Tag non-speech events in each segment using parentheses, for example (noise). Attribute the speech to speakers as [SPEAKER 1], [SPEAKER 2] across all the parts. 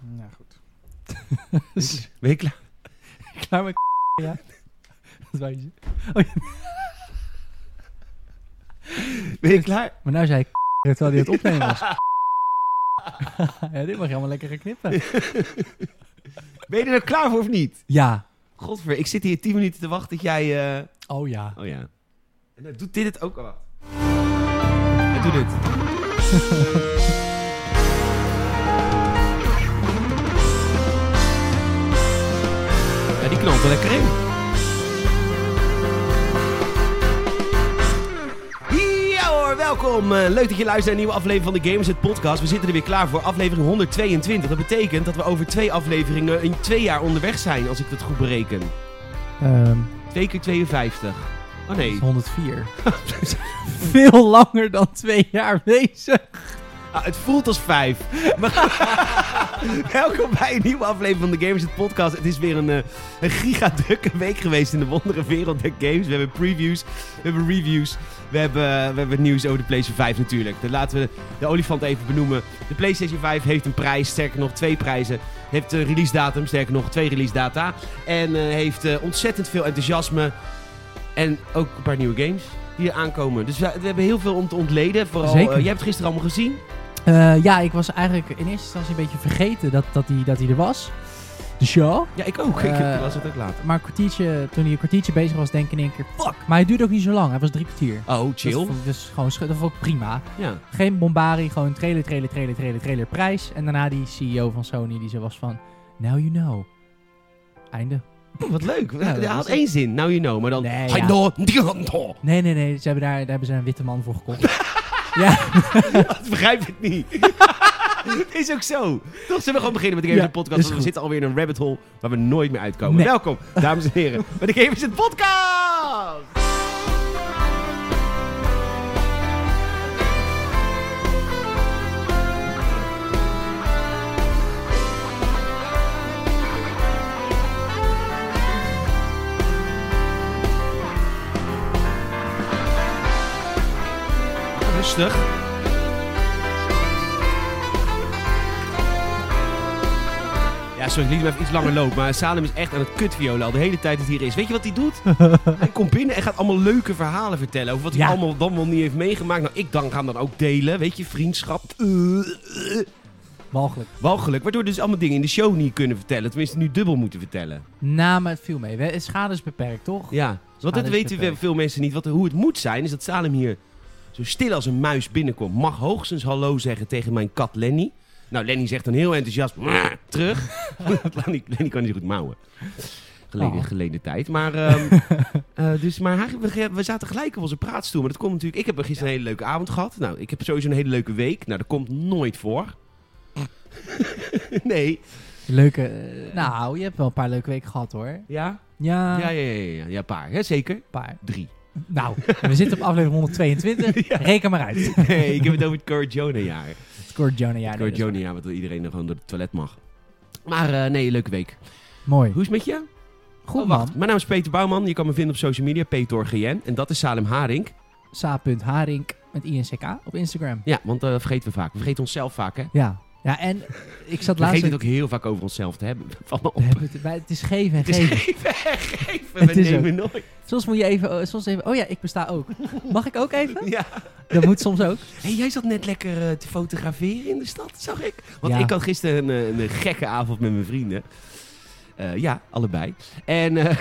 [SPEAKER 1] Nou goed.
[SPEAKER 2] Ben je klaar?
[SPEAKER 3] Dus (laughs) Klaar met ja? (laughs) Dat wou je zeggen. Oh, ja.
[SPEAKER 2] Ben je klaar?
[SPEAKER 3] Maar nou zei ik terwijl hij het opnemen was. (laughs) ja, dit mag je allemaal lekker gaan knippen.
[SPEAKER 2] Ben je er nou klaar voor of niet?
[SPEAKER 3] Ja.
[SPEAKER 2] Godver, ik zit hier 10 minuten te wachten dat jij... eh,
[SPEAKER 3] Oh ja.
[SPEAKER 2] Oh ja. En dan doet dit het ook al. Hij doet dit. (laughs) ja, die knalt er lekker in. Ja hoor, welkom. Eh, leuk dat je luistert naar een nieuwe aflevering van de Gamers het podcast. We zitten er weer klaar voor aflevering 122. Dat betekent dat we over twee afleveringen in twee jaar onderweg zijn, als ik dat goed bereken.
[SPEAKER 3] Ehm,
[SPEAKER 2] Twee keer 52. Oh nee.
[SPEAKER 3] 104. (laughs) Veel langer dan twee jaar bezig.
[SPEAKER 2] Ah, het voelt als vijf. Maar- (laughs) Welkom bij een nieuwe aflevering van de Gamers het Podcast. Het is weer een, eh, een gigadukke week geweest in de wondere wereld der games. We hebben previews, we hebben reviews, we hebben, eh, we hebben nieuws over de PlayStation 5 natuurlijk. Dan laten we de olifant even benoemen. De PlayStation 5 heeft een prijs, sterker nog twee prijzen. Heeft een release datum, sterker nog twee release data. En eh, heeft eh, ontzettend veel enthousiasme. En ook een paar nieuwe games die er aankomen. Dus we, we hebben heel veel om te ontleden. Vooral,
[SPEAKER 3] Zeker.
[SPEAKER 2] eh, jij hebt het gisteren allemaal gezien.
[SPEAKER 3] Eh, ja, ik was eigenlijk in eerste instantie een beetje vergeten dat, dat, hij, dat hij er was. De show.
[SPEAKER 2] Ja, ik ook.
[SPEAKER 3] Eh,
[SPEAKER 2] ik was het ook later.
[SPEAKER 3] Maar een kwartiertje, toen hij een kwartiertje bezig was, denk ik in één keer, fuck. Maar hij duurde ook niet zo lang. Hij was drie kwartier.
[SPEAKER 2] Oh,
[SPEAKER 3] Dat vond ik dus gewoon sch- dat vond ik prima.
[SPEAKER 2] Ja.
[SPEAKER 3] Geen bombari, gewoon trailer, trailer, trailer, trailer, trailer, prijs. En daarna die CEO van Sony die zo was van, now you know. Einde.
[SPEAKER 2] Oh, wat leuk.
[SPEAKER 3] dat
[SPEAKER 2] Hij
[SPEAKER 3] was
[SPEAKER 2] had
[SPEAKER 3] het.
[SPEAKER 2] één zin. Nou, you know. Maar dan...
[SPEAKER 3] Nee,
[SPEAKER 2] Hij
[SPEAKER 3] ja.
[SPEAKER 2] door, die hand door.
[SPEAKER 3] Nee, nee, nee. Ze hebben daar, daar hebben ze een witte man voor
[SPEAKER 2] (laughs)
[SPEAKER 3] gekocht. ja,
[SPEAKER 2] Dat begrijp ik niet. Het (laughs) is ook zo. Toch zullen we gewoon beginnen met de Games
[SPEAKER 3] Ja,
[SPEAKER 2] het Podcast.
[SPEAKER 3] is
[SPEAKER 2] Want we
[SPEAKER 3] goed.
[SPEAKER 2] zitten alweer in een rabbit hole waar we nooit meer uitkomen.
[SPEAKER 3] Nee.
[SPEAKER 2] Welkom, dames en (laughs) heren, bij de Games het Podcast. Rustig. Ja, sorry, ik liet hem even iets langer lopen. Maar Salem is echt aan het kutviolen al de hele tijd dat hij hier is. Weet je wat hij doet? hij komt binnen en gaat allemaal leuke verhalen vertellen. Over wat hij
[SPEAKER 3] Ja.
[SPEAKER 2] allemaal dan wel niet heeft meegemaakt. Nou, ik dan ga hem dan ook delen. Weet je, vriendschap. eh, eh,
[SPEAKER 3] walgelijk.
[SPEAKER 2] walgelijk. Waardoor dus allemaal dingen in de show niet kunnen vertellen. Tenminste, nu dubbel moeten vertellen.
[SPEAKER 3] Nou, maar het viel mee. We- Schade is beperkt, toch?
[SPEAKER 2] Ja, want dat
[SPEAKER 3] dat
[SPEAKER 2] weten
[SPEAKER 3] is
[SPEAKER 2] we-
[SPEAKER 3] beperkt.
[SPEAKER 2] veel mensen niet. Wat, hoe het moet zijn, is dat Salem hier zo stil als een muis binnenkomt. Mag hoogstens hallo zeggen tegen mijn kat Lenny. Nou, Lenny zegt dan heel enthousiast "Mwah," terug. (laughs) Lenny, Lenny kan niet goed mouwen. Geleden,
[SPEAKER 3] Oh.
[SPEAKER 2] geleden tijd. Maar,
[SPEAKER 3] (laughs)
[SPEAKER 2] ehm, eh, dus, maar hij- we, we zaten gelijk op onze praatstoel. Maar dat komt natuurlijk... Ik heb gisteren een hele leuke avond gehad. Nou, ik heb sowieso een hele leuke week. Nou, dat komt nooit voor. (laughs) nee.
[SPEAKER 3] Leuke... eh, nou, je hebt wel een paar leuke weken gehad, hoor.
[SPEAKER 2] Ja?
[SPEAKER 3] Ja,
[SPEAKER 2] Ja, ja, ja. Ja, ja, paar. Ja, zeker.
[SPEAKER 3] een paar. (laughs)
[SPEAKER 2] Drie. (laughs)
[SPEAKER 3] Nou, we zitten op aflevering 122. Reken maar uit.
[SPEAKER 2] (laughs) Nee, ik heb het over het Corjona-jaar.
[SPEAKER 3] Scoort Jonah, ja.
[SPEAKER 2] Het
[SPEAKER 3] nee, dat is waar.
[SPEAKER 2] Corjona-jaar, wat iedereen er gewoon door het toilet mag. Maar eh, nee, leuke week.
[SPEAKER 3] Mooi.
[SPEAKER 2] Hoe is het met je?
[SPEAKER 3] Goed,
[SPEAKER 2] Oh,
[SPEAKER 3] man.
[SPEAKER 2] wacht. Mijn naam is Peter Bouwman. Je kan me vinden op social media, PetorGN. En dat is Salem Haring.
[SPEAKER 3] Sa.Haring met INCK op Instagram.
[SPEAKER 2] Ja, want dat vergeten we vaak. We vergeten onszelf vaak, hè? We
[SPEAKER 3] Ja. Ja, en ik zat laatst...
[SPEAKER 2] vergeten het ook heel vaak over onszelf te hebben. Van me op.
[SPEAKER 3] We hebben het, wij- het is geven en
[SPEAKER 2] Het is (laughs)
[SPEAKER 3] geven.
[SPEAKER 2] geven, geven.
[SPEAKER 3] Het
[SPEAKER 2] We
[SPEAKER 3] is
[SPEAKER 2] nemen nooit.
[SPEAKER 3] Soms moet je even, eh, soms even... Oh ja, ik besta ook. Mag ik ook even?
[SPEAKER 2] Ja.
[SPEAKER 3] Dat moet soms ook.
[SPEAKER 2] Hey, jij zat net lekker eh, te fotograferen in de stad, zag ik. Want
[SPEAKER 3] Ja.
[SPEAKER 2] ik had gisteren een, eh, een gekke avond met mijn vrienden. Eh, ja, allebei. En, eh,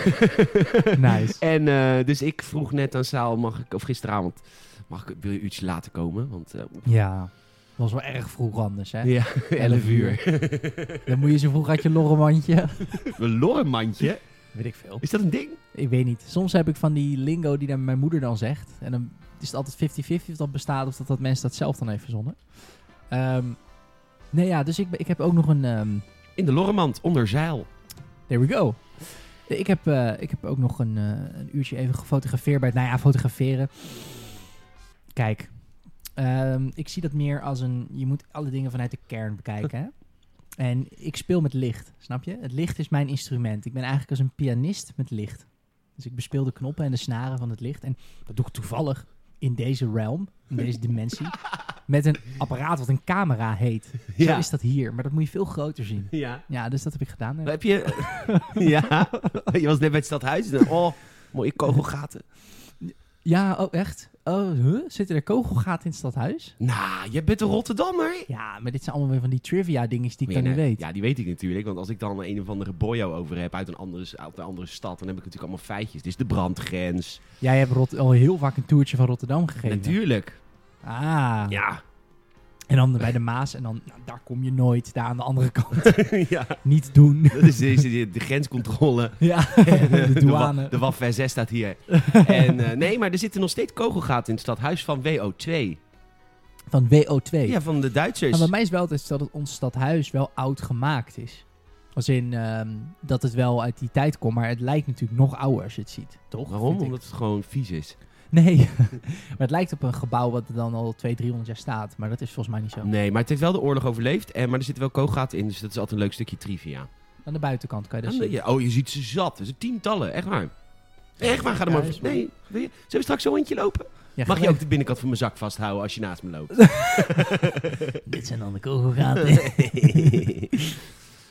[SPEAKER 2] (laughs)
[SPEAKER 3] Nice.
[SPEAKER 2] en eh, dus ik vroeg net aan Saal, mag ik, of gisteravond, mag ik, wil je een uurtje later komen? Want eh,
[SPEAKER 3] Ja. was wel erg vroeg anders, hè?
[SPEAKER 2] (laughs) ja, 11 uur.
[SPEAKER 3] (laughs) Dan moet je zo vroeg uit je lorremandje.
[SPEAKER 2] (laughs) een lorremandje?
[SPEAKER 3] Weet ik veel.
[SPEAKER 2] Is dat een ding?
[SPEAKER 3] Ik weet niet. Soms heb ik van die lingo die dan mijn moeder dan zegt. En dan is het altijd 50-50 of dat bestaat of dat, dat mensen dat zelf dan heeft verzonnen. Ehm, nee, ja, dus ik, ben- ik heb ook nog een... ehm,
[SPEAKER 2] In de lorremand, onder zeil.
[SPEAKER 3] There we go. Ik heb, eh, ik heb ook nog een, eh, een uurtje even gefotografeerd bij het, nou ja, fotograferen. Kijk, ehm, ik zie dat meer als een, je moet alle dingen vanuit de kern bekijken. hè? En ik speel met licht, snap je? Het licht is mijn instrument. Ik ben eigenlijk als een pianist met licht. Dus ik bespeel de knoppen en de snaren van het licht. En dat doe ik toevallig in deze realm, in deze dimensie, met een apparaat wat een camera heet. Zo
[SPEAKER 2] Ja.
[SPEAKER 3] is dat hier, maar dat moet je veel groter zien.
[SPEAKER 2] ja.
[SPEAKER 3] Ja, dus dat heb ik gedaan.
[SPEAKER 2] Heb je... (laughs) ja. Je was net bij het stadhuis. en- Oh, mooie kogelgaten.
[SPEAKER 3] Ja, oh echt? Oh, huh? Zitten er kogelgaten in het stadhuis?
[SPEAKER 2] Nou, je bent een Rotterdammer.
[SPEAKER 3] Ja, maar dit zijn allemaal weer van die trivia dinges die ik
[SPEAKER 2] Ja,
[SPEAKER 3] dan niet
[SPEAKER 2] nee.
[SPEAKER 3] weet.
[SPEAKER 2] Ja, die weet ik natuurlijk. Want als ik dan een of andere boyo over heb uit een andere, uit een andere stad, dan heb ik natuurlijk allemaal feitjes. Dus de brandgrens.
[SPEAKER 3] Jij hebt Rot al heel vaak een toertje van Rotterdam gegeven.
[SPEAKER 2] Natuurlijk.
[SPEAKER 3] Ah,
[SPEAKER 2] Ja.
[SPEAKER 3] (laughs) en dan bij de Maas en dan, nou, daar kom je nooit, daar aan de andere kant. (laughs)
[SPEAKER 2] ja.
[SPEAKER 3] niet doen.
[SPEAKER 2] (laughs)
[SPEAKER 3] (laughs)
[SPEAKER 2] Dat is deze, de, de grenscontrole.
[SPEAKER 3] ja,
[SPEAKER 2] En, eh,
[SPEAKER 3] (laughs) de
[SPEAKER 2] wa-
[SPEAKER 3] douane.
[SPEAKER 2] De WAF 6 staat
[SPEAKER 3] (laughs)
[SPEAKER 2] hier. en, eh, nee, maar er zitten nog steeds kogelgaten in het stadhuis van WO2.
[SPEAKER 3] Van WO2.
[SPEAKER 2] Ja, van de Duitsers.
[SPEAKER 3] Ah, Maar Nou, bij mij is wel altijd dat het ons stadhuis wel oud gemaakt is. Als in ehm, dat het wel uit die tijd komt, maar het lijkt natuurlijk nog ouder als je het ziet, toch?
[SPEAKER 2] Waarom?
[SPEAKER 3] Vind ik.
[SPEAKER 2] Omdat het gewoon vies is.
[SPEAKER 3] Nee, (laughs) maar het lijkt op een gebouw wat er dan al 200, 300 jaar staat. Maar dat is volgens mij niet zo.
[SPEAKER 2] Nee, maar het heeft wel de oorlog overleefd. En, maar er zitten wel kogelgaten in, dus dat is altijd een leuk stukje trivia.
[SPEAKER 3] Aan de buitenkant kan je dat
[SPEAKER 2] Aan de-
[SPEAKER 3] zien.
[SPEAKER 2] ja, oh, je ziet ze zat. Er zijn tientallen, echt waar. Echt waar, ga er
[SPEAKER 3] Ja,
[SPEAKER 2] maar
[SPEAKER 3] is
[SPEAKER 2] over.
[SPEAKER 3] waar.
[SPEAKER 2] Nee, wil je, zullen we straks zo eentje lopen?
[SPEAKER 3] Ja,
[SPEAKER 2] Mag je
[SPEAKER 3] gelijk.
[SPEAKER 2] ook de binnenkant van mijn zak vasthouden als je naast me
[SPEAKER 3] (laughs)
[SPEAKER 2] loopt?
[SPEAKER 3] Dit zijn dan de kogelgaten.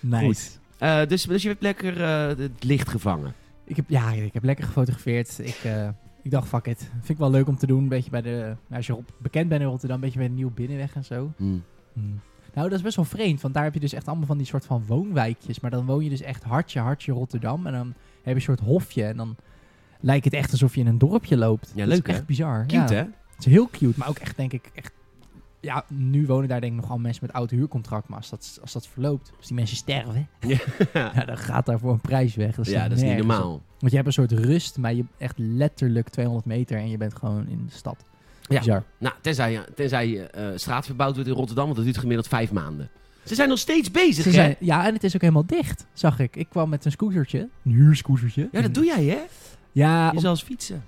[SPEAKER 3] nice.
[SPEAKER 2] Goed. Eh, dus, dus je hebt lekker eh, het licht gevangen.
[SPEAKER 3] Ik heb, ja, ik heb lekker gefotografeerd. Ik, eh, ik dacht, fuck it. Vind ik wel leuk om te doen. Een beetje bij de, nou, als je op- bekend bent in Rotterdam, een beetje bij de Nieuw Binnenweg en zo.
[SPEAKER 2] Hmm.
[SPEAKER 3] Nou, dat is best wel vreemd, want daar heb je dus echt allemaal van die soort van woonwijkjes. Maar dan woon je dus echt hartje, hartje Rotterdam. En dan heb je een soort hofje en dan lijkt het echt alsof je in een dorpje loopt.
[SPEAKER 2] Ja,
[SPEAKER 3] dat is
[SPEAKER 2] leuk, hè?
[SPEAKER 3] echt bizar. ja. (laughs)
[SPEAKER 2] Cute, hè?
[SPEAKER 3] Het is heel cute, maar ook echt, denk ik, echt... Ja, nu wonen daar denk ik nogal mensen met oud huurcontract. Maar als dat, als dat verloopt, als die mensen sterven, (laughs) ja, dan gaat daar voor een prijs weg. Dat
[SPEAKER 2] Ja, dat is niet
[SPEAKER 3] nergens op.
[SPEAKER 2] normaal.
[SPEAKER 3] Want je hebt een soort rust, maar je echt letterlijk 200 meter en je bent gewoon in de stad.
[SPEAKER 2] Ja.
[SPEAKER 3] Bizar.
[SPEAKER 2] Nou, tenzij, je- tenzij je eh, straat verbouwd wordt in Rotterdam, want dat duurt gemiddeld vijf maanden. Ze zijn nog steeds bezig,
[SPEAKER 3] Ze
[SPEAKER 2] hè?
[SPEAKER 3] zijn, ja, en het is ook helemaal dicht, zag ik. Ik kwam met een scootertje, een huurscootertje.
[SPEAKER 2] Ja, dat doe jij, hè?
[SPEAKER 3] Ja,
[SPEAKER 2] Je
[SPEAKER 3] om-
[SPEAKER 2] zal eens fietsen.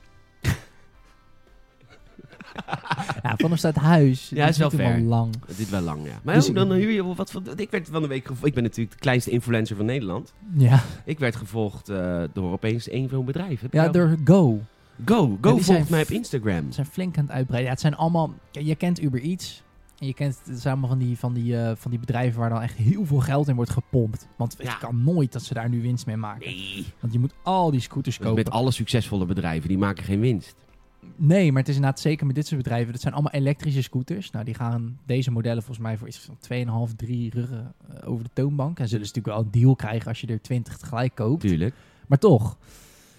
[SPEAKER 3] ja, van ons staat huis.
[SPEAKER 2] Ja,
[SPEAKER 3] Dat
[SPEAKER 2] is wel
[SPEAKER 3] natuurlijk
[SPEAKER 2] ver.
[SPEAKER 3] lang.
[SPEAKER 2] Het duurt wel lang, ja. Maar
[SPEAKER 3] Dus
[SPEAKER 2] oh,
[SPEAKER 3] ik-
[SPEAKER 2] dan huur je wat van... Ik werd van de week gevolgd... Ik ben natuurlijk de kleinste influencer van Nederland.
[SPEAKER 3] Ja,
[SPEAKER 2] Ik werd gevolgd eh, door opeens een van hun bedrijven. Heb
[SPEAKER 3] ja
[SPEAKER 2] jou-
[SPEAKER 3] door Go.
[SPEAKER 2] Go, Go
[SPEAKER 3] die zijn
[SPEAKER 2] volgt mij op Instagram.
[SPEAKER 3] Ze zijn flink aan het uitbreiden. Ja, het zijn allemaal... ja, Je kent Uber Eats. En je kent... Het zijn allemaal van die, van, die, eh, van die bedrijven waar dan echt heel veel geld in wordt gepompt. Want het
[SPEAKER 2] Ja.
[SPEAKER 3] kan nooit dat ze daar nu winst mee maken.
[SPEAKER 2] Nee.
[SPEAKER 3] Want je moet al die scooters
[SPEAKER 2] Dus
[SPEAKER 3] kopen.
[SPEAKER 2] met alle succesvolle bedrijven, die maken geen winst.
[SPEAKER 3] Nee, maar het is inderdaad zeker met dit soort bedrijven. Dat zijn allemaal elektrische scooters. Nou, die gaan deze modellen volgens mij voor iets van 2,5, 3 ruggen eh, over de toonbank. En zullen ze natuurlijk wel een deal krijgen als je er 20 tegelijk koopt.
[SPEAKER 2] Tuurlijk.
[SPEAKER 3] Maar toch.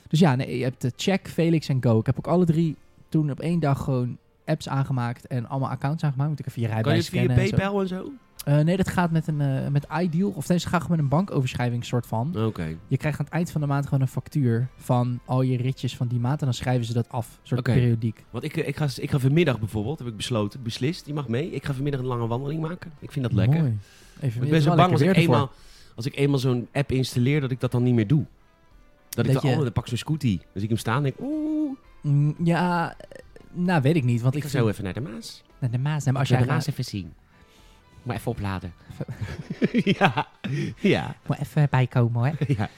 [SPEAKER 3] Dus ja, nee, je hebt de Check, Felix en Go. Ik heb ook alle drie toen op één dag gewoon apps aangemaakt en allemaal accounts aangemaakt. Moet ik even je
[SPEAKER 2] kan je
[SPEAKER 3] rijbewijs
[SPEAKER 2] het via
[SPEAKER 3] scannen en zo.
[SPEAKER 2] PayPal en zo?
[SPEAKER 3] Eh, nee, dat gaat met een eh, met iDeal. Of deze gaat gewoon met een bankoverschrijving soort van.
[SPEAKER 2] Oké.
[SPEAKER 3] Je krijgt aan het eind van de maand gewoon een factuur van al je ritjes van die maand. En dan schrijven ze dat af. Een soort
[SPEAKER 2] Oké.
[SPEAKER 3] periodiek.
[SPEAKER 2] Want ik, eh, ik, ga, ik ga vanmiddag bijvoorbeeld, heb ik besloten, beslist, die mag mee. Ik ga vanmiddag een lange wandeling maken. Ik vind dat lekker.
[SPEAKER 3] Mooi. Even
[SPEAKER 2] Ik
[SPEAKER 3] weer-
[SPEAKER 2] ben zo
[SPEAKER 3] wel
[SPEAKER 2] bang als
[SPEAKER 3] lekker
[SPEAKER 2] ik,
[SPEAKER 3] weer ervoor.
[SPEAKER 2] eenmaal, als ik eenmaal zo'n app installeer, dat ik dat dan niet meer doe. Dat,
[SPEAKER 3] Dat
[SPEAKER 2] ik dan,
[SPEAKER 3] je-
[SPEAKER 2] oh, dan pak ik zo'n scooty. Dan zie ik hem staan en denk, oeh,
[SPEAKER 3] Mm, Ja, eh, nou weet ik niet. Want
[SPEAKER 2] ik
[SPEAKER 3] ik
[SPEAKER 2] ga zo
[SPEAKER 3] vind-
[SPEAKER 2] even naar de Maas.
[SPEAKER 3] Nou, de Maas. nee, maar als
[SPEAKER 2] Ik wil
[SPEAKER 3] jij
[SPEAKER 2] de Maas
[SPEAKER 3] gaat...
[SPEAKER 2] even zien. Maar even opladen. (laughs) ja. Ja.
[SPEAKER 3] Moet even bijkomen hoor.
[SPEAKER 2] ja.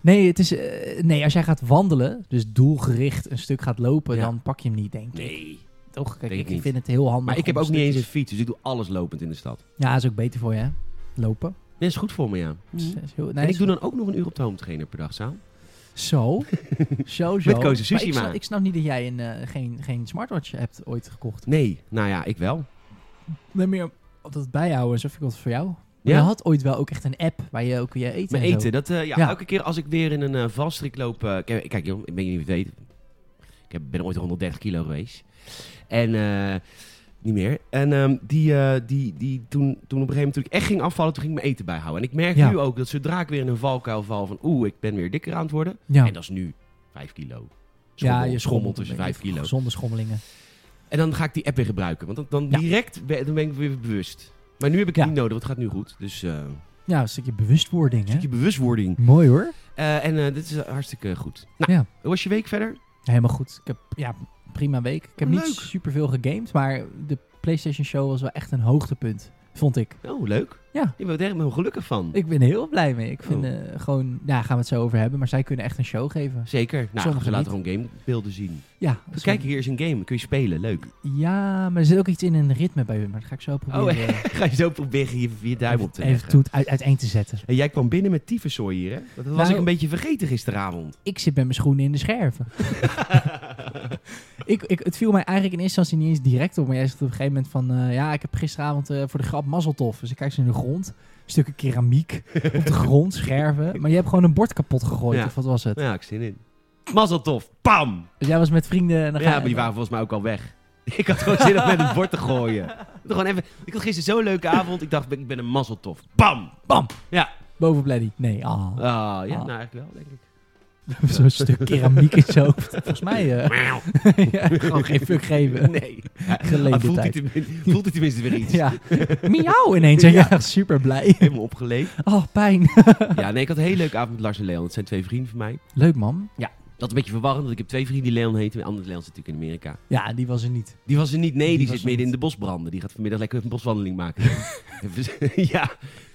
[SPEAKER 3] Nee, het is, eh, nee, als jij gaat wandelen, dus doelgericht een stuk gaat lopen,
[SPEAKER 2] Ja.
[SPEAKER 3] dan pak je hem niet, denk ik.
[SPEAKER 2] Nee.
[SPEAKER 3] Toch? Kijk,
[SPEAKER 2] Denk
[SPEAKER 3] ik
[SPEAKER 2] ik niet.
[SPEAKER 3] vind het heel handig.
[SPEAKER 2] Maar ik heb
[SPEAKER 3] om
[SPEAKER 2] ook niet eens een
[SPEAKER 3] stukjes-
[SPEAKER 2] fiets, dus ik doe alles lopend in de stad.
[SPEAKER 3] Ja, is ook beter voor je, hè? Lopen.
[SPEAKER 2] Nee, is goed voor me, ja.
[SPEAKER 3] Is- is heel- nee,
[SPEAKER 2] Mhm. En ik
[SPEAKER 3] is-
[SPEAKER 2] doe dan ook nog een uur op de home trainer per dag, Saal. (laughs)
[SPEAKER 3] Zo. zo, zo.
[SPEAKER 2] Met Kozen
[SPEAKER 3] Maar
[SPEAKER 2] Sushi
[SPEAKER 3] ik, snap,
[SPEAKER 2] maar.
[SPEAKER 3] ik snap niet dat jij een, eh, geen, geen smartwatch hebt ooit gekocht.
[SPEAKER 2] Nee, nou ja, ik wel.
[SPEAKER 3] Nee, meer op dat bijhouden, alsof ik wat voor jou. Maar
[SPEAKER 2] Ja?
[SPEAKER 3] Je had ooit wel ook echt een app waar je ook je eten
[SPEAKER 2] Mijn
[SPEAKER 3] en zo-
[SPEAKER 2] eten, dat, eh, ja,
[SPEAKER 3] Ja.
[SPEAKER 2] elke keer als ik weer in een eh, valstrik loop... eh, kijk, kijk joh, ik ben jullie niet weten. Ik heb, ben ooit 130 kilo geweest. En, eh, niet meer. En ehm, die, eh, die, die, toen, toen op een gegeven moment toen ik echt ging afvallen, toen ging ik mijn eten bijhouden. En ik merk
[SPEAKER 3] Ja.
[SPEAKER 2] nu ook dat zodra ik weer in een valkuil val van... Oeh, ik ben weer dikker aan het worden.
[SPEAKER 3] Ja.
[SPEAKER 2] En dat is nu 5 kilo.
[SPEAKER 3] ja,
[SPEAKER 2] Schommel- schommel
[SPEAKER 3] je schommelt
[SPEAKER 2] tussen
[SPEAKER 3] een
[SPEAKER 2] 5
[SPEAKER 3] beetje.
[SPEAKER 2] kilo.
[SPEAKER 3] Gezonde schommelingen.
[SPEAKER 2] En dan ga ik die app weer gebruiken. Want dan, dan
[SPEAKER 3] Ja.
[SPEAKER 2] direct ben, dan ben ik weer bewust. Maar nu heb ik het
[SPEAKER 3] Ja.
[SPEAKER 2] niet nodig, want het gaat nu goed. Dus eh, een
[SPEAKER 3] Ja, een stukje bewustwording, hè?
[SPEAKER 2] stukje bewustwording.
[SPEAKER 3] Mooi hoor.
[SPEAKER 2] Eh, en eh, dit is eh, hartstikke goed. Nou,
[SPEAKER 3] Ja.
[SPEAKER 2] hoe was je week verder?
[SPEAKER 3] Helemaal goed. Ik heb ja, prima week. Ik heb
[SPEAKER 2] Leuk.
[SPEAKER 3] niet superveel gegamed, maar de PlayStation Show was wel echt een hoogtepunt. vond ik.
[SPEAKER 2] Oh, leuk.
[SPEAKER 3] Ja.
[SPEAKER 2] Je bent er helemaal gelukkig van.
[SPEAKER 3] Ik ben er heel blij mee. Ik vind
[SPEAKER 2] Oh.
[SPEAKER 3] eh, gewoon, ja, gaan we het zo over hebben, maar zij kunnen echt een show geven.
[SPEAKER 2] Zeker. Nou,
[SPEAKER 3] Sommige
[SPEAKER 2] ze laten gewoon gamebeelden zien.
[SPEAKER 3] Ja,
[SPEAKER 2] Dus
[SPEAKER 3] zo-
[SPEAKER 2] kijk, hier is een game. Kun je spelen. Leuk.
[SPEAKER 3] ja, maar er zit ook iets in een ritme bij hun, maar dat ga ik zo proberen.
[SPEAKER 2] Oh, (laughs)
[SPEAKER 3] eh,
[SPEAKER 2] Ga je zo proberen je, je duim op te
[SPEAKER 3] even,
[SPEAKER 2] leggen.
[SPEAKER 3] even toe, uit, uiteen te zetten.
[SPEAKER 2] En jij kwam binnen met tyfuszooi hier, hè? Dat was
[SPEAKER 3] Nou-
[SPEAKER 2] ik een beetje vergeten gisteravond.
[SPEAKER 3] Ik zit met mijn schoenen in de
[SPEAKER 2] (laughs)
[SPEAKER 3] scherven. ik, ik, het viel mij eigenlijk in eerste instantie niet eens direct op. Maar jij zegt op een gegeven moment van... eh, ja, ik heb gisteravond eh, voor de grap mazzeltof. Dus ik kijk ze in de grond.
[SPEAKER 2] (laughs)
[SPEAKER 3] Stukken keramiek op de grond, scherven. Maar je hebt gewoon een bord kapot gegooid.
[SPEAKER 2] Ja.
[SPEAKER 3] Of wat was het?
[SPEAKER 2] Nou, ja, ik zin in. Mazzeltof. Pam!
[SPEAKER 3] Dus jij was met vrienden... En dan
[SPEAKER 2] ja,
[SPEAKER 3] ga-
[SPEAKER 2] maar die waren volgens mij ook al weg. (laughs) Ik had gewoon zin om met een bord te
[SPEAKER 3] (laughs)
[SPEAKER 2] gooien. Gewoon even, ik had gisteren zo'n leuke avond. Ik dacht, ik ben een mazzeltof. Bam!
[SPEAKER 3] Bam!
[SPEAKER 2] Ja.
[SPEAKER 3] Boven Bladdy. Nee, ah.
[SPEAKER 2] Ah, ja,
[SPEAKER 3] Ah.
[SPEAKER 2] nou eigenlijk wel, denk ik.
[SPEAKER 3] (laughs) Zo'n stuk keramiek in
[SPEAKER 2] (laughs)
[SPEAKER 3] zo. Volgens mij... eh (laughs) ja, gewoon geen fuck geven. (laughs)
[SPEAKER 2] Nee.
[SPEAKER 3] Geleende
[SPEAKER 2] Maar voelt, hij
[SPEAKER 3] tijd.
[SPEAKER 2] tenmin- voelt hij tenminste weer iets?
[SPEAKER 3] (laughs) Ja. Miauw ineens. En jij
[SPEAKER 2] Ja.
[SPEAKER 3] echt super blij.
[SPEAKER 2] Helemaal opgeleefd.
[SPEAKER 3] Oh, pijn. (laughs)
[SPEAKER 2] Ja, nee, ik had een hele leuke avond met Lars en Leon. Dat zijn twee vrienden van mij.
[SPEAKER 3] Leuk, man.
[SPEAKER 2] Dat is een beetje verwarrend, want ik heb twee vrienden die Leon heten. En andere Leon zit natuurlijk in Amerika.
[SPEAKER 3] Ja, die was er niet.
[SPEAKER 2] Die was er niet. Nee,
[SPEAKER 3] Die
[SPEAKER 2] die,
[SPEAKER 3] was
[SPEAKER 2] zit
[SPEAKER 3] er
[SPEAKER 2] midden
[SPEAKER 3] niet.
[SPEAKER 2] in de bosbranden. Die gaat vanmiddag lekker een boswandeling maken. (laughs) Even- ja,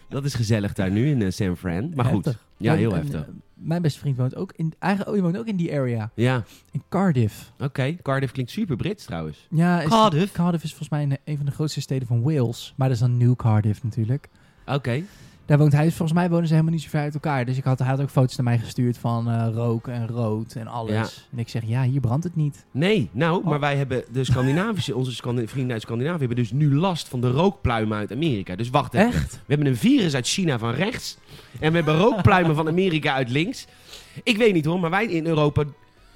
[SPEAKER 2] dat is gezellig daar nu in eh, San Fran. Maar goed.
[SPEAKER 3] Heftig.
[SPEAKER 2] Ja, heel
[SPEAKER 3] En,
[SPEAKER 2] heftig.
[SPEAKER 3] eh, mijn beste vriend woont ook in, eigenlijk, oh, je woont ook in die area.
[SPEAKER 2] Ja,
[SPEAKER 3] In Cardiff.
[SPEAKER 2] oké. Cardiff klinkt super Brits trouwens.
[SPEAKER 3] Ja, is-
[SPEAKER 2] Cardiff?
[SPEAKER 3] Cardiff is volgens mij een, een van de grootste steden van Wales. Maar dat is dan New Cardiff natuurlijk.
[SPEAKER 2] Oké.
[SPEAKER 3] Daar woont hij. Volgens mij wonen ze helemaal niet zo ver uit elkaar. Dus ik had, hij had ook foto's naar mij gestuurd van eh, rook en rood en alles. En ik zeg, ja, hier brandt het niet.
[SPEAKER 2] Nee, nou,
[SPEAKER 3] Oh.
[SPEAKER 2] maar wij hebben de Scandinavische, onze Scandi- vrienden uit Scandinavië hebben dus nu last van de rookpluimen uit Amerika. Dus wacht even.
[SPEAKER 3] Echt?
[SPEAKER 2] We hebben een virus uit China van rechts. En we hebben rookpluimen van Amerika uit links. Ik weet niet hoor, maar wij in Europa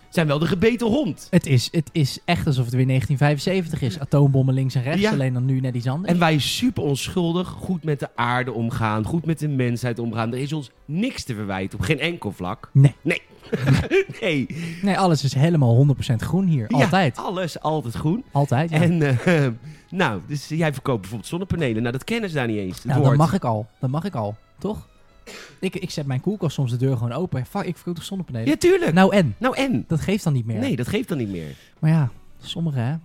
[SPEAKER 2] zijn wel de gebeten hond.
[SPEAKER 3] Het is, het is echt alsof het weer 1975 is. Atoombommen links en rechts.
[SPEAKER 2] Ja.
[SPEAKER 3] Alleen dan nu net iets anders.
[SPEAKER 2] En wij super onschuldig, goed met de aarde omgaan, goed met de mensheid omgaan. Er is ons niks te verwijten op geen enkel vlak.
[SPEAKER 3] Nee.
[SPEAKER 2] Nee. (laughs) nee.
[SPEAKER 3] Nee, alles is helemaal 100% groen hier.
[SPEAKER 2] Ja,
[SPEAKER 3] Altijd.
[SPEAKER 2] alles altijd groen.
[SPEAKER 3] Altijd. Ja.
[SPEAKER 2] En eh, nou, dus jij verkoopt bijvoorbeeld zonnepanelen. Nou, dat kennen ze daar niet eens. Het
[SPEAKER 3] Nou, dat
[SPEAKER 2] woord.
[SPEAKER 3] mag ik al. Dat mag ik al, toch? Ik, ik zet mijn koelkast soms de deur gewoon open. Fuck, ik verkoop toch zonnepanelen?
[SPEAKER 2] Ja, tuurlijk.
[SPEAKER 3] Nou en?
[SPEAKER 2] Nou en?
[SPEAKER 3] Dat geeft dan niet meer.
[SPEAKER 2] Nee, dat geeft dan niet meer.
[SPEAKER 3] Maar ja, sommigen hè.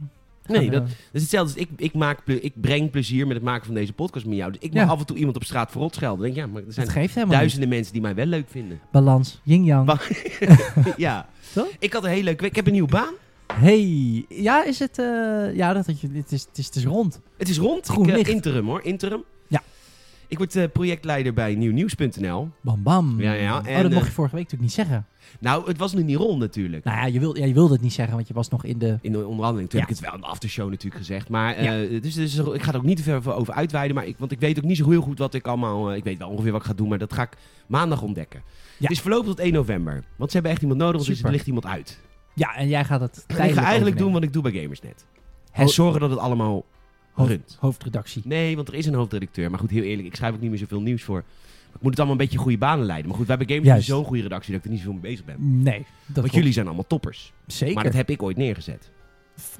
[SPEAKER 2] Nee,
[SPEAKER 3] Gaan,
[SPEAKER 2] dat,
[SPEAKER 3] eh,
[SPEAKER 2] dat is hetzelfde. als Ik, ik, maak, ple- ik breng plezier met het maken van deze podcast met jou. Dus ik mag
[SPEAKER 3] Ja.
[SPEAKER 2] af en toe iemand op straat verrot schelden. Dan denk ik, ja, maar er zijn
[SPEAKER 3] dat geeft helemaal
[SPEAKER 2] duizenden mensen die mij wel leuk
[SPEAKER 3] (laughs)
[SPEAKER 2] vinden.
[SPEAKER 3] niet. Balans, yin-yang.
[SPEAKER 2] Wa- ja.
[SPEAKER 3] Toch?
[SPEAKER 2] Ik had een hele leuke week. Ik heb een nieuwe baan.
[SPEAKER 3] Hey, ja, is het... eh, ja, dat, dat je, het, is, het, is, het is rond.
[SPEAKER 2] Het is rond.
[SPEAKER 3] Groen
[SPEAKER 2] Ik, eh,
[SPEAKER 3] licht.
[SPEAKER 2] interim hoor, interim.
[SPEAKER 3] Ja.
[SPEAKER 2] Ik word eh, projectleider bij nieuwnieuws.nl.
[SPEAKER 3] Bam, bam.
[SPEAKER 2] Ja, ja,
[SPEAKER 3] oh,
[SPEAKER 2] en,
[SPEAKER 3] dat mocht
[SPEAKER 2] eh,
[SPEAKER 3] je vorige week natuurlijk niet zeggen.
[SPEAKER 2] Nou, het was nog niet rond natuurlijk.
[SPEAKER 3] Nou ja je, wilde, ja, je wilde het niet zeggen, want je was nog in de...
[SPEAKER 2] In de onderhandeling. Toen
[SPEAKER 3] Ja.
[SPEAKER 2] heb ik het wel in de aftershow natuurlijk gezegd. Maar eh, dus, dus ik ga er ook niet te ver voor over uitweiden. Maar ik, want ik weet ook niet zo heel goed wat ik allemaal. eh, ik weet wel ongeveer wat ik ga doen, maar dat ga ik maandag ontdekken. Het is voorlopig tot 1 november. Want ze hebben echt iemand nodig, want er
[SPEAKER 3] Super.
[SPEAKER 2] ligt iemand uit.
[SPEAKER 3] Ja, en jij gaat het tijdelijk
[SPEAKER 2] ik ga eigenlijk doen
[SPEAKER 3] overnemen.
[SPEAKER 2] wat ik doe bij Gamersnet.
[SPEAKER 3] Ho-
[SPEAKER 2] En zorgen dat het allemaal
[SPEAKER 3] Ho-
[SPEAKER 2] runt.
[SPEAKER 3] Hoofdredactie.
[SPEAKER 2] Nee, want er is een hoofdredacteur. Maar goed, heel eerlijk, ik schrijf ook niet meer zoveel nieuws voor. Ik moet het allemaal een beetje goede banen leiden. Maar goed, wij hebben Gamersnet
[SPEAKER 3] Juist.
[SPEAKER 2] zo'n goede redactie dat ik er niet zoveel mee bezig ben.
[SPEAKER 3] Nee, dat
[SPEAKER 2] Want
[SPEAKER 3] klopt.
[SPEAKER 2] jullie zijn allemaal toppers.
[SPEAKER 3] Zeker.
[SPEAKER 2] Maar dat heb ik ooit neergezet.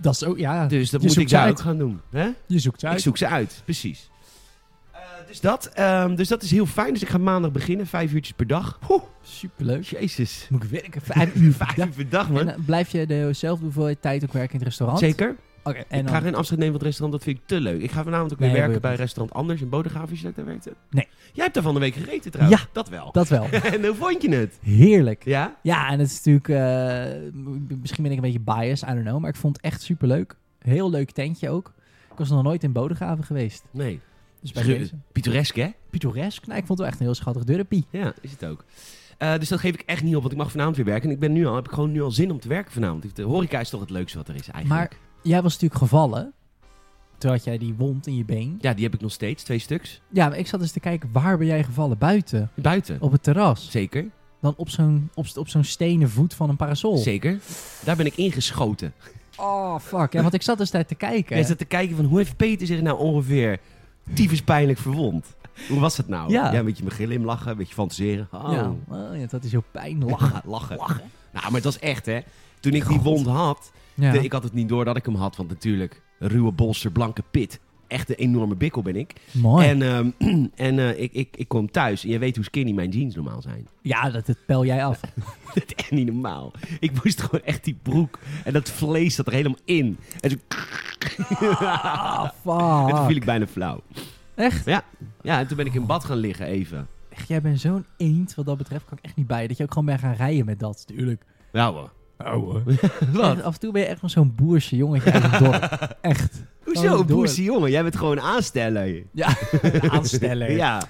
[SPEAKER 3] Dat is ook... Ja,
[SPEAKER 2] Dus dat
[SPEAKER 3] Je
[SPEAKER 2] moet
[SPEAKER 3] zoekt
[SPEAKER 2] ik
[SPEAKER 3] ze
[SPEAKER 2] daar
[SPEAKER 3] uit.
[SPEAKER 2] ook gaan doen. hè?
[SPEAKER 3] je zoekt ze uit.
[SPEAKER 2] Ik zoek ze uit, precies. Eh, dus, dat, ehm, dus dat is heel fijn. Dus ik ga maandag beginnen, vijf uurtjes per dag. Oeh,
[SPEAKER 3] Superleuk.
[SPEAKER 2] jezus.
[SPEAKER 3] Moet ik werken? Vijf
[SPEAKER 2] (laughs)
[SPEAKER 3] uur per
[SPEAKER 2] Vijf
[SPEAKER 3] dag.
[SPEAKER 2] uur per dag,
[SPEAKER 3] En
[SPEAKER 2] man.
[SPEAKER 3] dan blijf je dezelfde hoeveelheid tijd ook werken in het restaurant?
[SPEAKER 2] Zeker.
[SPEAKER 3] Oké, en
[SPEAKER 2] ik ga
[SPEAKER 3] dan...
[SPEAKER 2] geen afscheid nemen van het restaurant, dat vind ik te leuk. Ik ga vanavond ook weer
[SPEAKER 3] Nee,
[SPEAKER 2] werken
[SPEAKER 3] wil
[SPEAKER 2] bij
[SPEAKER 3] je
[SPEAKER 2] restaurant Anders in Bodegraaf, als je dat daar werkte.
[SPEAKER 3] Nee.
[SPEAKER 2] Jij hebt daar van de week gegeten trouwens.
[SPEAKER 3] Ja.
[SPEAKER 2] Dat wel.
[SPEAKER 3] Dat wel.
[SPEAKER 2] (laughs) en hoe vond je het?
[SPEAKER 3] Heerlijk.
[SPEAKER 2] Ja?
[SPEAKER 3] Ja, en het is natuurlijk... eh, m- misschien ben ik een beetje biased, I don't know. Maar ik vond het echt superleuk. Heel leuk tentje ook. Ik was nog nooit in Bodegraven geweest.
[SPEAKER 2] Nee.
[SPEAKER 3] Dus bij
[SPEAKER 2] Schu-
[SPEAKER 3] deze.
[SPEAKER 2] Pittoresk, hè?
[SPEAKER 3] Pittoresk. Nou, ik vond het wel echt een heel schattig dorpie.
[SPEAKER 2] Ja, is het ook. Eh, dus dat geef ik echt niet op, want ik mag vanavond weer werken. En ik ben nu al, heb ik gewoon nu al zin om te werken vanavond. De horeca is toch het leukste wat er is eigenlijk.
[SPEAKER 3] Maar jij was natuurlijk gevallen. Toen had jij die wond in je been.
[SPEAKER 2] Ja, die heb ik nog steeds, twee stuks.
[SPEAKER 3] Ja, maar ik zat eens te kijken, waar ben jij gevallen? Buiten.
[SPEAKER 2] Buiten.
[SPEAKER 3] Op het terras.
[SPEAKER 2] Zeker,
[SPEAKER 3] Dan op zo'n op, op zo'n stenen voet van een parasol.
[SPEAKER 2] zeker. Daar ben ik ingeschoten.
[SPEAKER 3] Oh, fuck. Ja, want ik zat dus daar te kijken.
[SPEAKER 2] Jij zat te kijken van hoe heeft Peter zich nou ongeveer tyfus pijnlijk verwond? Hoe was dat nou?
[SPEAKER 3] Ja.
[SPEAKER 2] een beetje mijn gillen in lachen, een beetje fantaseren. Oh.
[SPEAKER 3] Ja. Oh, ja, dat is heel pijnlijk.
[SPEAKER 2] Lachen, lachen. Nou, maar het was echt hè. Toen ik die wond had,
[SPEAKER 3] Ja.
[SPEAKER 2] de- ik had het niet door dat ik hem had, want natuurlijk, ruwe bolster, blanke pit. Echt een enorme bikkel ben ik.
[SPEAKER 3] Mooi.
[SPEAKER 2] En, ehm, (clears throat) en eh, ik, ik, ik kom thuis en je weet hoe skinny mijn jeans normaal zijn. (laughs)
[SPEAKER 3] ja, dat, dat pel jij af.
[SPEAKER 2] Dat is echt niet normaal. Ik moest gewoon echt die broek en dat vlees zat er helemaal in. En zo
[SPEAKER 3] Ah,
[SPEAKER 2] En toen viel
[SPEAKER 3] fuck.
[SPEAKER 2] ik bijna flauw.
[SPEAKER 3] Echt?
[SPEAKER 2] Ja, en toen ben ik in bad gaan liggen even.
[SPEAKER 3] echt? Jij bent zo'n eend wat dat betreft. Kan ik echt niet bij. Dat je ook gewoon bent gaan rijden met dat. Tuurlijk.
[SPEAKER 2] Nou (laughs) hoor.
[SPEAKER 3] (laughs) Echt, af en toe ben je echt gewoon zo'n boerse jongetje uit het dorp. Echt.
[SPEAKER 2] (laughs) Hoezo,
[SPEAKER 3] Gewoon
[SPEAKER 2] een
[SPEAKER 3] door.
[SPEAKER 2] boerse jongen? Jij bent gewoon aansteller.
[SPEAKER 3] Ja, aansteller.
[SPEAKER 2] Ja.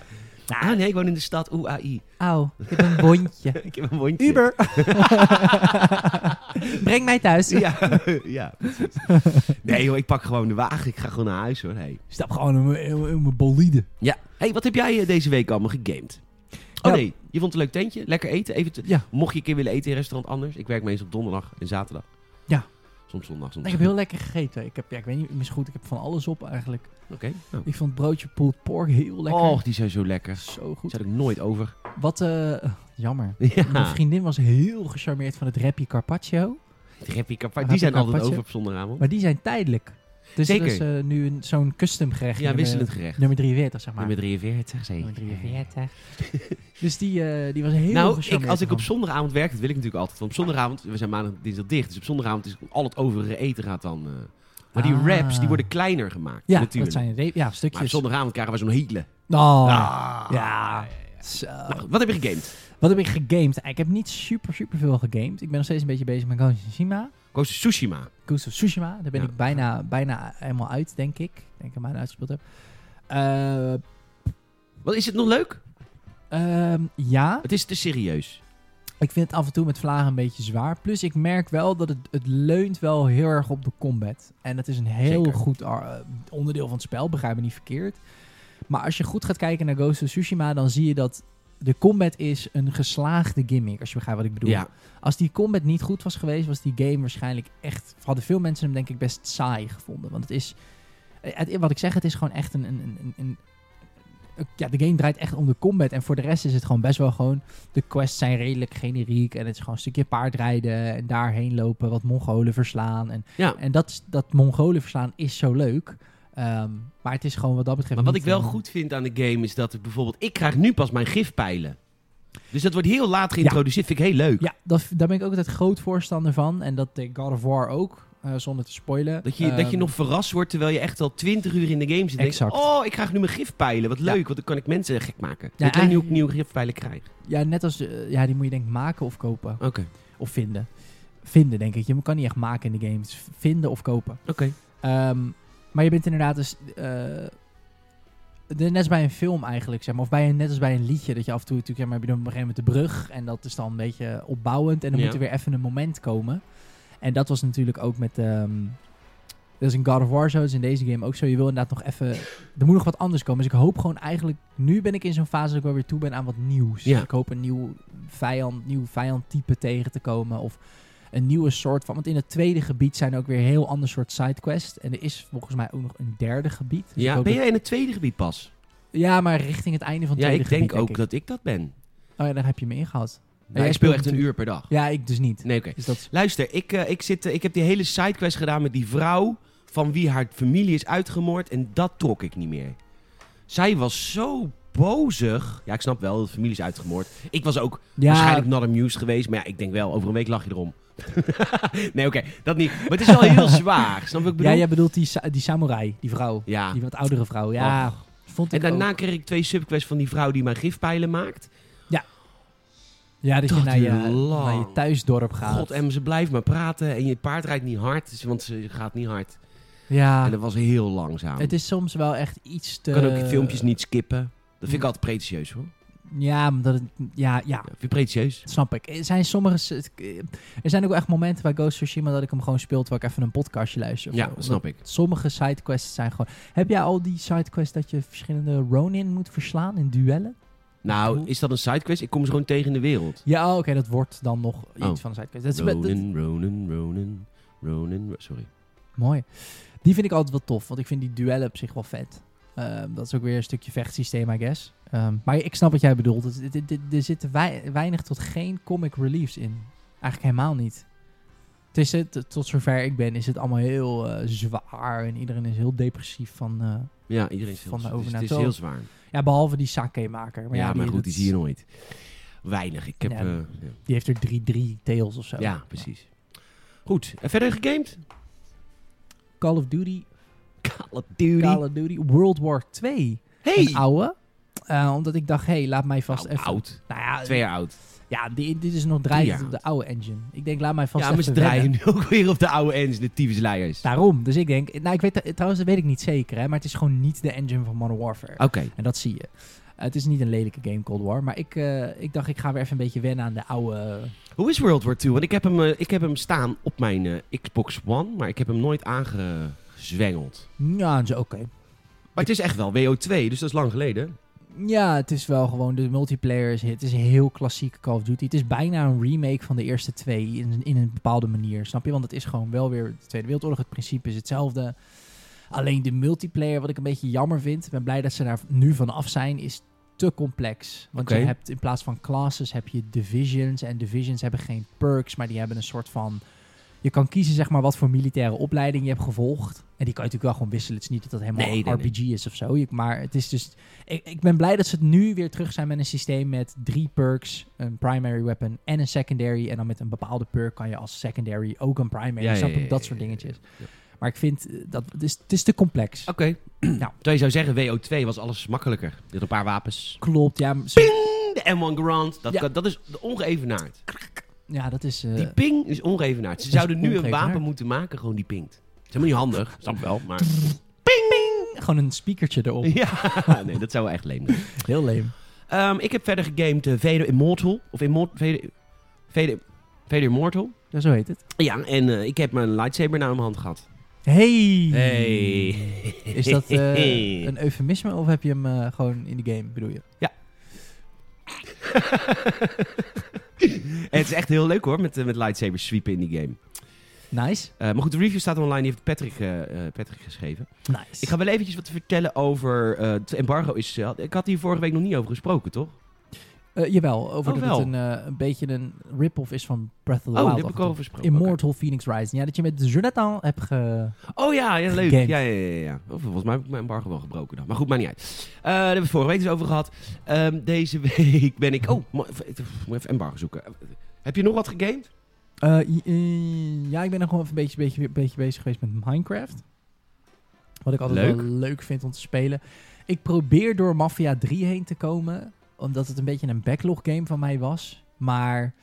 [SPEAKER 2] Ah nee, ik woon in de stad. Oeh, AI.
[SPEAKER 3] Auw, ik heb een wondje.
[SPEAKER 2] (laughs) Ik heb een wondje.
[SPEAKER 3] Uber. (laughs) Breng mij thuis.
[SPEAKER 2] Ja, (laughs) ja precies. Nee joh, ik pak gewoon de wagen. Ik ga gewoon naar huis hoor. Hey.
[SPEAKER 3] Stap gewoon in mijn- in mijn bolide.
[SPEAKER 2] Ja. hey, wat heb jij eh, deze week allemaal gegamed? Oh
[SPEAKER 3] Ja.
[SPEAKER 2] nee, je vond het een leuk tentje. Lekker eten. Even te-
[SPEAKER 3] Ja.
[SPEAKER 2] Mocht je een keer willen eten in restaurant anders. Ik werk meestal op donderdag en zaterdag.
[SPEAKER 3] Ja.
[SPEAKER 2] Soms zondag, soms
[SPEAKER 3] Ik heb heel lekker gegeten. Ik heb, ja, ik weet niet, misschien goed, ik heb van alles op eigenlijk.
[SPEAKER 2] Oké. nou.
[SPEAKER 3] Ik vond broodje pulled pork heel lekker.
[SPEAKER 2] Och, die zijn zo lekker.
[SPEAKER 3] Zo goed.
[SPEAKER 2] Zet ik nooit over.
[SPEAKER 3] Wat, eh, jammer. Mijn
[SPEAKER 2] (laughs) Ja.
[SPEAKER 3] vriendin was heel gecharmeerd van het rapje carpaccio.
[SPEAKER 2] Die heb ik apart. Die
[SPEAKER 3] Rappi
[SPEAKER 2] zijn altijd over
[SPEAKER 3] carpaccio.
[SPEAKER 2] op zondagavond.
[SPEAKER 3] Maar die zijn tijdelijk. Dus
[SPEAKER 2] Zeker.
[SPEAKER 3] dat is eh, nu een- zo'n custom gerecht.
[SPEAKER 2] Ja,
[SPEAKER 3] nummer-
[SPEAKER 2] wisselend gerecht.
[SPEAKER 3] Nummer 43, zeg maar.
[SPEAKER 2] Nummer 43, zeker.
[SPEAKER 3] Nummer 43. (laughs) dus die, eh, die was heel
[SPEAKER 2] Nou,
[SPEAKER 3] gecharmeerd
[SPEAKER 2] ik, als ik op
[SPEAKER 3] van.
[SPEAKER 2] zondagavond werk, dat wil ik natuurlijk altijd. Want op zondagavond, we zijn maandag dinsdag dicht. Dus op zondagavond is al het overige eten gaat dan. eh. Maar die
[SPEAKER 3] Ah.
[SPEAKER 2] raps, die worden kleiner gemaakt.
[SPEAKER 3] Ja,
[SPEAKER 2] natuurlijk.
[SPEAKER 3] dat zijn re- ja, stukjes.
[SPEAKER 2] Maar op zondagavond krijgen we zo'n hele.
[SPEAKER 3] Oh,
[SPEAKER 2] Ah.
[SPEAKER 3] ja. Zo.
[SPEAKER 2] Nou goed, wat heb je gegamed?
[SPEAKER 3] Wat heb ik gegamed? Ik heb niet super, super veel gegamed. Ik ben nog steeds een beetje bezig met Ghost of Tsushima.
[SPEAKER 2] Koos de Tsushima.
[SPEAKER 3] Ghost of Tsushima. Daar ben
[SPEAKER 2] Ja.
[SPEAKER 3] ik bijna, bijna helemaal uit, denk ik. Ik denk dat ik hem bijna uitgespeeld heb. Eh,
[SPEAKER 2] Wat is het nog leuk?
[SPEAKER 3] ehm, ja,
[SPEAKER 2] Het is te serieus.
[SPEAKER 3] ik vind het af en toe met vlagen een beetje zwaar. Plus ik merk wel dat het, het leunt wel heel erg op de combat. En dat is een heel
[SPEAKER 2] Zeker.
[SPEAKER 3] goed ar- eh, onderdeel van het spel, begrijp me niet verkeerd. Maar als je goed gaat kijken naar Ghost of Tsushima, dan zie je dat de combat is een geslaagde gimmick, als je begrijpt wat ik bedoel.
[SPEAKER 2] Ja,
[SPEAKER 3] Als die combat niet goed was geweest, was die game waarschijnlijk echt. Hadden veel mensen hem denk ik best saai gevonden. Want het is. eh, het- wat ik zeg, het is gewoon echt een. een, een, een- een- een- ja, de game draait echt om de combat. En voor de rest is het gewoon best wel gewoon. De quests zijn redelijk generiek. En het is gewoon een stukje paardrijden. En daarheen lopen. Wat Mongolen verslaan. En,
[SPEAKER 2] Ja.
[SPEAKER 3] en dat, is- dat Mongolen verslaan is zo leuk. Ehm, maar het is gewoon wat dat betreft.
[SPEAKER 2] maar wat
[SPEAKER 3] niet,
[SPEAKER 2] ik wel
[SPEAKER 3] eh,
[SPEAKER 2] goed vind aan de game is dat ik bijvoorbeeld... Ik krijg nu pas mijn gifpijlen. Dus dat wordt heel laat geïntroduceerd. Vind ik heel leuk.
[SPEAKER 3] Ja, dat, daar ben ik ook altijd groot voorstander van. En dat deed God of War ook. eh, zonder te spoilen.
[SPEAKER 2] Dat je, dat je
[SPEAKER 3] Ehm,
[SPEAKER 2] nog verrast wordt terwijl je echt al twintig uur in de game zit. En
[SPEAKER 3] Exact.
[SPEAKER 2] Denkt, oh, ik krijg nu mijn gifpijlen. Wat leuk, want dan kan ik mensen gek maken. Ja, ik weet niet
[SPEAKER 3] eigenlijk-
[SPEAKER 2] hoe ik nieuwe gifpijlen krijg.
[SPEAKER 3] Ja, net als... eh, ja, die moet je denk ik maken of kopen.
[SPEAKER 2] Oké,
[SPEAKER 3] Of vinden. Vinden, denk ik. Je kan niet echt maken in de games. Vinden of kopen.
[SPEAKER 2] oké.
[SPEAKER 3] Ehm, maar je bent inderdaad dus... eh, de- net als bij een film eigenlijk, zeg maar. Of bij een, net als bij een liedje. Dat je af en toe natuurlijk... Zeg maar, heb je dan op een gegeven moment de brug. En dat is dan een beetje opbouwend. En dan
[SPEAKER 2] Ja.
[SPEAKER 3] moet er weer even een moment komen. En dat was natuurlijk ook met... ehm, dat is in God of War zo, dat is in deze game ook zo. Je wil inderdaad nog even... Er moet nog wat anders komen. Dus ik hoop gewoon eigenlijk... Nu ben ik in zo'n fase dat ik wel weer toe ben aan wat nieuws.
[SPEAKER 2] Ja.
[SPEAKER 3] Ik hoop een nieuw vijand, nieuw vijandtype tegen te komen. Of een nieuwe soort van... Want in het tweede gebied zijn ook weer een heel ander soort sidequests. En er is volgens mij ook nog een derde gebied. Dus ik
[SPEAKER 2] Ja,
[SPEAKER 3] hoop
[SPEAKER 2] ben
[SPEAKER 3] dat-
[SPEAKER 2] jij in het tweede gebied pas?
[SPEAKER 3] ja, maar richting het einde van het
[SPEAKER 2] Ja,
[SPEAKER 3] tweede
[SPEAKER 2] ik denk
[SPEAKER 3] gebied,
[SPEAKER 2] ook dat ik dat ben.
[SPEAKER 3] ik. Oh ja, daar heb je me ingehaald.
[SPEAKER 2] Nou,
[SPEAKER 3] jij
[SPEAKER 2] ik speel
[SPEAKER 3] speelt
[SPEAKER 2] echt een
[SPEAKER 3] natuurlijk-
[SPEAKER 2] uur per dag.
[SPEAKER 3] Ja, ik dus niet.
[SPEAKER 2] Nee, oké.
[SPEAKER 3] Dus dat...
[SPEAKER 2] Luister, ik, eh, ik, zit, eh, ik heb die hele sidequest gedaan met die vrouw van wie haar familie is uitgemoord. En dat trok ik niet meer. Zij was zo bozig. Ja, ik snap wel, dat de familie is uitgemoord. Ik was ook
[SPEAKER 3] Ja,
[SPEAKER 2] waarschijnlijk not amused geweest. Maar ja, ik denk wel, over een week lach je erom. (laughs) nee, oké, dat niet. Maar het is wel
[SPEAKER 3] (laughs)
[SPEAKER 2] heel zwaar. Snap je wat ik
[SPEAKER 3] ja,
[SPEAKER 2] bedoel?
[SPEAKER 3] jij bedoelt die, sa- die samurai, die vrouw.
[SPEAKER 2] Ja.
[SPEAKER 3] Die wat oudere vrouw. Ja,
[SPEAKER 2] Och.
[SPEAKER 3] vond
[SPEAKER 2] En
[SPEAKER 3] ik
[SPEAKER 2] daarna
[SPEAKER 3] ook.
[SPEAKER 2] kreeg ik twee subquests van die vrouw die mijn gifpijlen maakt.
[SPEAKER 3] Ja, dat, je
[SPEAKER 2] dat
[SPEAKER 3] naar je,
[SPEAKER 2] duurde lang.
[SPEAKER 3] naar je thuisdorp gaat.
[SPEAKER 2] God, en ze blijft maar praten. En je paard rijdt niet hard, dus- want ze gaat niet hard.
[SPEAKER 3] ja,
[SPEAKER 2] En dat was heel langzaam.
[SPEAKER 3] het is eh, soms wel echt iets te...
[SPEAKER 2] Je kan ook filmpjes niet skippen. Dat
[SPEAKER 3] Mm.
[SPEAKER 2] vind ik altijd pretentieus hoor.
[SPEAKER 3] Ja, omdat het... Ja, ja.
[SPEAKER 2] Ja, vind je pretentieus?
[SPEAKER 3] Dat snap ik. Er zijn sommige... s- het- Er zijn ook wel echt momenten bij Ghost of Tsushima dat ik hem gewoon speel terwijl ik even een podcastje luister. of
[SPEAKER 2] Ja,
[SPEAKER 3] zo.
[SPEAKER 2] dat
[SPEAKER 3] Omdat
[SPEAKER 2] snap ik.
[SPEAKER 3] Sommige sidequests zijn gewoon... Heb jij al die sidequests dat je verschillende Ronin moet verslaan in duellen?
[SPEAKER 2] Nou, is dat een sidequest? Ik kom ze gewoon tegen in de wereld.
[SPEAKER 3] Ja, oh, oké, dat wordt dan nog iets
[SPEAKER 2] Oh.
[SPEAKER 3] van een sidequest. Dat is, met- dat-
[SPEAKER 2] Ronin, Ronin, Ronin, Ronin, Ro- sorry.
[SPEAKER 3] Mooi. Die vind ik altijd wel tof, want ik vind die duellen op zich wel vet. Ehm, dat is ook weer een stukje vechtsysteem, I guess. Ehm, maar ik snap wat jij bedoelt. Het- het- het- Er zitten wei- weinig tot geen comic reliefs in. Eigenlijk helemaal niet. Het is het, tot zover ik ben, is het allemaal heel eh, zwaar en iedereen is heel depressief van... eh,
[SPEAKER 2] Ja, iedereen is heel,
[SPEAKER 3] Van de
[SPEAKER 2] het is- het is
[SPEAKER 3] overnatal.
[SPEAKER 2] heel zwaar.
[SPEAKER 3] ja, behalve die sake-maker. Maar
[SPEAKER 2] ja,
[SPEAKER 3] ja,
[SPEAKER 2] maar goed,
[SPEAKER 3] dat
[SPEAKER 2] die
[SPEAKER 3] is-
[SPEAKER 2] zie je nooit. Weinig. Ik heb...
[SPEAKER 3] Ja,
[SPEAKER 2] eh, Ja,
[SPEAKER 3] Die heeft er drie, drie tails of zo.
[SPEAKER 2] Ja, precies. Goed, en verder gegamed?
[SPEAKER 3] Call of Duty,
[SPEAKER 2] Call of Duty.
[SPEAKER 3] Call of Duty, World War 2.
[SPEAKER 2] Hey!
[SPEAKER 3] een oude. Eh, omdat ik dacht, hé, hey, laat mij vast
[SPEAKER 2] Nou,
[SPEAKER 3] even...
[SPEAKER 2] oud.
[SPEAKER 3] Nou ja,
[SPEAKER 2] Twee jaar oud.
[SPEAKER 3] ja die- dit is nog
[SPEAKER 2] jaar
[SPEAKER 3] draaiend op de
[SPEAKER 2] oud.
[SPEAKER 3] oude engine. Ik denk, laat mij vast
[SPEAKER 2] Ja,
[SPEAKER 3] even
[SPEAKER 2] maar ze draaien
[SPEAKER 3] wennen.
[SPEAKER 2] nu ook weer op de oude engine, de tyfusleiers.
[SPEAKER 3] Daarom. Dus ik denk... Nou, ik weet, trouwens, dat weet ik niet zeker, hè. Maar het is gewoon niet de engine van Modern Warfare.
[SPEAKER 2] Oké.
[SPEAKER 3] En dat zie je. Eh, het is niet een lelijke game, Cold War. Maar ik, eh, ik dacht, ik ga weer even een beetje wennen aan de oude...
[SPEAKER 2] Hoe is World War II? Want ik heb hem, eh, ik heb hem staan op mijn eh, Xbox One, maar ik heb hem nooit aangezwengeld.
[SPEAKER 3] Ja, zo oké.
[SPEAKER 2] Maar het is echt wel WO2, dus dat is lang geleden.
[SPEAKER 3] Ja, het is wel gewoon de multiplayer. is- Het is een heel klassiek Call of Duty. Het is bijna een remake van de eerste twee in, in een bepaalde manier. Snap je? Want het is gewoon wel weer de Tweede Wereldoorlog. Het principe is hetzelfde. Alleen de multiplayer, wat ik een beetje jammer vind. Ik ben blij dat ze daar nu van af zijn. Is te complex. Want
[SPEAKER 2] Oké.
[SPEAKER 3] je hebt in plaats van classes heb je divisions. En divisions hebben geen perks, maar die hebben een soort van. Je kan kiezen zeg maar wat voor militaire opleiding je hebt gevolgd. En die kan je natuurlijk wel gewoon wisselen. Het is niet dat dat helemaal
[SPEAKER 2] Nee, nee, nee.
[SPEAKER 3] RPG is of zo. Je- Maar het is dus ik, ik ben blij dat ze het nu weer terug zijn met een systeem met drie perks. Een primary weapon en een secondary. En dan met een bepaalde perk kan je als secondary ook een primary.
[SPEAKER 2] Ja,
[SPEAKER 3] snap
[SPEAKER 2] ja,
[SPEAKER 3] je?
[SPEAKER 2] ja,
[SPEAKER 3] dat
[SPEAKER 2] ja,
[SPEAKER 3] soort
[SPEAKER 2] ja,
[SPEAKER 3] dingetjes.
[SPEAKER 2] ja.
[SPEAKER 3] Maar ik vind eh, dat het is, het is te complex.
[SPEAKER 2] Oké. (clears throat) Nou, terwijl je zou zeggen, WO2 was alles makkelijker. Je had een paar wapens.
[SPEAKER 3] Klopt, ja. maar ze-
[SPEAKER 2] De M1 Grand, dat,
[SPEAKER 3] Ja.
[SPEAKER 2] kan- dat is ongeëvenaard.
[SPEAKER 3] ja, dat is... eh,
[SPEAKER 2] Die ping is ongeëvenaard. Ze
[SPEAKER 3] is
[SPEAKER 2] zouden nu een
[SPEAKER 3] ongeëvenaard.
[SPEAKER 2] wapen moeten maken, gewoon die pingt. Dat is helemaal niet handig, (laughs) snap wel, maar...
[SPEAKER 3] gewoon een speakertje erop. (laughs)
[SPEAKER 2] Ja, nee, dat zou wel echt leem zijn.
[SPEAKER 3] Heel leem.
[SPEAKER 2] Ehm, ik heb verder gegamed eh, Vader Immortal. Of Immor Vader, Vader, Vader Immortal.
[SPEAKER 3] Ja, zo heet het.
[SPEAKER 2] Ja, en eh, ik heb mijn lightsaber naar mijn hand gehad.
[SPEAKER 3] Hey!
[SPEAKER 2] (laughs) Hey.
[SPEAKER 3] Is dat eh, een eufemisme of heb je hem eh, gewoon in de game, bedoel je?
[SPEAKER 2] En het is echt heel leuk hoor, met, eh, met lightsabers sweepen in die game.
[SPEAKER 3] Nice.
[SPEAKER 2] Eh, maar goed, de review staat online, die heeft Patrick, eh, eh, Patrick geschreven.
[SPEAKER 3] Nice.
[SPEAKER 2] Ik ga wel eventjes wat vertellen over... eh, het embargo is... eh, ik had hier vorige week nog niet over gesproken, toch?
[SPEAKER 3] Eh, jawel, over
[SPEAKER 2] Oh,
[SPEAKER 3] dat
[SPEAKER 2] wel.
[SPEAKER 3] het een, eh, een beetje een rip-off is van Breath of the
[SPEAKER 2] oh, daar
[SPEAKER 3] Wild.
[SPEAKER 2] heb
[SPEAKER 3] af
[SPEAKER 2] ik
[SPEAKER 3] en toe.
[SPEAKER 2] over gesproken.
[SPEAKER 3] Immortal Phoenix Rising. Ja, dat je met Jonathan hebt ge...
[SPEAKER 2] Oké. Oh ja, ja leuk. Ja,
[SPEAKER 3] Gegamed.
[SPEAKER 2] ja, ja, ja. Oh, volgens mij heb ik mijn embargo wel gebroken dan. Maar goed, maakt niet uit. Eh, daar hebben we het vorige week dus over gehad. Ehm, deze (laughs) week ben ik... Oh, mo- moet even embargo zoeken. Heb je nog wat gegamed?
[SPEAKER 3] Eh, i- eh, ja, ik ben nog gewoon even een beetje, beetje, beetje bezig geweest met Minecraft. Wat ik altijd
[SPEAKER 2] Leuk.
[SPEAKER 3] wel leuk vind om te spelen. Ik probeer door Mafia 3 heen te komen. Omdat het een beetje een backlog game van mij was. Maar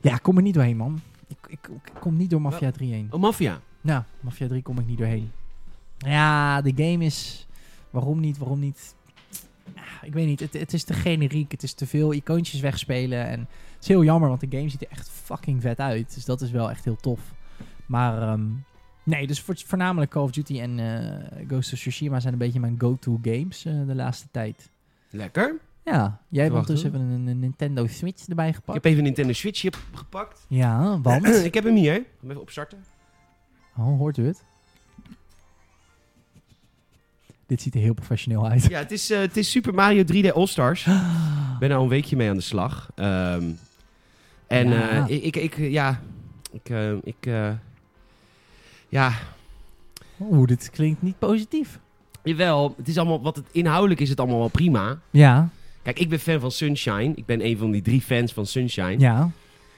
[SPEAKER 3] ja, ik kom er niet doorheen, man. Ik, ik, ik kom niet door Mafia 3 heen.
[SPEAKER 2] Oh, Mafia.
[SPEAKER 3] Nou, Mafia 3 kom ik niet doorheen. Ja, de game is... Waarom niet, waarom niet? Ah, Ik weet niet, het, het is te generiek. Het is te veel icoontjes wegspelen. En het is heel jammer, want de game ziet er echt fucking vet uit. Dus dat is wel echt heel tof. Maar ehm, nee, dus voor- voornamelijk Call of Duty en eh, Ghost of Tsushima zijn een beetje mijn go-to games eh, de laatste tijd.
[SPEAKER 2] Lekker.
[SPEAKER 3] Ja, jij hebt
[SPEAKER 2] Wacht,
[SPEAKER 3] ondertussen even een, een Nintendo Switch erbij
[SPEAKER 2] Ik
[SPEAKER 3] gepakt.
[SPEAKER 2] heb even een Nintendo Switch hier gepakt. (clears throat)
[SPEAKER 3] Ja, want...
[SPEAKER 2] ik heb hem hier. Ik ga hem even opstarten.
[SPEAKER 3] Oh, hoort u het? Dit ziet er heel
[SPEAKER 2] (gasps)
[SPEAKER 3] professioneel uit.
[SPEAKER 2] Ja, het is, eh, het is Super Mario 3D All-Stars. Ik ben al een weekje mee aan de slag. Ehm, en
[SPEAKER 3] Ja.
[SPEAKER 2] eh, ik, ik, ik, ja, ik, eh, ik, eh, ja,
[SPEAKER 3] Oeh, dit klinkt niet positief.
[SPEAKER 2] jawel, het is allemaal, wat het inhoudelijk is het allemaal wel prima.
[SPEAKER 3] Ja,
[SPEAKER 2] Kijk, ik ben fan van Sunshine. Ik ben een van die drie fans van Sunshine.
[SPEAKER 3] ja.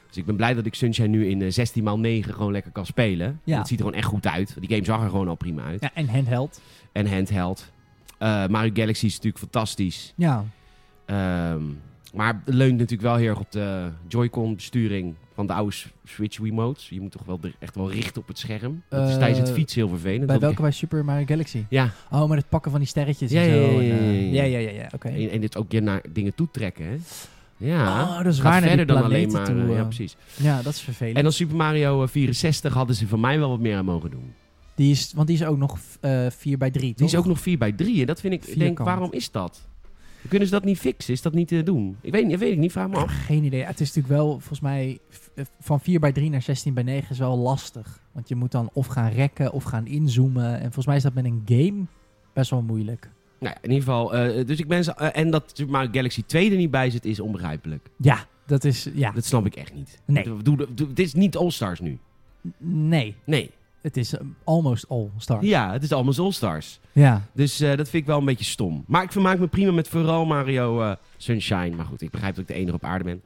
[SPEAKER 2] Dus ik ben blij dat ik Sunshine nu in eh, 16x9 gewoon lekker kan spelen.
[SPEAKER 3] Ja.
[SPEAKER 2] Het ziet er gewoon echt goed uit. Die game zag er gewoon al prima uit.
[SPEAKER 3] ja en handheld.
[SPEAKER 2] En handheld. Eh, Mario Galaxy is natuurlijk fantastisch.
[SPEAKER 3] Ja.
[SPEAKER 2] Ehm, maar het leunt natuurlijk wel heel erg op de Joy-Con besturing van de oude S- Switch remotes. Je moet toch wel de- echt wel richten op het scherm. Dat is
[SPEAKER 3] Eh,
[SPEAKER 2] tijdens het fietsen heel vervelend.
[SPEAKER 3] Bij
[SPEAKER 2] Dat-
[SPEAKER 3] welke bij Super Mario Galaxy?
[SPEAKER 2] Ja,
[SPEAKER 3] Oh, met het pakken van die sterretjes
[SPEAKER 2] Ja,
[SPEAKER 3] en
[SPEAKER 2] ja,
[SPEAKER 3] zo.
[SPEAKER 2] ja,
[SPEAKER 3] en, eh,
[SPEAKER 2] ja, ja,
[SPEAKER 3] ja, ja, ja, ja, Oké.
[SPEAKER 2] en, en dit ook je naar dingen toetrekken, hè? Ja,
[SPEAKER 3] Oh, dat is
[SPEAKER 2] Gaat
[SPEAKER 3] waar, naar die
[SPEAKER 2] ah, verder dan alleen maar.
[SPEAKER 3] planeten toe,
[SPEAKER 2] eh, ja,
[SPEAKER 3] eh.
[SPEAKER 2] precies.
[SPEAKER 3] Ja, dat is vervelend.
[SPEAKER 2] En dan Super Mario eh, 64 hadden ze van mij wel wat meer aan mogen doen.
[SPEAKER 3] die is, want die is ook nog 4 bij 3
[SPEAKER 2] Die is ook nog 4 bij 3 en dat vind ik, ik denk,
[SPEAKER 3] Vierkant.
[SPEAKER 2] waarom is dat? Kunnen ze dat niet fixen? Is dat niet te doen? Ik weet, niet- weet ik niet, vraag me af.
[SPEAKER 3] Geen idee. Het is natuurlijk wel, volgens mij, v- eh, van 4 bij 3 naar 16 bij 9 is wel lastig. Want je moet dan of gaan rekken of gaan inzoomen. En volgens mij is dat met een game best wel moeilijk.
[SPEAKER 2] Nou ja, in ieder geval, eh, dus ik ben zo- eh, en dat Super Mario Galaxy 2 er niet bij zit, is onbegrijpelijk.
[SPEAKER 3] Ja, dat is, ja.
[SPEAKER 2] Dat snap ik echt niet.
[SPEAKER 3] Nee.
[SPEAKER 2] Doe- doe- doe- dit is niet All-Stars nu.
[SPEAKER 3] Nee,
[SPEAKER 2] Nee.
[SPEAKER 3] het is eh, almost all star.
[SPEAKER 2] Ja, het is allemaal All-Stars.
[SPEAKER 3] ja.
[SPEAKER 2] Dus eh, dat vind ik wel een beetje stom. Maar ik vermaak me prima met vooral Mario eh, Sunshine. Maar goed, ik begrijp dat ik de enige op aarde ben.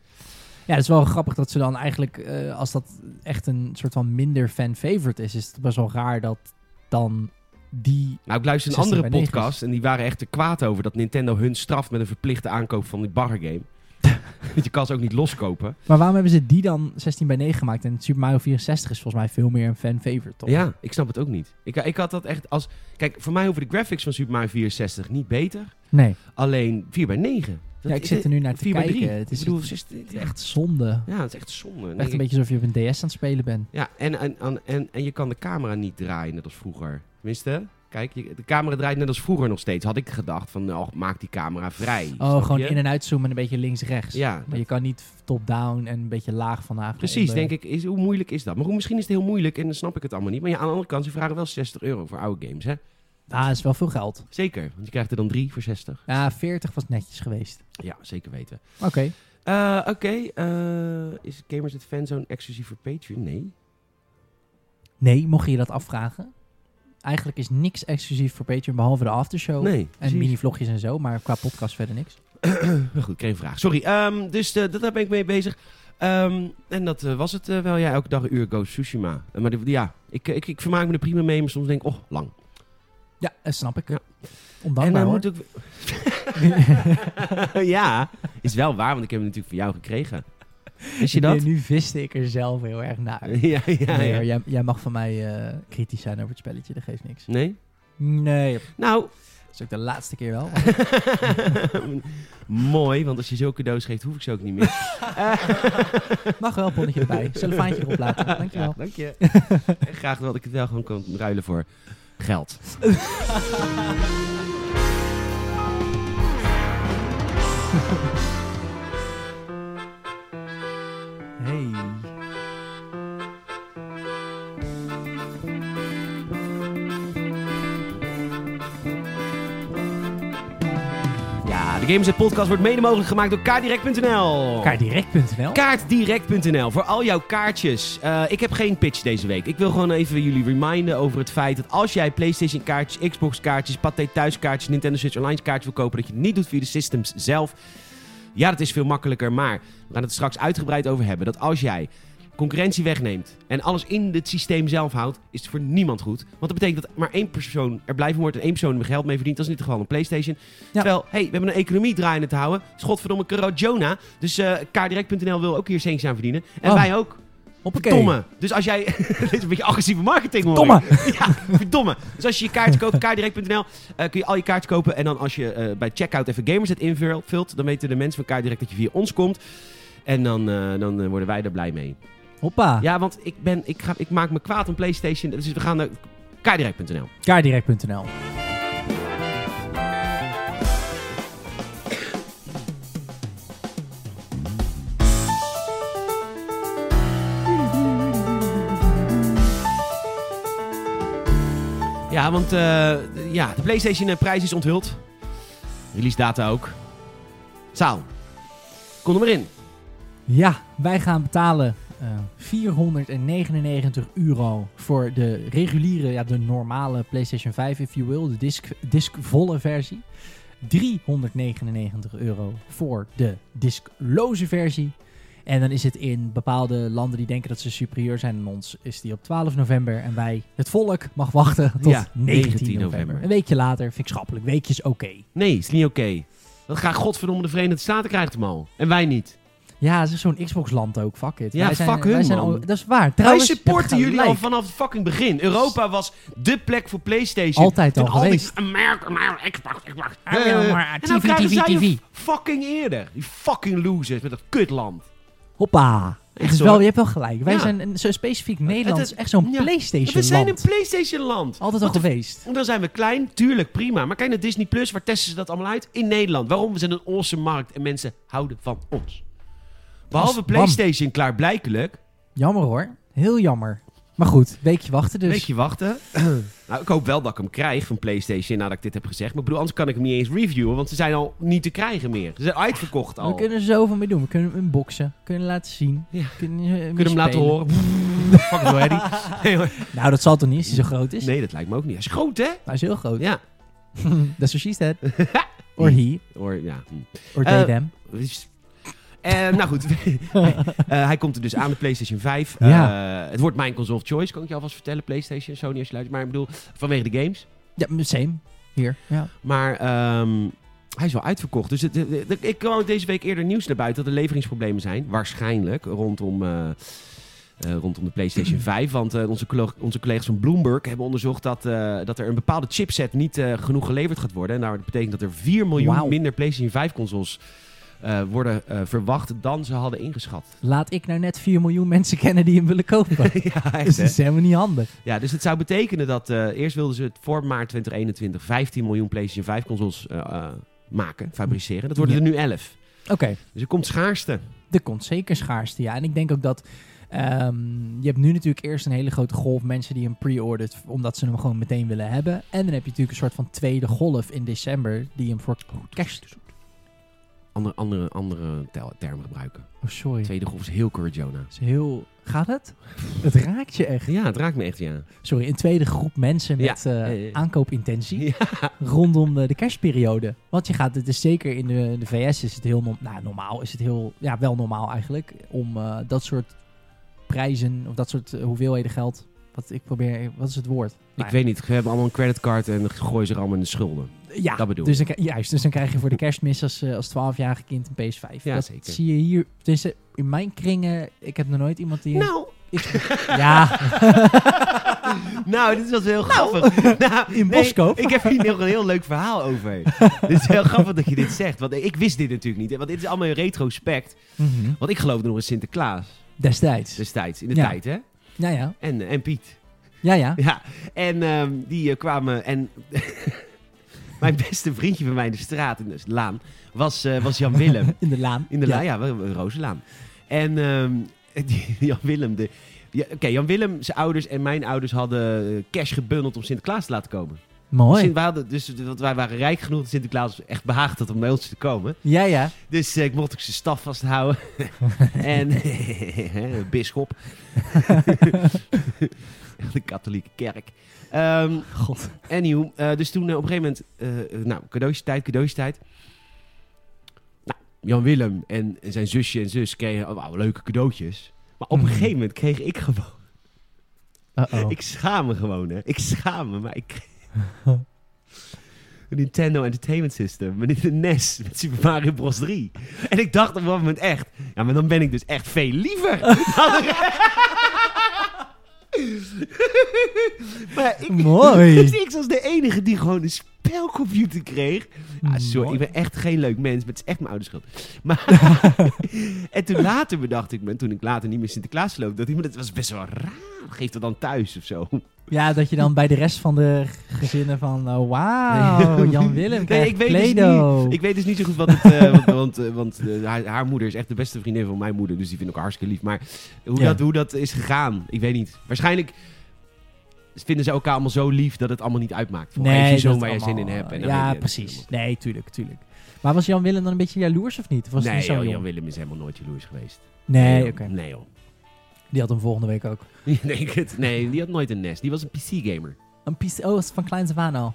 [SPEAKER 3] Ja, het is wel grappig dat ze dan eigenlijk, eh, als dat echt een soort van minder fan-favorite is, is het best wel raar dat dan die...
[SPEAKER 2] Nou, ik luister een
[SPEAKER 3] 16
[SPEAKER 2] andere
[SPEAKER 3] bij 9 is.
[SPEAKER 2] podcast en die waren echt er kwaad over dat Nintendo hun straft met een verplichte aankoop van die baggergame.
[SPEAKER 3] (laughs)
[SPEAKER 2] Want je kan ze ook niet loskopen.
[SPEAKER 3] Maar waarom hebben ze die dan 16 bij 9 gemaakt? En Super Mario 64 is volgens mij veel meer een fan-favorite, toch?
[SPEAKER 2] Ja, ik snap het ook niet. Ik, eh, ik had dat echt als... Kijk, voor mij hoeven de graphics van Super Mario 64 niet beter.
[SPEAKER 3] Nee.
[SPEAKER 2] Alleen 4 bij 9.
[SPEAKER 3] Ja, ik zit er nu naar te
[SPEAKER 2] 4 bij 3.
[SPEAKER 3] kijken. Het
[SPEAKER 2] ik
[SPEAKER 3] is
[SPEAKER 2] bedoel,
[SPEAKER 3] echt-
[SPEAKER 2] het is echt,
[SPEAKER 3] echt zonde.
[SPEAKER 2] ja, het is echt zonde. Dan denk
[SPEAKER 3] Echt
[SPEAKER 2] ik-
[SPEAKER 3] een beetje alsof je op een DS aan het spelen bent.
[SPEAKER 2] Ja, en, en, en, en, en je kan de camera niet draaien, net als vroeger. Tenminste, kijk, je- de camera draait net als vroeger nog steeds. Had ik gedacht van, nou, maak die camera vrij. snap
[SPEAKER 3] Oh, gewoon
[SPEAKER 2] je?
[SPEAKER 3] in- en uitzoomen en een beetje links-rechts.
[SPEAKER 2] Ja,
[SPEAKER 3] Maar je kan niet top-down en een beetje laag van laag.
[SPEAKER 2] precies, denk ik. Is, hoe moeilijk is dat? Maar hoe, misschien is het heel moeilijk en dan snap ik het allemaal niet. Maar ja, aan de andere kant, ze vragen wel 60 euro voor oude games, hè?
[SPEAKER 3] Ah, is wel veel geld.
[SPEAKER 2] Zeker, want je krijgt er dan drie voor 60.
[SPEAKER 3] Ja, 40 was netjes geweest.
[SPEAKER 2] Ja, zeker weten.
[SPEAKER 3] Oké.
[SPEAKER 2] Eh, Oké, eh, is Gamers at Fanzone exclusief voor Patreon? Nee.
[SPEAKER 3] Nee, mocht je je dat afvragen? Eigenlijk is niks exclusief voor Patreon, behalve de aftershow.
[SPEAKER 2] Nee.
[SPEAKER 3] Oh, En
[SPEAKER 2] precies.
[SPEAKER 3] mini-vlogjes en zo, maar qua podcast verder niks.
[SPEAKER 2] Maar goed, geen vraag. Sorry. Ehm, dus eh, dat daar ben ik mee bezig. Ehm, en dat eh, was het eh, wel. Ja, elke dag een uur Go Tsushima. Eh, maar die- ja, ik, ik, ik vermaak me er prima mee. Maar soms denk ik, oh, lang.
[SPEAKER 3] Ja, dat Eh, snap ik.
[SPEAKER 2] Ja. en eh,
[SPEAKER 3] Ondankbaar
[SPEAKER 2] dan
[SPEAKER 3] hoor.
[SPEAKER 2] moet
[SPEAKER 3] (laughs)
[SPEAKER 2] ik... (laughs) ja, is wel waar, want ik heb hem natuurlijk van jou gekregen. Wist je
[SPEAKER 3] Nee,
[SPEAKER 2] dat?
[SPEAKER 3] Nu viste ik er zelf heel erg naar.
[SPEAKER 2] (laughs) ja, ja,
[SPEAKER 3] nee,
[SPEAKER 2] ja.
[SPEAKER 3] hoor, jij, jij mag van mij eh, kritisch zijn over het spelletje, dat geeft niks.
[SPEAKER 2] Nee?
[SPEAKER 3] Nee,
[SPEAKER 2] Nou, (laughs)
[SPEAKER 3] dat is ook de laatste keer wel.
[SPEAKER 2] mooi, want als je zulke cadeaus geeft, hoef ik ze ook niet meer.
[SPEAKER 3] Mag wel, ponnetje erbij. Cellofaantje erop laten. Dankjewel.
[SPEAKER 2] Graag, dank je. (laughs) En graag dat ik het wel gewoon kan ruilen voor geld.
[SPEAKER 3] Hey.
[SPEAKER 2] Ja, de Gameset Podcast wordt mede mogelijk gemaakt door kaartdirect.nl.
[SPEAKER 3] Kaardirect.nl
[SPEAKER 2] Kaartdirect.nl voor al jouw kaartjes. Eh, ik heb geen pitch deze week. Ik wil gewoon even jullie reminden over het feit dat als jij PlayStation kaartjes, Xbox kaartjes, Pathé thuiskaartjes, Nintendo Switch Online kaartjes wil kopen, dat je het niet doet via de systems zelf. Ja, dat is veel makkelijker, maar we gaan het straks uitgebreid over hebben. Dat als jij concurrentie wegneemt en alles in het systeem zelf houdt, is het voor niemand goed. Want dat betekent dat maar één persoon er blij van wordt en één persoon er geld mee verdient. Dat is in dit geval een PlayStation. Terwijl, hey, we hebben een economie draaiende te houden. Schotverdomme corona. Dus eh kaardirect.nl wil ook hier centjes aan verdienen. En
[SPEAKER 3] Oh.
[SPEAKER 2] wij ook.
[SPEAKER 3] Hoppakee.
[SPEAKER 2] Verdomme. Dus als jij... (laughs) dit is een beetje agressieve marketing hoor.
[SPEAKER 3] Domme.
[SPEAKER 2] Ja, verdomme. Dus als je je kaartje koopt, kaardirect.nl, eh, kun je al je kaartjes kopen. En dan als je eh, bij checkout even Gamerset invult, dan weten de mensen van Kaardirect dat je via ons komt. En dan, eh, dan eh, worden wij er blij mee.
[SPEAKER 3] Hoppa.
[SPEAKER 2] Ja, want ik, ben, ik, ga, ik maak me kwaad om PlayStation. Dus we gaan naar kaardirect.nl.
[SPEAKER 3] Kaardirect.nl
[SPEAKER 2] Ja, want eh, ja, de PlayStation eh, prijs is onthuld. Release data ook. Zaal. Kom er maar in.
[SPEAKER 3] Ja, wij gaan betalen eh, 499 euro voor de reguliere, ja, de normale PlayStation 5, if you will, de disc, discvolle versie. 399 euro voor de discloze versie. En dan is het in bepaalde landen die denken dat ze superieur zijn aan ons, is die op 12 november. En wij, het volk, mag wachten tot
[SPEAKER 2] Ja,
[SPEAKER 3] 19 november.
[SPEAKER 2] november.
[SPEAKER 3] Een weekje later vind ik schappelijk. Weekjes oké.
[SPEAKER 2] Nee, is niet oké. Dat gaan godverdomme de Verenigde Staten krijgt hem al. En wij niet.
[SPEAKER 3] Ja, het is zo'n Xbox-land ook. Fuck it.
[SPEAKER 2] Ja,
[SPEAKER 3] wij zijn,
[SPEAKER 2] fuck hun,
[SPEAKER 3] wij zijn
[SPEAKER 2] man.
[SPEAKER 3] al- dat is waar.
[SPEAKER 2] Wij
[SPEAKER 3] Trouwens, je hebt
[SPEAKER 2] supporten jullie al
[SPEAKER 3] gelijk.
[SPEAKER 2] vanaf het fucking begin. Europa was dé plek voor PlayStation.
[SPEAKER 3] Altijd al
[SPEAKER 2] Toen die
[SPEAKER 3] geweest.
[SPEAKER 2] Amerika, Amerika, Xbox, Xbox.
[SPEAKER 3] Ah, ja,
[SPEAKER 2] Eh,
[SPEAKER 3] maar
[SPEAKER 2] en dan
[SPEAKER 3] TV,
[SPEAKER 2] krijgen
[SPEAKER 3] TV,
[SPEAKER 2] zij
[SPEAKER 3] TV.
[SPEAKER 2] hem fucking eerder. Die fucking losers met dat kutland.
[SPEAKER 3] Hoppa. Het is
[SPEAKER 2] hoor.
[SPEAKER 3] wel, je hebt wel gelijk. Wij
[SPEAKER 2] Ja.
[SPEAKER 3] zijn een, zo specifiek Nederlands,
[SPEAKER 2] het-
[SPEAKER 3] echt zo'n
[SPEAKER 2] ja.
[SPEAKER 3] PlayStation
[SPEAKER 2] We zijn een
[SPEAKER 3] land.
[SPEAKER 2] PlayStation land.
[SPEAKER 3] Altijd al geweest.
[SPEAKER 2] En Dan zijn we klein, tuurlijk prima. Maar kijk naar Disney Plus, waar testen ze dat allemaal uit? In Nederland. Waarom? We zijn een awesome markt en mensen houden van ons. Behalve
[SPEAKER 3] Bam.
[SPEAKER 2] PlayStation,
[SPEAKER 3] Dus-
[SPEAKER 2] klaarblijkelijk.
[SPEAKER 3] Jammer hoor. Heel jammer. Maar goed, weekje wachten dus.
[SPEAKER 2] Beetje wachten. (clears throat) nou, ik hoop wel dat ik hem krijg van PlayStation nadat ik dit heb gezegd. Maar ik bedoel, anders kan ik hem niet eens reviewen, want ze zijn al niet te krijgen meer. Ze zijn uitverkocht al.
[SPEAKER 3] We kunnen er zoveel mee doen. We kunnen hem unboxen. Kunnen hem laten zien.
[SPEAKER 2] Ja.
[SPEAKER 3] Kunnen, eh,
[SPEAKER 2] Kunnen hem laten horen. Fuck it, Eddie. Nee, hoor.
[SPEAKER 3] (laughs) Nou, dat zal toch niet als hij zo groot is?
[SPEAKER 2] nee, dat lijkt me ook niet. Hij is groot, hè?
[SPEAKER 3] Hij is heel groot.
[SPEAKER 2] Ja.
[SPEAKER 3] That's what
[SPEAKER 2] (laughs)
[SPEAKER 3] she said. Or he.
[SPEAKER 2] Hoor, ja. Hm.
[SPEAKER 3] Or they,
[SPEAKER 2] Eh,
[SPEAKER 3] them.
[SPEAKER 2] Dus- Eh, nou goed, (laughs) Eh, hij komt er dus aan de PlayStation 5. Eh, het wordt mijn console of choice, kan ik je alvast vertellen. PlayStation, Sony als je luistert. Maar ik bedoel, vanwege de games.
[SPEAKER 3] Ja, same. Hier. Ja.
[SPEAKER 2] Maar ehm, hij is wel uitverkocht. Dus het, het- het- ik kwam ook deze week eerder nieuws naar buiten dat er leveringsproblemen zijn. Waarschijnlijk rondom, eh, eh, rondom de PlayStation 5. Want eh, onze, collo- onze collega's van Bloomberg hebben onderzocht dat, eh, dat er een bepaalde chipset niet eh, genoeg geleverd gaat worden. Nou, dat betekent dat er 4 miljoen
[SPEAKER 3] Wauw.
[SPEAKER 2] minder PlayStation 5 consoles eh, worden eh, verwacht dan ze hadden ingeschat.
[SPEAKER 3] Laat ik nou net 4 miljoen mensen kennen die hem willen kopen.
[SPEAKER 2] (laughs) ja, (laughs)
[SPEAKER 3] dus
[SPEAKER 2] echt, hè?
[SPEAKER 3] (laughs) dat is helemaal niet handig.
[SPEAKER 2] Ja, dus het zou betekenen dat eh, eerst wilden ze het voor maart 2021 15 miljoen PlayStation 5 consoles eh, eh, maken, fabriceren. Dat worden er nu 11.
[SPEAKER 3] Oké,
[SPEAKER 2] Dus er komt schaarste.
[SPEAKER 3] er komt zeker schaarste. Ja, en ik denk ook dat... ehm, je hebt nu natuurlijk eerst een hele grote golf mensen die hem pre-ordert... omdat ze hem gewoon meteen willen hebben. En dan heb je natuurlijk een soort van tweede golf in december... die hem voor kerst...
[SPEAKER 2] Andere, andere, andere tel- termen gebruiken.
[SPEAKER 3] Oh, sorry.
[SPEAKER 2] Tweede golf is heel kort, Jonah.
[SPEAKER 3] is heel... Gaat het? Het raakt je echt.
[SPEAKER 2] Ja, het raakt me echt, ja.
[SPEAKER 3] Sorry, een tweede groep mensen met eh,
[SPEAKER 2] ja, ja.
[SPEAKER 3] aankoopintentie
[SPEAKER 2] Ja.
[SPEAKER 3] rondom de, de kerstperiode. Want je gaat, het is zeker in de, de VS is het heel norm- nou, normaal, is het heel, ja, wel normaal eigenlijk, om eh, dat soort prijzen of dat soort eh, hoeveelheden geld, wat ik probeer, wat is het woord?
[SPEAKER 2] Ik weet niet, we hebben allemaal een creditcard en gooien ze er allemaal in de schulden.
[SPEAKER 3] ja,
[SPEAKER 2] dat bedoel
[SPEAKER 3] dus dan, kri- juist, dus dan krijg je voor de kerstmis als, eh, als 12-jarig kind een PS5.
[SPEAKER 2] Ja,
[SPEAKER 3] dat
[SPEAKER 2] zeker.
[SPEAKER 3] zie je hier, tenminste, in mijn kringen, ik heb nog nooit iemand die...
[SPEAKER 2] Nou,
[SPEAKER 3] Ik- (laughs)
[SPEAKER 2] (laughs)
[SPEAKER 3] ja,
[SPEAKER 2] nou, dit is wel eens heel grappig. (laughs) Nou,
[SPEAKER 3] in Boskoop.
[SPEAKER 2] Ik heb hier nog een heel leuk verhaal (laughs) over. dit is heel grappig dat je dit zegt. Want ik wist dit natuurlijk niet. hè, Want dit is allemaal in retrospect.
[SPEAKER 3] Mhm.
[SPEAKER 2] Want ik geloofde nog in Sinterklaas
[SPEAKER 3] Destijds.
[SPEAKER 2] destijds. In de
[SPEAKER 3] Ja.
[SPEAKER 2] tijd, hè?
[SPEAKER 3] Nou ja,
[SPEAKER 2] En, eh, en Piet.
[SPEAKER 3] ja, ja.
[SPEAKER 2] Ja, en ehm, die eh, kwamen. En (laughs) mijn beste vriendje van mij in de straat, in de laan, was, eh, was Jan Willem.
[SPEAKER 3] In de laan.
[SPEAKER 2] In de
[SPEAKER 3] Ja.
[SPEAKER 2] laan, ja, wel- wel- Rozenlaan. En ehm, die- (laughs) Jan Willem, de. Ja, Oké, Jan Willem, zijn ouders en mijn ouders hadden eh, cash gebundeld om Sinterklaas te laten komen.
[SPEAKER 3] Mooi.
[SPEAKER 2] Sint- wij hadden, dus want wij waren rijk genoeg dat Sinterklaas echt behaagd had om bij ons te komen.
[SPEAKER 3] Ja, ja.
[SPEAKER 2] Dus eh, ik mocht ook zijn staf vasthouden. en (laughs) bisschop. (laughs) de katholieke kerk. Ehm
[SPEAKER 3] God.
[SPEAKER 2] Anyhow, eh, dus toen eh, op een gegeven moment, eh, eh, nou, cadeautjes tijd, cadeautjes tijd. Nou, Jan Willem en zijn zusje en zus kregen oh, wauw, leuke cadeautjes. Maar op een
[SPEAKER 3] Mhm.
[SPEAKER 2] gegeven moment kreeg ik gewoon,
[SPEAKER 3] Uh-oh.
[SPEAKER 2] ik schaam me gewoon hè, ik schaam me, maar ik kreeg een Nintendo Entertainment System, met de NES, met Super Mario Bros 3. En ik dacht op dat moment echt, ja, maar dan ben ik dus echt veel liever. dan- (laughs) maar ik,
[SPEAKER 3] Mooi.
[SPEAKER 2] dus (laughs) ik was de enige die gewoon een spelcomputer kreeg. Ah, sorry, ik ben echt geen leuk mens, maar het is echt mijn oude schuld. (laughs) Maar en toen later bedacht ik me, toen ik later niet meer Sinterklaas loop, dat iemand, het was best wel raar. Geef dat dan thuis of zo.
[SPEAKER 3] Ja, dat je dan bij de rest van de gezinnen van... Oh,
[SPEAKER 2] (laughs)
[SPEAKER 3] wauw, Jan Willem
[SPEAKER 2] Nee, ik
[SPEAKER 3] krijgt
[SPEAKER 2] weet,
[SPEAKER 3] Play-Doh.
[SPEAKER 2] dus niet, ik weet dus niet zo goed wat het... eh, want want, eh, want eh, haar, haar moeder is echt de beste vriendin van mijn moeder. Dus die vind ik ook hartstikke lief. Maar hoe,
[SPEAKER 3] Ja.
[SPEAKER 2] dat, hoe dat is gegaan, ik weet niet. Waarschijnlijk vinden ze elkaar allemaal zo lief dat het allemaal niet uitmaakt. Voor
[SPEAKER 3] nee,
[SPEAKER 2] nee, je
[SPEAKER 3] dat
[SPEAKER 2] zoon waar je
[SPEAKER 3] allemaal-
[SPEAKER 2] zin in hebt. En dan weet
[SPEAKER 3] ja,
[SPEAKER 2] je het
[SPEAKER 3] precies.
[SPEAKER 2] helemaal.
[SPEAKER 3] Nee, tuurlijk, tuurlijk. Maar was Jan Willem dan een beetje jaloers of niet? Of was hij
[SPEAKER 2] nee,
[SPEAKER 3] niet zo
[SPEAKER 2] joh,
[SPEAKER 3] jong?
[SPEAKER 2] Jan Willem is helemaal nooit jaloers geweest.
[SPEAKER 3] Nee, oké.
[SPEAKER 2] joh. Nee, joh. (laughs)
[SPEAKER 3] Die had hem volgende week ook.
[SPEAKER 2] Nee, ik het, nee, die had nooit een nest. Die was een PC-gamer.
[SPEAKER 3] Een PC... Oh, dat is van kleins af aan al.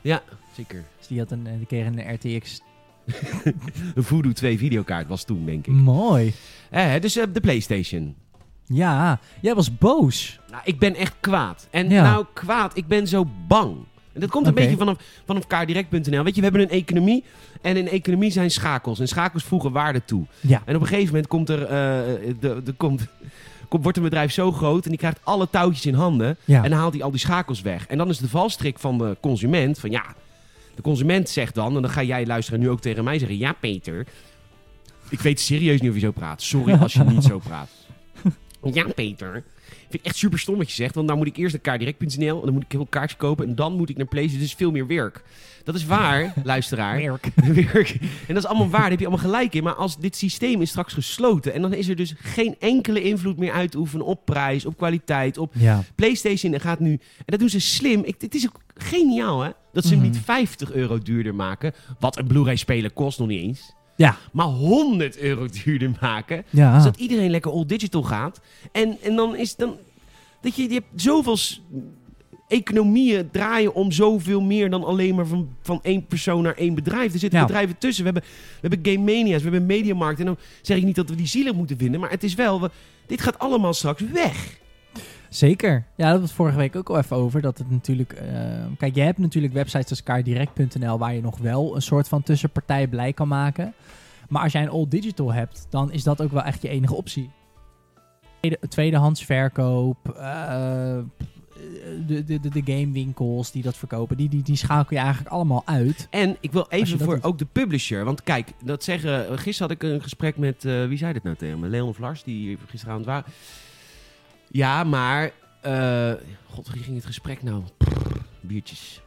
[SPEAKER 2] Zeker.
[SPEAKER 3] Dus die had een, eh, die kreeg een RTX.
[SPEAKER 2] Een Voodoo 2 videokaart was toen, denk ik.
[SPEAKER 3] Mm. Mooi.
[SPEAKER 2] Eh, dus eh, de PlayStation.
[SPEAKER 3] Ja, jij was boos.
[SPEAKER 2] Nou, ik ben echt kwaad. En
[SPEAKER 3] Ja.
[SPEAKER 2] nou, kwaad, ik ben zo bang. En dat komt een
[SPEAKER 3] Oké.
[SPEAKER 2] beetje vanaf, vanaf kaardirect.nl. Weet je, we hebben een economie. En in economie zijn schakels. En schakels voegen waarde toe.
[SPEAKER 3] Ja.
[SPEAKER 2] En op een gegeven moment komt er, eh, de, de, komt, (laughs) komt, wordt een bedrijf zo groot. En die krijgt alle touwtjes in handen.
[SPEAKER 3] Ja.
[SPEAKER 2] En dan haalt hij al die schakels weg. En dan is de valstrik van de consument van ja, de consument zegt dan, en dan ga jij luisteren nu ook tegen mij zeggen, ja Peter, ik weet serieus niet of je zo praat. Sorry als je niet zo praat. Ja Peter, ik vind het echt super stom wat je zegt, want nou moet ik eerst naar direct.nl en dan moet ik heel een kaartje kopen en dan moet ik naar PlayStation, dus veel meer werk. Dat is waar, luisteraar.
[SPEAKER 3] Merk.
[SPEAKER 2] (laughs) Werk. En dat is allemaal waar, daar heb je allemaal gelijk in. Maar als dit systeem is straks gesloten en dan is er dus geen enkele invloed meer uit te oefenen op prijs, op kwaliteit, op
[SPEAKER 3] Ja.
[SPEAKER 2] PlayStation gaat nu. En dat doen ze slim. Ik, het is ook geniaal, hè? Dat ze hem
[SPEAKER 3] Mhm.
[SPEAKER 2] niet 50 euro duurder maken. Wat een Blu-ray-speler kost nog niet eens.
[SPEAKER 3] Ja.
[SPEAKER 2] Maar 100 euro duurder maken.
[SPEAKER 3] Ja.
[SPEAKER 2] Zodat iedereen lekker all digital gaat. En, en dan is dan. Dat je, je hebt zoveel. s- Economieën draaien om zoveel meer dan alleen maar van, van één persoon naar één bedrijf. Er zitten
[SPEAKER 3] Ja.
[SPEAKER 2] bedrijven tussen. We hebben, we hebben Game Mania's, we hebben Mediamarkt. En dan zeg ik niet dat we die zielig moeten vinden. Maar het is wel, we- dit gaat allemaal straks weg.
[SPEAKER 3] Zeker. Ja, dat was vorige week ook al even over. Dat het natuurlijk. eh, kijk, je hebt natuurlijk websites als kaardirect.nl waar je nog wel een soort van tussenpartij blij kan maken. Maar als jij een all digital hebt, dan is dat ook wel echt je enige optie. Tweede- tweedehands verkoop. eh, de, de, de, de gamewinkels die dat verkopen, die, die, die schakel je eigenlijk allemaal uit.
[SPEAKER 2] En ik wil
[SPEAKER 3] Als je
[SPEAKER 2] even
[SPEAKER 3] dat
[SPEAKER 2] voor
[SPEAKER 3] doet.
[SPEAKER 2] ook de publisher. Want kijk, dat zeggen. Gisteren had ik een gesprek met. eh, wie zei dit nou tegen me? Leon of Lars, die hier gisteravond waren. Ja, maar. eh, God, wie ging het gesprek nou? Pff,
[SPEAKER 3] (laughs)
[SPEAKER 2] biertjes.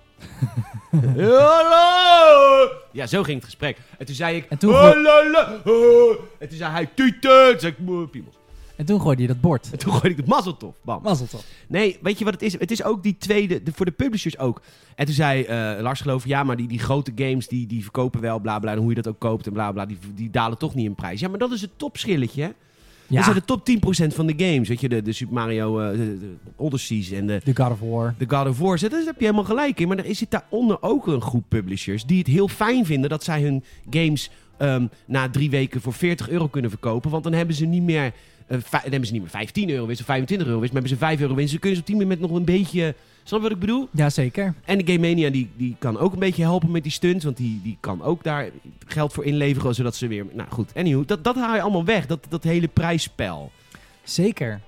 [SPEAKER 2] Hallo! Ja, zo ging het gesprek. En toen zei ik.
[SPEAKER 3] En toen-
[SPEAKER 2] "Oh, la, la, oh." En toen zei hij. Tieten! Toen zei ik. "Moe, Piemel.
[SPEAKER 3] En toen gooide je dat bord.
[SPEAKER 2] En toen gooide ik het mazzeltof. Bam.
[SPEAKER 3] Was het al?
[SPEAKER 2] Nee, weet je wat het is? Het is ook die tweede, de- voor de publishers ook. En toen zei eh, Lars geloof ik, ja, maar die, die grote games, die, die verkopen wel, bla bla, en hoe je dat ook koopt en bla bla, die, die dalen toch niet in prijs. Ja, maar dat is het topschilletje, hè? Dat zijn de top 10% van de games, weet je, de, de Super Mario eh, de, de Odyssey's en de,
[SPEAKER 3] de God of War.
[SPEAKER 2] de God of War. Daar heb je helemaal gelijk in, maar er zit daaronder ook een groep publishers die het heel fijn vinden dat zij hun games ehm, na drie weken voor 40 euro kunnen verkopen, want dan hebben ze niet meer... eh, vij- dan hebben ze niet meer 15 euro winst of 25 euro winst, maar hebben ze 5 euro winst. Dus kunnen ze op die manier met nog een beetje... Snap je wat ik bedoel?
[SPEAKER 3] Jazeker.
[SPEAKER 2] En de Game Mania die, die kan ook een beetje helpen met die stunts. Want die, die kan ook daar geld voor inleveren. Zodat ze weer. Nou goed, anyhow, dat, dat haal je allemaal weg. Dat, dat hele prijsspel.
[SPEAKER 3] Zeker.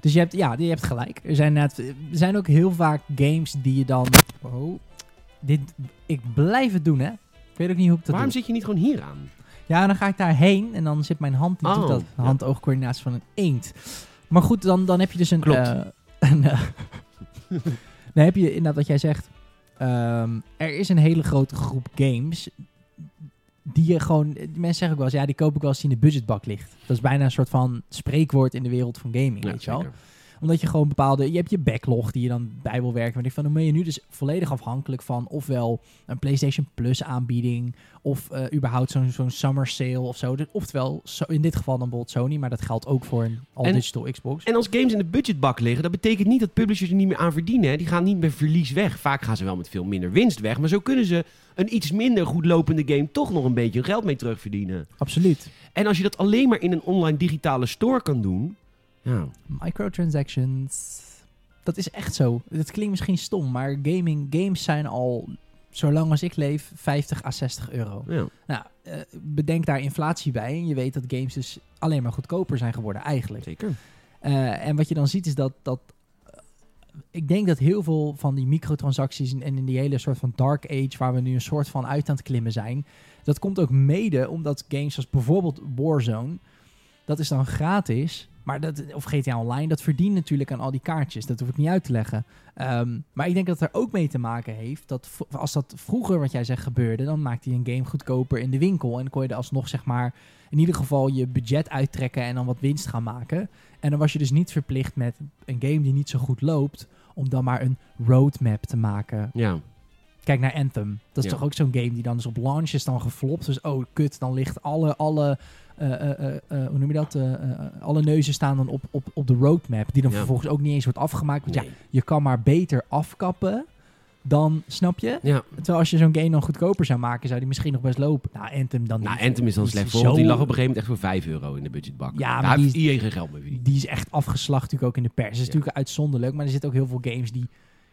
[SPEAKER 3] Dus je hebt, ja, je hebt gelijk. Er zijn, inderdaad- er zijn ook heel vaak games die je dan... Oh, dit, ik blijf het doen, hè. Ik weet ook niet hoe ik dat
[SPEAKER 2] Waarom
[SPEAKER 3] doe.
[SPEAKER 2] zit je niet gewoon hier aan?
[SPEAKER 3] Ja, dan ga ik daarheen en dan zit mijn hand... Die
[SPEAKER 2] Oh,
[SPEAKER 3] doet dat
[SPEAKER 2] ja.
[SPEAKER 3] hand-oogcoördinatie van een eend. Maar goed, dan, dan heb je dus een...
[SPEAKER 2] Klopt.
[SPEAKER 3] eh, (laughs) een, eh, dan heb je inderdaad wat jij zegt. Ehm, er is een hele grote groep games... Die je gewoon, die mensen zeggen ook wel eens, ja, die koop ik wel als die in de budgetbak ligt. Dat is bijna een soort van spreekwoord in de wereld van gaming, weet je wel
[SPEAKER 2] zeker.
[SPEAKER 3] omdat je gewoon bepaalde... Je hebt je backlog die je dan bij wil werken. Maar ik van, dan ben je nu dus volledig afhankelijk van... ofwel een PlayStation Plus aanbieding... of eh, überhaupt zo'n zo'n summer sale of zo. Dus Oftewel, zo, in dit geval dan bijvoorbeeld Sony... maar dat geldt ook voor een
[SPEAKER 2] En-
[SPEAKER 3] all-digital Xbox.
[SPEAKER 2] En als games in de budgetbak liggen, dat betekent niet dat publishers er niet meer aan verdienen. Hè. Die gaan niet met verlies weg. Vaak gaan ze wel met veel minder winst weg. Maar zo kunnen ze een iets minder goed lopende game toch nog een beetje hun geld mee terugverdienen.
[SPEAKER 3] Absoluut.
[SPEAKER 2] En als je dat alleen maar in een online digitale store kan doen. Ja,
[SPEAKER 3] Microtransactions. Dat is echt zo. Dat klinkt misschien stom, maar gaming, games zijn al... Zolang als ik leef, 50 à 60 euro.
[SPEAKER 2] ja.
[SPEAKER 3] Nou, eh, bedenk daar inflatie bij. En je weet dat games dus alleen maar goedkoper zijn geworden eigenlijk.
[SPEAKER 2] zeker.
[SPEAKER 3] Eh, en wat je dan ziet is dat, dat eh, ik denk dat heel veel van die microtransacties en en in die hele soort van dark age waar we nu een soort van uit aan het klimmen zijn, dat komt ook mede omdat games zoals bijvoorbeeld Warzone, dat is dan gratis, maar dat, of GTA Online, dat verdient natuurlijk aan al die kaartjes. Dat hoef ik niet uit te leggen. Ehm, maar ik denk dat het er ook mee te maken heeft dat v- als dat vroeger, wat jij zegt, gebeurde, dan maakte je een game goedkoper in de winkel en kon je er alsnog zeg maar in ieder geval je budget uittrekken en dan wat winst gaan maken. En dan was je dus niet verplicht met een game die niet zo goed loopt, om dan maar een roadmap te maken.
[SPEAKER 2] Ja.
[SPEAKER 3] Kijk naar Anthem. Dat is
[SPEAKER 2] Ja.
[SPEAKER 3] toch ook zo'n game die dan dus op launch is dan geflopt. Dus oh, kut, dan ligt alle, alle eh, eh, eh, eh, hoe noem je dat? Eh, eh, alle neuzen staan dan op, op, op de roadmap, die dan
[SPEAKER 2] Ja.
[SPEAKER 3] vervolgens ook niet eens wordt afgemaakt. Want ja,
[SPEAKER 2] Nee.
[SPEAKER 3] je kan maar beter afkappen dan, snap je?
[SPEAKER 2] ja.
[SPEAKER 3] Terwijl als je zo'n game dan goedkoper zou maken, zou die misschien nog best lopen. Nou, Anthem dan
[SPEAKER 2] Nou,
[SPEAKER 3] niet.
[SPEAKER 2] Anthem is dan
[SPEAKER 3] Die
[SPEAKER 2] slecht
[SPEAKER 3] zo-
[SPEAKER 2] voor, want die lag op een gegeven moment echt voor 5 euro in de budgetbak.
[SPEAKER 3] Ja, maar
[SPEAKER 2] Daar
[SPEAKER 3] die
[SPEAKER 2] heeft iedereen geen geld mee verdiend.
[SPEAKER 3] die is echt afgeslacht natuurlijk ook in de pers. Dat is
[SPEAKER 2] Ja.
[SPEAKER 3] natuurlijk uitzonderlijk, maar er zitten ook heel veel games die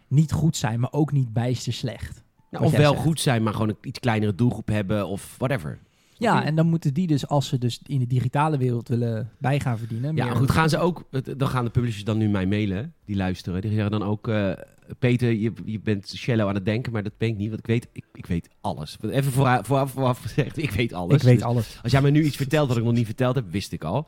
[SPEAKER 3] niet goed zijn, maar ook niet bijster slecht.
[SPEAKER 2] Nou,
[SPEAKER 3] Wat
[SPEAKER 2] of
[SPEAKER 3] jij
[SPEAKER 2] wel
[SPEAKER 3] zegt.
[SPEAKER 2] goed zijn, maar gewoon een iets kleinere doelgroep hebben of whatever.
[SPEAKER 3] Ja, en dan moeten die dus, als ze dus in de digitale wereld willen bij gaan verdienen...
[SPEAKER 2] Ja,
[SPEAKER 3] meer-
[SPEAKER 2] goed, gaan ze ook, het- dan gaan de publishers dan nu mij mailen, hè, die luisteren. Die zeggen dan ook, eh, Peter, je, je bent shallow aan het denken, maar dat ben ik niet, want ik weet, ik, ik weet alles. Want Even vooraf, vooraf, vooraf gezegd, ik weet alles.
[SPEAKER 3] Ik weet
[SPEAKER 2] Dus
[SPEAKER 3] alles.
[SPEAKER 2] als jij me nu iets vertelt wat ik nog niet verteld heb, wist ik al.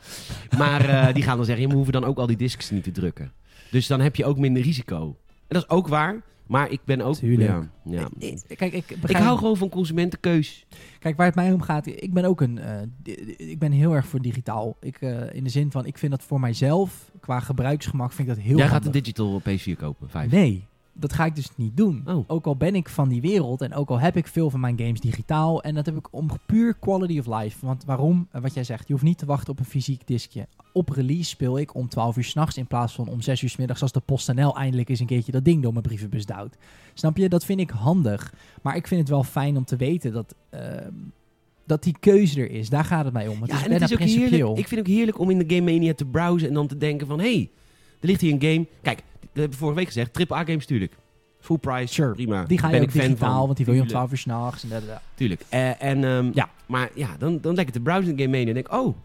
[SPEAKER 2] Maar eh, die gaan dan zeggen, je hoeven dan ook al die discs niet te drukken. Dus dan heb je ook minder risico. En dat is ook waar, maar ik ben ook...
[SPEAKER 3] Tuurlijk.
[SPEAKER 2] Ja, ja.
[SPEAKER 3] Ik- Kijk, ik, begrijp,
[SPEAKER 2] Ik hou gewoon van consumentenkeus.
[SPEAKER 3] kijk, waar het mij om gaat, ik ben ook een... eh, di- di- ik ben heel erg voor digitaal. Ik, eh, in de zin van, ik vind dat voor mijzelf, qua gebruiksgemak, vind ik dat heel
[SPEAKER 2] Jij gaat
[SPEAKER 3] handig.
[SPEAKER 2] een digital PS4 kopen, vijf.
[SPEAKER 3] Nee, dat ga ik dus niet doen.
[SPEAKER 2] Oh.
[SPEAKER 3] Ook al ben ik van die wereld en ook al heb ik veel van mijn games digitaal. En dat heb ik om puur quality of life. Want waarom? Eh, Wat jij zegt, je hoeft niet te wachten op een fysiek diskje. Op release speel ik om 12 uur s'nachts in plaats van om 6 uur 's middags. Als de PostNL eindelijk eens een keertje dat ding door mijn brievenbus duwt. Snap je? Dat vind ik handig. Maar ik vind het wel fijn om te weten dat... ehm, dat die keuze er is, daar gaat het mij om. Het
[SPEAKER 2] Ja,
[SPEAKER 3] is
[SPEAKER 2] en het
[SPEAKER 3] bijna
[SPEAKER 2] is ook
[SPEAKER 3] principieel.
[SPEAKER 2] heerlijk, ik vind het ook heerlijk om in de Game Mania te browsen en dan te denken van... hé, hey, Er ligt hier een game. Kijk, dat heb ik vorige week gezegd. Triple A games natuurlijk. Full price,
[SPEAKER 3] Sure.
[SPEAKER 2] prima.
[SPEAKER 3] Die ga je
[SPEAKER 2] Ben
[SPEAKER 3] ook
[SPEAKER 2] ik fan
[SPEAKER 3] digitaal,
[SPEAKER 2] van.
[SPEAKER 3] want die wil je om
[SPEAKER 2] Tuurlijk.
[SPEAKER 3] 12 uur s'nachts. En dat, dat.
[SPEAKER 2] Tuurlijk. Eh, en, ehm,
[SPEAKER 3] Ja.
[SPEAKER 2] Maar ja, dan, dan lekker te browsen in de game mee en denk ik, oh,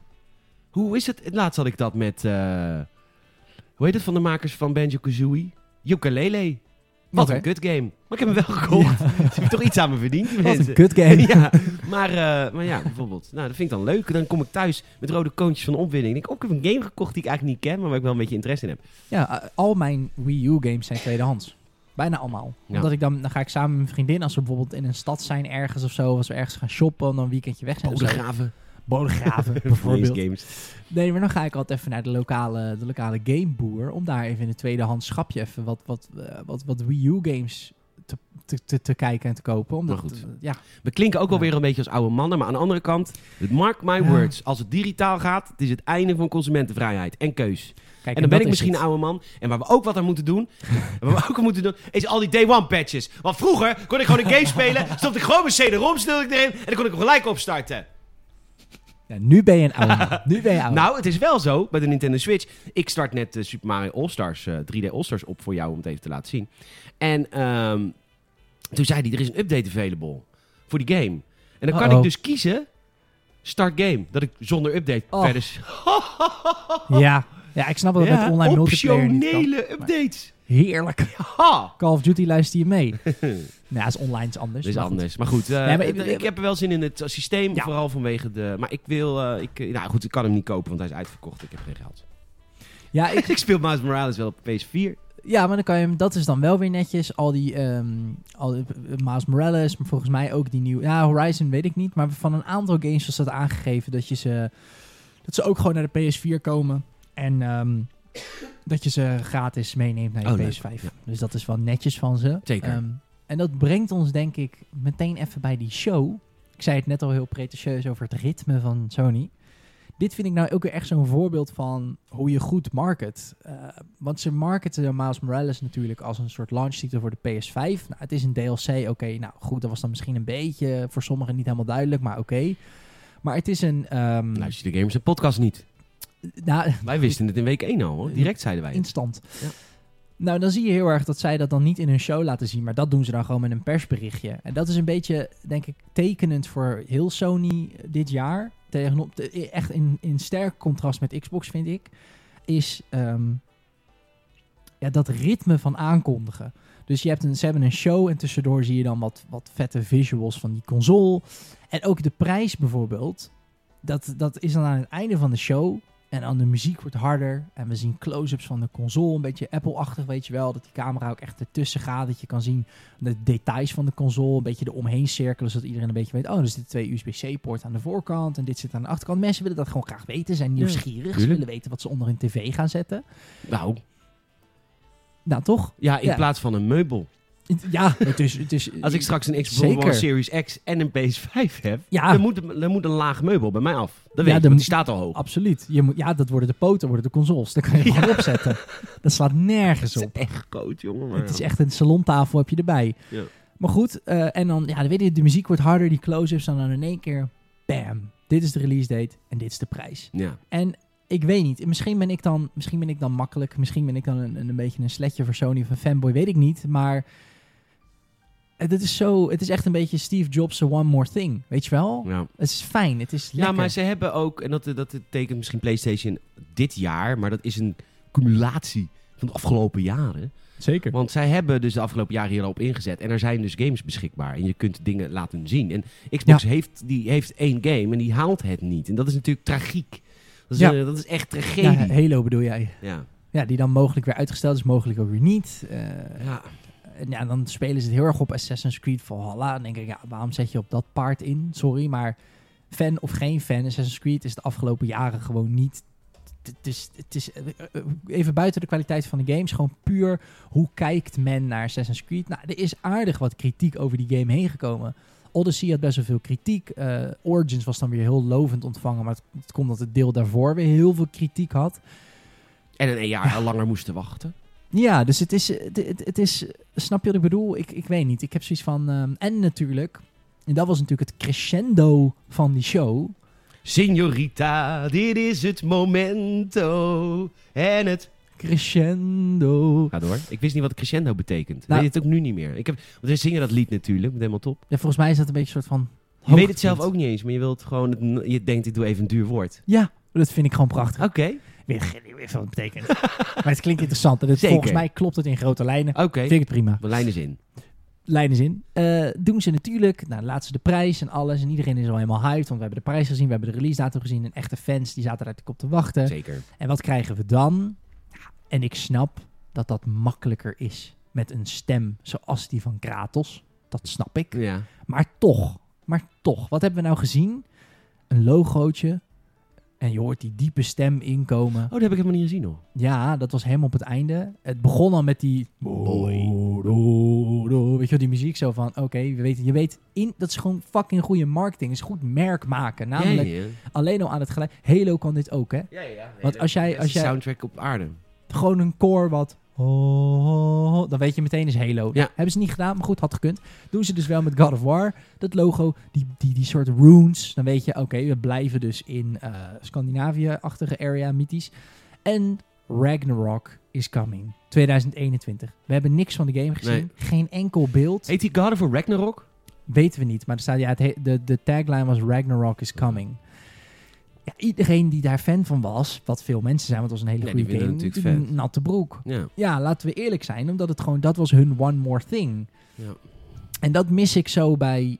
[SPEAKER 2] hoe is het? Het Laatst had ik dat met, eh, hoe heet het van de makers van Banjo-Kazooie? Ukulele. Wat
[SPEAKER 3] Oké.
[SPEAKER 2] een kut game. Maar ik heb hem wel gekocht. (laughs) Ze hebben toch iets aan me verdiend, die
[SPEAKER 3] Wat een
[SPEAKER 2] mensen.
[SPEAKER 3] kut
[SPEAKER 2] (laughs)
[SPEAKER 3] game. (laughs)
[SPEAKER 2] ja, maar, eh, maar ja, bijvoorbeeld. Nou, dat vind ik dan leuk. Dan kom ik thuis met rode koontjes van de opwinding. Ik denk, oh, ik heb een game gekocht die ik eigenlijk niet ken, maar waar ik wel een beetje interesse in heb.
[SPEAKER 3] Ja, eh, al mijn Wii U games zijn tweedehands. Bijna allemaal.
[SPEAKER 2] Ja.
[SPEAKER 3] Omdat ik dan, dan ga ik samen met mijn vriendin, als we bijvoorbeeld in een stad zijn ergens of zo, als we ergens gaan shoppen, dan een weekendje weg zijn. of zo.
[SPEAKER 2] Bodegraven.
[SPEAKER 3] (laughs) Bodegraven, bijvoorbeeld.
[SPEAKER 2] games.
[SPEAKER 3] Nee, maar dan ga ik altijd even naar de lokale, de lokale gameboer, om daar even in het tweedehands schapje even wat, wat, eh, wat, wat Wii U games te, te, te, te kijken en te kopen. Omdat,
[SPEAKER 2] Maar goed.
[SPEAKER 3] eh, ja,
[SPEAKER 2] We klinken ook wel
[SPEAKER 3] Ja.
[SPEAKER 2] weer een beetje als oude mannen, maar aan de andere kant, het mark my
[SPEAKER 3] Ja.
[SPEAKER 2] words. Als het digitaal gaat, het is het einde van consumentenvrijheid en keus.
[SPEAKER 3] kijk,
[SPEAKER 2] en dan ben ik
[SPEAKER 3] dat is
[SPEAKER 2] misschien
[SPEAKER 3] het.
[SPEAKER 2] een oude man. En waar we ook wat aan moeten doen, (laughs) en waar we ook aan moeten doen, is al die day one patches. Want vroeger kon ik gewoon een game spelen, stopte ik gewoon mijn CD-ROM snel erin en dan kon ik hem gelijk opstarten.
[SPEAKER 3] Ja, nu ben je een
[SPEAKER 2] (laughs)
[SPEAKER 3] oude man. Nu ben je oud.
[SPEAKER 2] Nou, het is wel zo bij de Nintendo Switch. Ik start net de Super Mario All-Stars, eh, 3D All-Stars op voor jou om het even te laten zien. En ehm, toen zei hij, er is een update available voor die game. En dan kan
[SPEAKER 3] Uh-oh.
[SPEAKER 2] ik dus kiezen, start game. Dat ik zonder update
[SPEAKER 3] Och.
[SPEAKER 2] verder... s-
[SPEAKER 3] ja. ja, ik snap Oh, dat het met online multiplayer niet kan.
[SPEAKER 2] optionele updates.
[SPEAKER 3] Heerlijk.
[SPEAKER 2] Ha!
[SPEAKER 3] Call of Duty luister je
[SPEAKER 2] (laughs)
[SPEAKER 3] mee. nou, is online is
[SPEAKER 2] Dat
[SPEAKER 3] anders.
[SPEAKER 2] is
[SPEAKER 3] maar goed.
[SPEAKER 2] anders. Maar goed, eh,
[SPEAKER 3] Nee, maar
[SPEAKER 2] ik,
[SPEAKER 3] ik-
[SPEAKER 2] ik heb er wel zin in het systeem.
[SPEAKER 3] Ja.
[SPEAKER 2] Vooral vanwege de... Maar ik wil... eh, ik, eh, nou goed, ik kan hem niet kopen, want hij is uitverkocht. Ik heb geen geld.
[SPEAKER 3] Ja, ik,
[SPEAKER 2] ik speel Miles Morales wel op PS4.
[SPEAKER 3] ja, maar dan kan je hem, dat is dan wel weer netjes. Al die, ehm al, die- eh, Miles Morales, maar volgens mij ook die nieuwe... Ja, Horizon weet ik niet, maar van een aantal games was dat aangegeven dat je ze... Dat ze ook gewoon naar de PS4 komen. En ehm, dat je ze gratis meeneemt naar je
[SPEAKER 2] Oh, leuk.
[SPEAKER 3] PS5.
[SPEAKER 2] Ja.
[SPEAKER 3] Dus dat is wel netjes van ze.
[SPEAKER 2] Zeker.
[SPEAKER 3] Ehm, en dat brengt ons denk ik meteen even bij die show. Ik zei het net al heel pretentieus over het ritme van Sony. Dit vind ik nou ook weer echt zo'n voorbeeld van hoe je goed market. Eh, want ze marketen de Miles Morales natuurlijk als een soort launchtitel voor de PS5. Nou, het is een DLC, oké. nou goed, dat was dan misschien een beetje voor sommigen niet helemaal duidelijk, maar oké. Maar het is een... ehm,
[SPEAKER 2] Luister je de Gamers en Podcast niet.
[SPEAKER 3] nou,
[SPEAKER 2] Wij wisten het in week 1 al, hoor. Direct zeiden wij. het.
[SPEAKER 3] instant.
[SPEAKER 2] Ja.
[SPEAKER 3] Nou, dan zie je heel erg dat zij dat dan niet in hun show laten zien, maar dat doen ze dan gewoon met een persberichtje. En dat is een beetje, denk ik, tekenend voor heel Sony dit jaar. Tegenop, te- echt in, in sterk contrast met Xbox, vind ik. Is ehm, ja, dat ritme van aankondigen. Dus je hebt een, ze hebben een show en tussendoor zie je dan wat, wat vette visuals van die console. En ook de prijs bijvoorbeeld. Dat, dat is dan aan het einde van de show. En dan de muziek wordt harder. En we zien close-ups van de console. Een beetje Apple-achtig, weet je wel. Dat die camera ook echt ertussen gaat. Dat je kan zien de details van de console. Een beetje eromheen cirkelen. Zodat iedereen een beetje weet. Oh, er zitten twee USB-C-poorten aan de voorkant. En dit zit aan de achterkant. Mensen willen dat gewoon graag weten. Zijn nieuwsgierig. Ze
[SPEAKER 2] tuurlijk.
[SPEAKER 3] willen weten wat ze onder hun tv gaan zetten.
[SPEAKER 2] Nou,
[SPEAKER 3] Nou, toch?
[SPEAKER 2] ja, in
[SPEAKER 3] Ja.
[SPEAKER 2] plaats van een meubel.
[SPEAKER 3] Ja, het is... Het is
[SPEAKER 2] Als ik straks een Xbox
[SPEAKER 3] Zeker.
[SPEAKER 2] One Series X en een PS5 heb,
[SPEAKER 3] Ja.
[SPEAKER 2] dan, moet, dan moet een laag meubel bij mij af. Dat
[SPEAKER 3] Ja,
[SPEAKER 2] weet ik,
[SPEAKER 3] dan
[SPEAKER 2] want
[SPEAKER 3] moet-
[SPEAKER 2] die staat al hoog.
[SPEAKER 3] Absoluut. Je moet, ja, dat worden de poten, worden de consoles. Daar kan je gewoon opzetten. Dat slaat nergens
[SPEAKER 2] Dat is
[SPEAKER 3] op.
[SPEAKER 2] echt groot, jongen. maar
[SPEAKER 3] Het is
[SPEAKER 2] ja.
[SPEAKER 3] echt een salontafel heb je erbij.
[SPEAKER 2] Ja.
[SPEAKER 3] Maar goed, eh, en dan, ja, dan weet je, de muziek wordt harder, die close-ups, en dan in één keer, bam. Dit is de release date en dit is de prijs.
[SPEAKER 2] Ja.
[SPEAKER 3] En ik weet niet. Misschien ben ik dan, misschien ben ik dan makkelijk. Misschien ben ik dan een, een beetje een sletje voor Sony of een fanboy. Weet ik niet. Maar het, het is zo. Het is echt een beetje Steve Jobs' One More Thing. Weet je wel?
[SPEAKER 2] Ja.
[SPEAKER 3] Het is fijn. Het is
[SPEAKER 2] ja,
[SPEAKER 3] lekker.
[SPEAKER 2] maar ze hebben ook, en dat, dat betekent misschien PlayStation dit jaar, maar dat is een cumulatie van de afgelopen jaren.
[SPEAKER 3] Zeker.
[SPEAKER 2] Want zij hebben dus de afgelopen jaren hierop ingezet. En er zijn dus games beschikbaar. En je kunt dingen laten zien. En Xbox heeft, die heeft één game en die haalt het niet. En dat is natuurlijk tragiek. Dat is,
[SPEAKER 3] Ja.
[SPEAKER 2] eh, dat is echt
[SPEAKER 3] Ja,
[SPEAKER 2] tragedie. Ja,
[SPEAKER 3] Halo bedoel jij.
[SPEAKER 2] ja.
[SPEAKER 3] Ja, die dan mogelijk weer uitgesteld is, mogelijk ook weer niet. Eh, En ja, dan spelen ze het heel erg op Assassin's Creed Valhalla. Dan denk ik, ja, waarom zet je op dat paard in? Sorry, maar fan of geen fan, Assassin's Creed is de afgelopen jaren gewoon niet... Het is, het is eh, eh, even buiten de kwaliteit van de games, gewoon puur hoe kijkt men naar Assassin's Creed. Nou, er is aardig wat kritiek over die game heen gekomen. Odyssey had best wel veel kritiek. eh, Origins was dan weer heel lovend ontvangen, maar het, het komt dat het deel daarvoor weer heel veel kritiek had.
[SPEAKER 2] En een jaar langer moesten wachten.
[SPEAKER 3] Ja, dus het is, het, het- het is. eh, Snap je wat ik bedoel? Ik, ik weet niet. Ik heb zoiets van. ehm, en natuurlijk. En dat was natuurlijk het crescendo van die show.
[SPEAKER 2] Signorita, dit is het momento. En het
[SPEAKER 3] Crescendo.
[SPEAKER 2] Ga door. Ik wist niet wat crescendo betekent.
[SPEAKER 3] Nou-
[SPEAKER 2] weet het ook nu niet meer. Ik heb, want we zingen dat lied natuurlijk, met helemaal top.
[SPEAKER 3] Ja, volgens mij is dat een beetje een soort van...
[SPEAKER 2] Je weet het
[SPEAKER 3] hoogtepunt.
[SPEAKER 2] zelf ook niet eens, maar je wilt gewoon, het- je denkt ik doe even een duur woord.
[SPEAKER 3] Ja, dat vind ik gewoon prachtig.
[SPEAKER 2] Oké,
[SPEAKER 3] Ik weet geen idee wat het
[SPEAKER 2] (laughs)
[SPEAKER 3] betekent. maar het klinkt interessant. En het,
[SPEAKER 2] Zeker.
[SPEAKER 3] volgens mij klopt het in grote lijnen.
[SPEAKER 2] oké.
[SPEAKER 3] Vind ik het prima.
[SPEAKER 2] De lijn is in.
[SPEAKER 3] Lijnen zin. Eh doen ze natuurlijk. Nou, laten ze de prijs en alles. En iedereen is al helemaal hyped. Want we hebben de prijs gezien. We hebben de release datum gezien. En echte fans die zaten daar te kop te wachten.
[SPEAKER 2] Zeker.
[SPEAKER 3] En wat krijgen we dan? Ja, En ik snap dat dat makkelijker is met een stem zoals die van Kratos. Dat snap ik.
[SPEAKER 2] Ja.
[SPEAKER 3] Maar toch, maar toch. Wat hebben we nou gezien? Een logootje. En je hoort die diepe stem inkomen.
[SPEAKER 2] Oh, dat heb ik helemaal niet gezien hoor.
[SPEAKER 3] Ja, dat was helemaal op het einde. Het begon al met die...
[SPEAKER 2] Boy.
[SPEAKER 3] Do, do, do. Weet je wel, die muziek zo van... Oké, we weten, je weet... In, dat is gewoon fucking goede marketing. is goed merk maken. Namelijk
[SPEAKER 2] ja,
[SPEAKER 3] alleen al aan het gelijk... Halo kan dit ook, hè?
[SPEAKER 2] ja. ja.
[SPEAKER 3] Want als jij- als jij-
[SPEAKER 2] soundtrack op aarde.
[SPEAKER 3] Gewoon een koor wat... ho, ho, ho, Dan weet je meteen is Halo. Nou,
[SPEAKER 2] Ja.
[SPEAKER 3] Hebben ze niet gedaan, maar goed, had gekund. Doen ze dus wel met God of War. Dat logo, die, die, die soort runes. Dan weet je, oké, we blijven dus in eh, Scandinavië-achtige area, mythisch. En Ragnarok is coming. 2021. We hebben niks van de game gezien.
[SPEAKER 2] Nee.
[SPEAKER 3] Geen enkel beeld.
[SPEAKER 2] Heet die God of War Ragnarok?
[SPEAKER 3] Weten we niet, maar er staat, ja, het he- de, de tagline was Ragnarok is coming. Ja, iedereen die daar fan van was, wat veel mensen zijn, want het was een hele
[SPEAKER 2] Ja, die
[SPEAKER 3] goede game,
[SPEAKER 2] vinden het natuurlijk vet.
[SPEAKER 3] n- natte broek.
[SPEAKER 2] Ja.
[SPEAKER 3] Ja, laten we eerlijk zijn, omdat het gewoon, dat was hun one more thing.
[SPEAKER 2] Ja.
[SPEAKER 3] En dat mis ik zo bij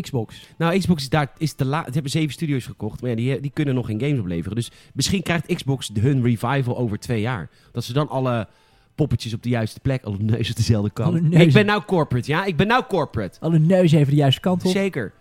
[SPEAKER 3] Xbox.
[SPEAKER 2] Nou, Xbox is daar is te laat. Ze hebben zeven studios gekocht, maar ja, die, die kunnen nog geen games opleveren. Dus misschien krijgt Xbox hun revival over twee jaar. Dat ze dan alle poppetjes op de juiste plek, alle neuzen op dezelfde kant.
[SPEAKER 3] Alle neuzen.
[SPEAKER 2] Ik ben nou corporate, ja? Ik ben nou corporate.
[SPEAKER 3] Alle neus even de juiste kant op.
[SPEAKER 2] Zeker.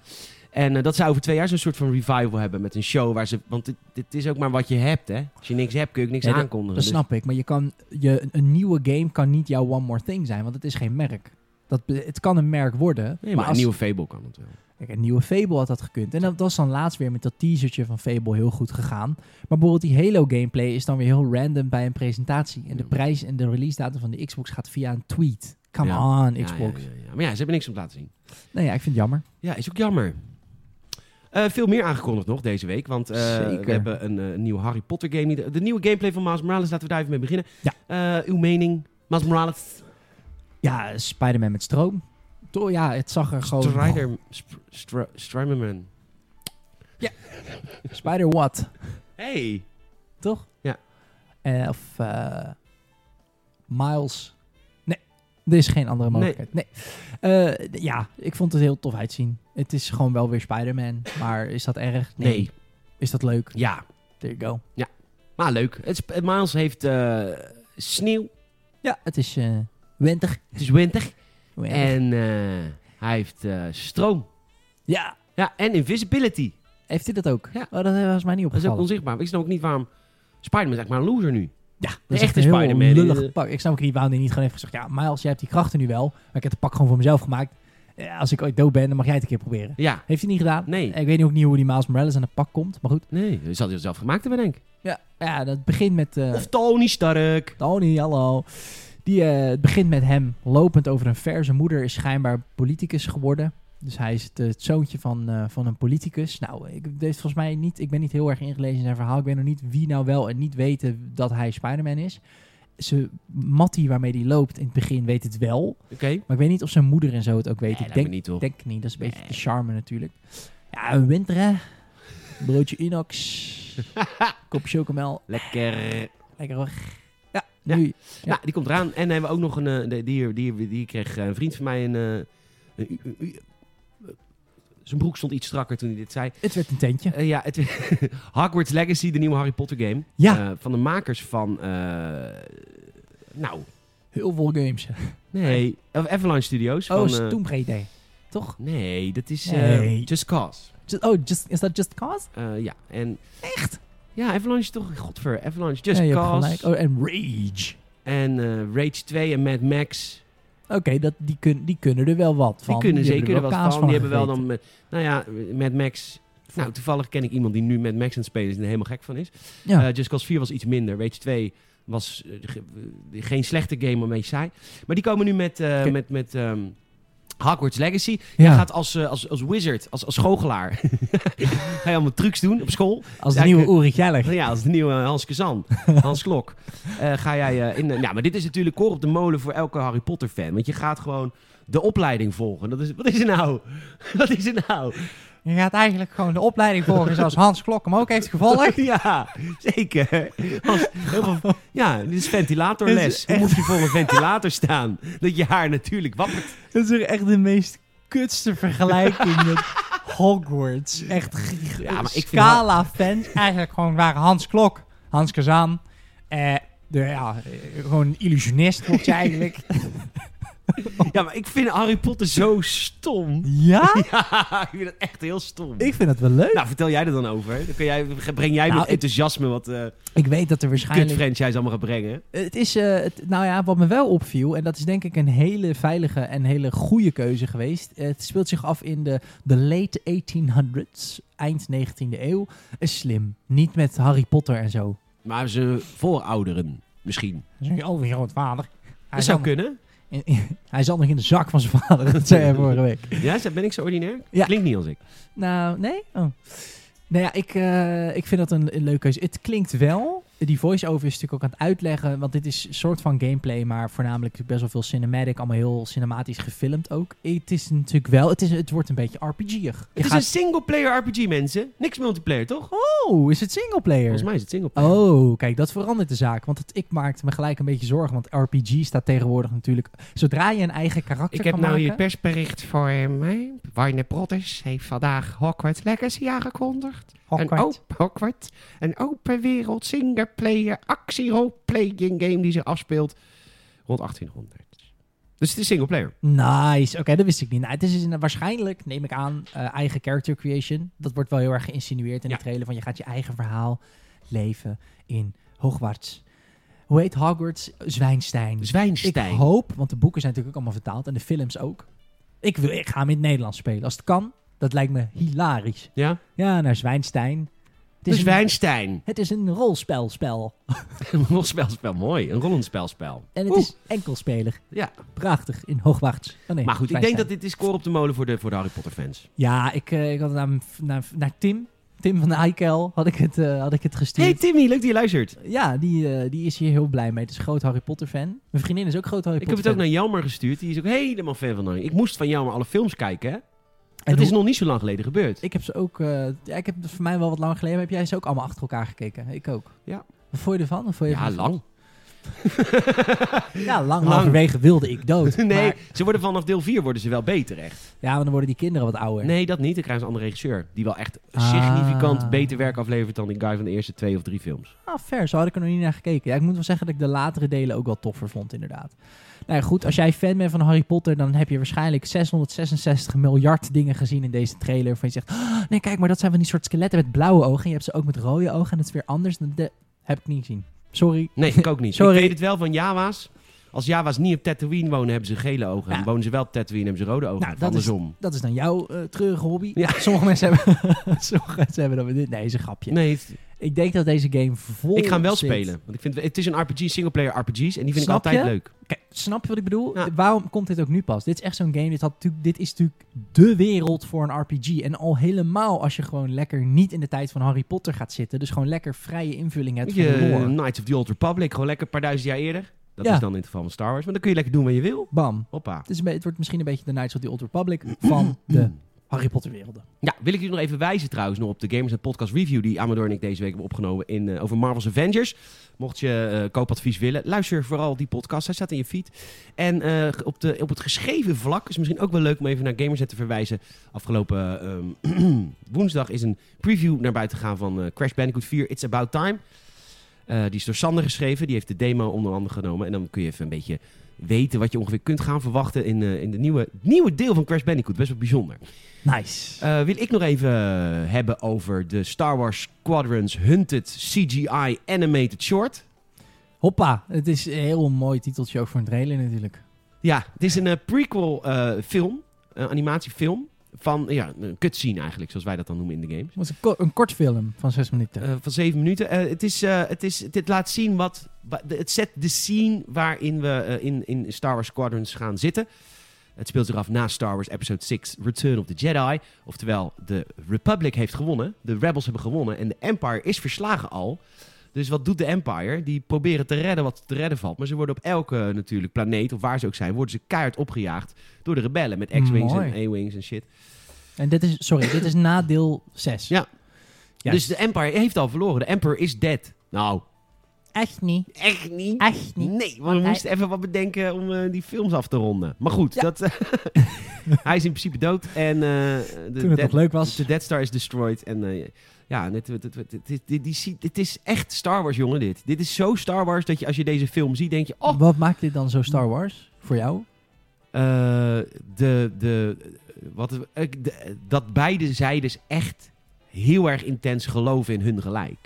[SPEAKER 2] En eh, dat zou over twee jaar zo'n soort van revival hebben met een show waar ze... Want dit, dit is ook maar wat je hebt, hè? Als je niks hebt, kun je ook niks
[SPEAKER 3] Nee, dat-
[SPEAKER 2] aankondigen. dus-
[SPEAKER 3] Dat snap ik, maar je kan, je, een- een nieuwe game kan niet jouw one more thing zijn, want het is geen merk. Dat, be- het kan een merk worden,
[SPEAKER 2] Dus, nee, maar
[SPEAKER 3] als-
[SPEAKER 2] een nieuwe Fable kan het wel.
[SPEAKER 3] Kijk, een nieuwe Fable had dat gekund. En dat was dan laatst weer met dat teasertje van Fable heel goed gegaan. Maar bijvoorbeeld die Halo gameplay is dan weer heel random bij een presentatie. En de
[SPEAKER 2] Ja.
[SPEAKER 3] prijs en de release datum van de Xbox gaat via een tweet. Come
[SPEAKER 2] Ja.
[SPEAKER 3] on,
[SPEAKER 2] Ja,
[SPEAKER 3] Xbox.
[SPEAKER 2] ja, ja, ja. Maar ja, ze hebben niks om te laten zien.
[SPEAKER 3] Nee, ja, ik vind het jammer.
[SPEAKER 2] Ja, is ook jammer. Eh, veel meer aangekondigd nog deze week. Want eh,
[SPEAKER 3] Zeker.
[SPEAKER 2] we hebben een eh, nieuwe Harry Potter game. Die- De, nieuwe gameplay van Miles Morales. Laten we daar even mee beginnen.
[SPEAKER 3] Ja.
[SPEAKER 2] Eh, uw mening, Miles Morales.
[SPEAKER 3] Ja, Spider-Man met stroom. Toch, ja, het zag er gewoon...
[SPEAKER 2] Strider... Sp- Stra- Striderman.
[SPEAKER 3] Spider what?
[SPEAKER 2] Hey.
[SPEAKER 3] Toch?
[SPEAKER 2] Ja.
[SPEAKER 3] Eh, of eh, Miles. Nee, er is geen andere
[SPEAKER 2] Nee.
[SPEAKER 3] mogelijkheid. Nee. Eh, d- ja, ik vond het heel tof uitzien. Het is gewoon wel weer Spider-Man. Maar is dat erg?
[SPEAKER 2] Nee.
[SPEAKER 3] Is dat leuk?
[SPEAKER 2] Ja.
[SPEAKER 3] There you go.
[SPEAKER 2] Maar leuk. Het, sp- Miles heeft eh, sneeuw.
[SPEAKER 3] Ja, het is eh winter.
[SPEAKER 2] Het is winter.
[SPEAKER 3] Winter.
[SPEAKER 2] En eh, hij heeft eh, stroom.
[SPEAKER 3] Ja,
[SPEAKER 2] Ja, en invisibility.
[SPEAKER 3] heeft hij dat ook?
[SPEAKER 2] Ja.
[SPEAKER 3] Oh, dat was
[SPEAKER 2] Dat
[SPEAKER 3] mij niet
[SPEAKER 2] is ook
[SPEAKER 3] opgevallen.
[SPEAKER 2] onzichtbaar. Ik snap ook niet waarom... Spider-Man is eigenlijk maar een loser nu.
[SPEAKER 3] ja, dat
[SPEAKER 2] De
[SPEAKER 3] is echt
[SPEAKER 2] echte
[SPEAKER 3] een heel
[SPEAKER 2] Spider-Man.
[SPEAKER 3] lullig pak. Ik snap ook niet waarom hij niet gewoon heeft gezegd... Ja, Miles, jij hebt die krachten nu wel. Maar ik heb het pak gewoon voor mezelf gemaakt. Eh, als ik ooit dood ben, dan mag jij het een keer proberen.
[SPEAKER 2] Ja.
[SPEAKER 3] Heeft hij niet gedaan?
[SPEAKER 2] Nee.
[SPEAKER 3] Ik weet ook niet hoe die Miles Morales aan het pak komt. Maar goed.
[SPEAKER 2] Nee, dat zal hij zelf gemaakt hebben, denk ik.
[SPEAKER 3] Ja, ja dat begint
[SPEAKER 2] (laughs)
[SPEAKER 3] met... eh,
[SPEAKER 2] Of Tony Stark.
[SPEAKER 3] Tony, hallo. Die, eh, het begint met hem lopend over een ver. Zijn moeder is schijnbaar politicus geworden. Dus hij is het, eh, het zoontje van, eh, van een politicus. Nou, ik, dit is volgens mij niet, ik ben niet heel erg ingelezen in zijn verhaal. Ik weet nog niet wie nou wel en niet weten dat hij Spider-Man is. Ze, Mattie, waarmee die loopt in het begin, weet het wel.
[SPEAKER 2] Oké.
[SPEAKER 3] Maar ik weet niet of zijn moeder en zo het ook
[SPEAKER 2] Nee,
[SPEAKER 3] weet. ik
[SPEAKER 2] lijkt
[SPEAKER 3] denk,
[SPEAKER 2] me niet, toch?
[SPEAKER 3] denk het niet. Dat is een beetje
[SPEAKER 2] Nee.
[SPEAKER 3] de charme natuurlijk. Ja, een winter, hè? Broodje
[SPEAKER 2] (laughs)
[SPEAKER 3] inox. Kopje chocomel.
[SPEAKER 2] Lekker.
[SPEAKER 3] Lekker hoor. Ja,
[SPEAKER 2] Ja.
[SPEAKER 3] nu. Ja.
[SPEAKER 2] Nou, die komt eraan. En dan hebben we ook nog een... eh, de- die, die, die kreeg eh, een vriend van mij een... eh, een u- u- u- eh, zijn broek stond iets strakker toen hij dit zei.
[SPEAKER 3] Het werd een tentje.
[SPEAKER 2] Eh, ja, het, (laughs) Hogwarts Legacy, de nieuwe Harry Potter game.
[SPEAKER 3] Ja.
[SPEAKER 2] Eh, van de makers van... eh, nou,
[SPEAKER 3] Heel veel games.
[SPEAKER 2] nee. Of Avalanche Studios.
[SPEAKER 3] Oh,
[SPEAKER 2] van,
[SPEAKER 3] is
[SPEAKER 2] eh,
[SPEAKER 3] Tomb Raider. Toch?
[SPEAKER 2] Nee, dat is eh,
[SPEAKER 3] Nee.
[SPEAKER 2] Just Cause.
[SPEAKER 3] Just- oh, just, is dat Just Cause?
[SPEAKER 2] Eh, ja, en...
[SPEAKER 3] Echt?
[SPEAKER 2] Ja, Avalanche toch? Godver, Avalanche, Just
[SPEAKER 3] Ja, je hebt
[SPEAKER 2] Cause.
[SPEAKER 3] gelijk. Oh, en Rage.
[SPEAKER 2] En eh, Rage 2 en Mad Max.
[SPEAKER 3] Oké, dat die, kun, die kunnen er wel wat van.
[SPEAKER 2] die kunnen
[SPEAKER 3] hebben
[SPEAKER 2] zeker
[SPEAKER 3] er
[SPEAKER 2] wel
[SPEAKER 3] kaas
[SPEAKER 2] wat van. Die hebben wel
[SPEAKER 3] gegeten.
[SPEAKER 2] dan... Met, nou ja, met Max... Nou, toevallig ken ik iemand die nu met Max aan het spelen is en er helemaal gek van is.
[SPEAKER 3] Ja.
[SPEAKER 2] Eh, Just Cause 4 was iets minder. Rage 2 was eh, ge- eh, geen slechte game, maar een beetje saai. Maar die komen nu met, eh,
[SPEAKER 3] Oké.
[SPEAKER 2] met, met ehm, Hogwarts Legacy.
[SPEAKER 3] Ja.
[SPEAKER 2] Hij gaat als, eh, als, als wizard, als, als goochelaar. (laughs) Ga je allemaal trucs doen op school.
[SPEAKER 3] Als de
[SPEAKER 2] Ja, ik-
[SPEAKER 3] nieuwe Ulrich
[SPEAKER 2] (laughs)
[SPEAKER 3] Jeller.
[SPEAKER 2] Ja, als de nieuwe Hans
[SPEAKER 3] (laughs)
[SPEAKER 2] Kazan, Hans Klok. Eh, ga jij eh, in. de- ja, maar dit is natuurlijk koor op de molen voor elke Harry Potter fan. Want je gaat gewoon de opleiding volgen. Dat is, wat is er nou? (laughs) Wat is er nou?
[SPEAKER 3] Je gaat eigenlijk gewoon de opleiding volgen zoals Hans Klok hem ook heeft
[SPEAKER 2] (laughs)
[SPEAKER 3] gevolgd.
[SPEAKER 2] Ja, zeker. Als- heel veel- ja, dit is
[SPEAKER 3] Dit
[SPEAKER 2] ventilatorles.
[SPEAKER 3] is
[SPEAKER 2] Hoe moet je voor een ventilator staan? Dat je haar natuurlijk wappert.
[SPEAKER 3] (laughs) Dat is toch echt de meest kutste vergelijking met Hogwarts. Echt gig-
[SPEAKER 2] Ja, maar ik vind
[SPEAKER 3] Scala fans eigenlijk gewoon waren Hans Klok, Hans Kazaan. Eh, de, ja, eh, gewoon een illusionist word je eigenlijk.
[SPEAKER 2] Ja, maar ik vind Harry Potter zo stom. (laughs)
[SPEAKER 3] ja?
[SPEAKER 2] Ja, ik vind dat echt heel stom.
[SPEAKER 3] (laughs) Ik vind dat wel leuk.
[SPEAKER 2] Nou, vertel jij er dan over. Dan kun jij, breng jij
[SPEAKER 3] Nou,
[SPEAKER 2] met
[SPEAKER 3] ik-
[SPEAKER 2] enthousiasme wat eh
[SPEAKER 3] ik weet dat
[SPEAKER 2] kut
[SPEAKER 3] er waarschijnlijk...
[SPEAKER 2] franchise allemaal gaat brengen.
[SPEAKER 3] Het is, eh, het- nou ja, wat me wel opviel, en dat is denk ik een hele veilige en hele goede keuze geweest. Eh, Het speelt zich af in de, de late 1800s, eind 19e eeuw. Is slim. Niet met Harry Potter en zo.
[SPEAKER 2] Maar ze voorouderen misschien.
[SPEAKER 3] Dat is over grootvader. Hij
[SPEAKER 2] dat zou kunnen.
[SPEAKER 3] (laughs) Hij zat nog in de zak van zijn vader, dat zei hij (laughs) vorige week.
[SPEAKER 2] Ja, ze- ben ik zo ordinair?
[SPEAKER 3] Ja.
[SPEAKER 2] Klinkt niet als ik.
[SPEAKER 3] Nou, nee? Oh. Nou ja, ik, eh, ik vind dat een, een leuke keuze. Het klinkt wel, die voice-over is natuurlijk ook aan het uitleggen, want dit is een soort van gameplay, maar voornamelijk natuurlijk best wel veel cinematic, allemaal heel cinematisch gefilmd ook. Het is natuurlijk wel, het, is, het wordt een beetje RPG'ig. Je
[SPEAKER 2] Het is
[SPEAKER 3] gaat-
[SPEAKER 2] een single-player RPG, mensen. Niks multiplayer, toch?
[SPEAKER 3] Oh, is het singleplayer?
[SPEAKER 2] Volgens mij is het singleplayer.
[SPEAKER 3] Oh, kijk, dat verandert de zaak. Want het, ik maakte me gelijk een beetje zorgen. Want RPG staat tegenwoordig natuurlijk... Zodra je een eigen karakter
[SPEAKER 1] Ik heb
[SPEAKER 3] kan
[SPEAKER 1] nou
[SPEAKER 3] maken...
[SPEAKER 1] hier het persbericht voor eh, mij. Warner Brothers heeft vandaag Hogwarts Legacy aangekondigd. Een,
[SPEAKER 3] Hogwarts.
[SPEAKER 1] open, Hogwarts, een open wereld singleplayer actie roleplaying game die zich afspeelt rond 1800.
[SPEAKER 2] Dus het is singleplayer.
[SPEAKER 3] Nice. Oké, dat wist ik niet. Nou, het is dus inderdaad waarschijnlijk, neem ik aan, eh, eigen character creation. Dat wordt wel heel erg geïnsinueerd in
[SPEAKER 2] Ja.
[SPEAKER 3] de trailer. Van je gaat je eigen verhaal leven in Hogwarts. Hoe heet Hogwarts? Zwijnstein.
[SPEAKER 2] Zwijnstein.
[SPEAKER 3] Ik hoop, want de boeken zijn natuurlijk ook allemaal vertaald en de films ook. Ik, wil, ik ga hem in het Nederlands spelen. Als het kan, dat lijkt me hilarisch.
[SPEAKER 2] Ja?
[SPEAKER 3] Ja, naar Zwijnstein. Het
[SPEAKER 2] dus
[SPEAKER 3] een-
[SPEAKER 2] Wijnstein.
[SPEAKER 3] Het is een rolspelspel.
[SPEAKER 2] (laughs) een rolspelspel, mooi. Een rollenspelspel.
[SPEAKER 3] En het
[SPEAKER 2] Oeh.
[SPEAKER 3] is enkelspeler.
[SPEAKER 2] Ja.
[SPEAKER 3] Prachtig in Hogwarts. Oh nee,
[SPEAKER 2] Maar goed, ik
[SPEAKER 3] Zwijnstein.
[SPEAKER 2] denk dat dit is koor op de molen voor de, voor de Harry Potter fans.
[SPEAKER 3] Ja, ik, eh, ik had het naar, naar, naar Tim. Tim van de Eikel had ik het, eh, had ik het
[SPEAKER 2] Hey
[SPEAKER 3] gestuurd.
[SPEAKER 2] Timmy, leuk dat je luistert.
[SPEAKER 3] Ja, die, eh, die is hier heel blij mee. Het is een groot Harry Potter fan. Mijn vriendin is ook groot Harry
[SPEAKER 2] Ik heb
[SPEAKER 3] Potter
[SPEAKER 2] het ook naar Jelmer gestuurd. Die is ook helemaal fan van Harry. Ik moest van Jelmer alle films kijken. hè.
[SPEAKER 3] En
[SPEAKER 2] Dat is
[SPEAKER 3] hoe-
[SPEAKER 2] nog niet zo lang geleden gebeurd.
[SPEAKER 3] Ik heb ze ook... eh, ja, ik heb het voor mij wel wat lang geleden. maar Heb jij ze ook allemaal achter elkaar gekeken? Ik ook.
[SPEAKER 2] Ja.
[SPEAKER 3] Wat vond je ervan? Wat vond je
[SPEAKER 2] Ja,
[SPEAKER 3] ervan? (laughs)
[SPEAKER 2] lang.
[SPEAKER 3] Ja, lang.
[SPEAKER 2] Lang.
[SPEAKER 3] Halverwege wilde ik dood.
[SPEAKER 2] (laughs) Nee,
[SPEAKER 3] Maar-
[SPEAKER 2] ze worden vanaf deel 4 worden ze wel beter, echt.
[SPEAKER 3] ja, maar dan worden die kinderen wat ouder.
[SPEAKER 2] Nee, dat niet. Dan krijgen ze een andere regisseur. Die wel echt
[SPEAKER 3] Ah.
[SPEAKER 2] significant beter werk aflevert dan die guy van de eerste twee of drie films.
[SPEAKER 3] Ah, fair. Zo had ik er nog niet naar gekeken. Ja, ik moet wel zeggen dat ik de latere delen ook wel toffer vond, inderdaad. Nou ja, goed. Als jij fan bent van Harry Potter, dan heb je waarschijnlijk 666 miljard dingen gezien in deze trailer. Waarvan je zegt, "Ah, nee, kijk, maar dat zijn van die soort skeletten met blauwe ogen. En je hebt ze ook met rode ogen en het is weer anders. Dan de... Heb ik niet gezien. Sorry.
[SPEAKER 2] Nee, ik
[SPEAKER 3] (laughs)
[SPEAKER 2] ook niet.
[SPEAKER 3] Sorry.
[SPEAKER 2] Ik weet het wel van Jawa's. Als Jawa's niet op Tatooine wonen, hebben ze gele ogen.
[SPEAKER 3] Ja.
[SPEAKER 2] En wonen ze wel op Tatooine, hebben ze rode ogen.
[SPEAKER 3] Nou,
[SPEAKER 2] Of
[SPEAKER 3] dat is-
[SPEAKER 2] andersom.
[SPEAKER 3] Dat is dan jouw eh, treurige hobby.
[SPEAKER 2] Ja.
[SPEAKER 3] Sommige mensen hebben, (laughs) sommige mensen hebben dan weer dit. Nee, is een grapje.
[SPEAKER 2] Nee, het-
[SPEAKER 3] Ik denk dat deze game vol
[SPEAKER 2] ik ga hem wel
[SPEAKER 3] zit.
[SPEAKER 2] spelen. Want ik vind, het is een RPG, singleplayer RPG's. En die vind ik
[SPEAKER 3] Snap
[SPEAKER 2] altijd
[SPEAKER 3] je?
[SPEAKER 2] leuk.
[SPEAKER 3] Kijk, snap je wat ik bedoel?
[SPEAKER 2] Ja.
[SPEAKER 3] Waarom komt dit ook nu pas? Dit is echt zo'n game. Dit, had, natuurlijk- dit is natuurlijk de wereld voor een RPG. En al helemaal als je gewoon lekker niet in de tijd van Harry Potter gaat zitten. Dus gewoon lekker vrije invulling hebt van de
[SPEAKER 2] Je,
[SPEAKER 3] lore.
[SPEAKER 2] Knights of the Old Republic, gewoon lekker een paar duizend jaar eerder. Dat
[SPEAKER 3] Ja.
[SPEAKER 2] is dan in het geval van Star Wars. Maar dan kun je lekker doen wat je wil.
[SPEAKER 3] Bam.
[SPEAKER 2] Hoppa.
[SPEAKER 3] Het, is een be- het wordt misschien een beetje de Knights of the Old Republic van de Harry Potter werelden.
[SPEAKER 2] Ja, wil ik jullie nog even wijzen trouwens nog op de Gamers en Podcast Review die Amador en ik deze week hebben opgenomen in, eh, over Marvel's Avengers. Mocht je eh, koopadvies willen, luister vooral die podcast. Hij staat in je feed. En eh, op, de, op het geschreven vlak is misschien ook wel leuk om even naar Gamers te verwijzen. Afgelopen ehm, (clears throat) woensdag is een preview naar buiten gegaan van eh, Crash Bandicoot 4 It's About Time. Eh, die is door Sander geschreven. Die heeft de demo onder andere genomen. En dan kun je even een beetje weten wat je ongeveer kunt gaan verwachten in, eh in de nieuwe, nieuwe deel van Crash Bandicoot. Best wel bijzonder.
[SPEAKER 3] Nice.
[SPEAKER 2] Eh, wil ik nog even eh, hebben over de Star Wars Squadrons Hunted CGI Animated Short.
[SPEAKER 3] Hoppa. Het is een heel mooi titeltje ook voor een trailer natuurlijk.
[SPEAKER 2] Ja, het is een eh, prequel eh, film, een animatiefilm van ja, een cutscene eigenlijk, zoals wij dat dan noemen in de games.
[SPEAKER 3] Het was een, ko- een kort film van zes minuten.
[SPEAKER 2] Eh, van zeven minuten. Eh, het, is, eh, het, is, dit laat zien wat. wa- de- Het zet de scene waarin we eh, in, in Star Wars Squadrons gaan zitten. Het speelt zich af na Star Wars Episode 6 Return of the Jedi. Oftewel, de Republic heeft gewonnen. De Rebels hebben gewonnen. En de Empire is verslagen al. Dus wat doet de Empire? Die proberen te redden wat te redden valt. Maar ze worden op elke eh, natuurlijk planeet, of waar ze ook zijn, worden ze keihard opgejaagd door de rebellen. Met X-Wings en
[SPEAKER 3] Mooi.
[SPEAKER 2] A-Wings en shit.
[SPEAKER 3] En dit is, sorry, dit is na deel 6.
[SPEAKER 2] Ja.
[SPEAKER 3] Juist.
[SPEAKER 2] Dus de Empire heeft al verloren. De Emperor is dead. Nou,
[SPEAKER 3] Echt niet.
[SPEAKER 2] echt niet.
[SPEAKER 3] Echt
[SPEAKER 2] Nee, want we
[SPEAKER 3] hij-
[SPEAKER 2] moesten even wat bedenken om eh, die films af te ronden. Maar goed, dat, eh, (laughs) hij is in principe dood. En eh, de,
[SPEAKER 3] Toen het
[SPEAKER 2] Dead-
[SPEAKER 3] nog leuk was.
[SPEAKER 2] de Death Star is destroyed. En eh, ja, dit, dit, dit, dit- dit- die- die ziet- dit is echt Star Wars, jongen, dit. Dit is zo Star Wars dat je als je deze film ziet, denk je... Oh,
[SPEAKER 3] Wat maakt dit dan zo Star Wars voor jou?
[SPEAKER 2] eh, de, de, wat, eh, de- dat beide zijdes echt heel erg intens geloven in hun gelijk.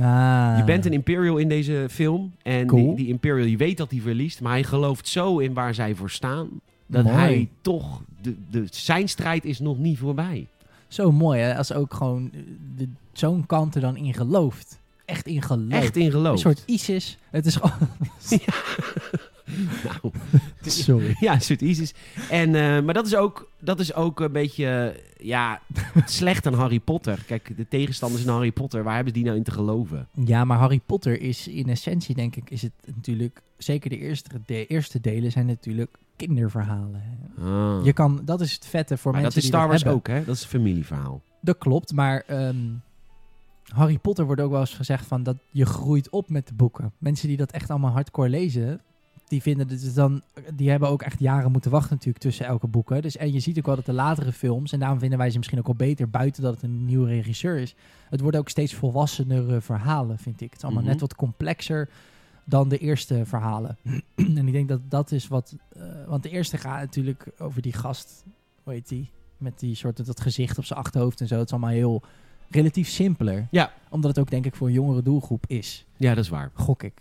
[SPEAKER 3] Ah.
[SPEAKER 2] Je bent een Imperial in deze film. En
[SPEAKER 3] Cool.
[SPEAKER 2] die, die Imperial, je weet dat hij verliest. Maar hij gelooft zo in waar zij voor staan. Dat
[SPEAKER 3] Mooi.
[SPEAKER 2] hij toch... De, de, zijn strijd is nog niet voorbij.
[SPEAKER 3] Zo mooi, hè? Als ook gewoon eh, de- zo'n kant er dan in gelooft. Echt in gelooft.
[SPEAKER 2] Echt in
[SPEAKER 3] Een
[SPEAKER 2] geloof.
[SPEAKER 3] soort ISIS. Het is gewoon...
[SPEAKER 2] (laughs) Nou,
[SPEAKER 3] Sorry.
[SPEAKER 2] ja, een soort ISIS. En, eh, maar dat is, ook, dat is ook een beetje... eh, ja, (laughs) slecht aan Harry Potter. Kijk, de tegenstanders in Harry Potter. Waar hebben die nou in te geloven?
[SPEAKER 3] Ja, maar Harry Potter is in essentie, denk ik, is het natuurlijk... Zeker de eerste, de eerste delen zijn natuurlijk kinderverhalen. hè.
[SPEAKER 2] Ah.
[SPEAKER 3] Je kan, dat is het vette voor
[SPEAKER 2] maar dat
[SPEAKER 3] mensen
[SPEAKER 2] is
[SPEAKER 3] die
[SPEAKER 2] Star Wars
[SPEAKER 3] hebben.
[SPEAKER 2] ook, hè? Dat is een familieverhaal.
[SPEAKER 3] Dat klopt, maar ehm, Harry Potter wordt ook wel eens gezegd van dat je groeit op met de boeken. Mensen die dat echt allemaal hardcore lezen, die vinden dat het dan, die hebben ook echt jaren moeten wachten natuurlijk tussen elke boeken. Dus en je ziet ook wel dat de latere films en daarom vinden wij ze misschien ook al beter buiten dat het een nieuwe regisseur is. Het worden ook steeds volwassenere verhalen, vind ik. Het is allemaal
[SPEAKER 2] Mhm.
[SPEAKER 3] net wat complexer dan de eerste verhalen. (clears throat) en ik denk dat dat is wat, eh, want de eerste gaat natuurlijk over die gast, hoe heet die? Met die soort dat gezicht op zijn achterhoofd en zo. Het is allemaal heel relatief simpeler.
[SPEAKER 2] Ja.
[SPEAKER 3] Omdat het ook denk ik voor een jongere doelgroep is.
[SPEAKER 2] Ja, dat is waar.
[SPEAKER 3] Gok ik.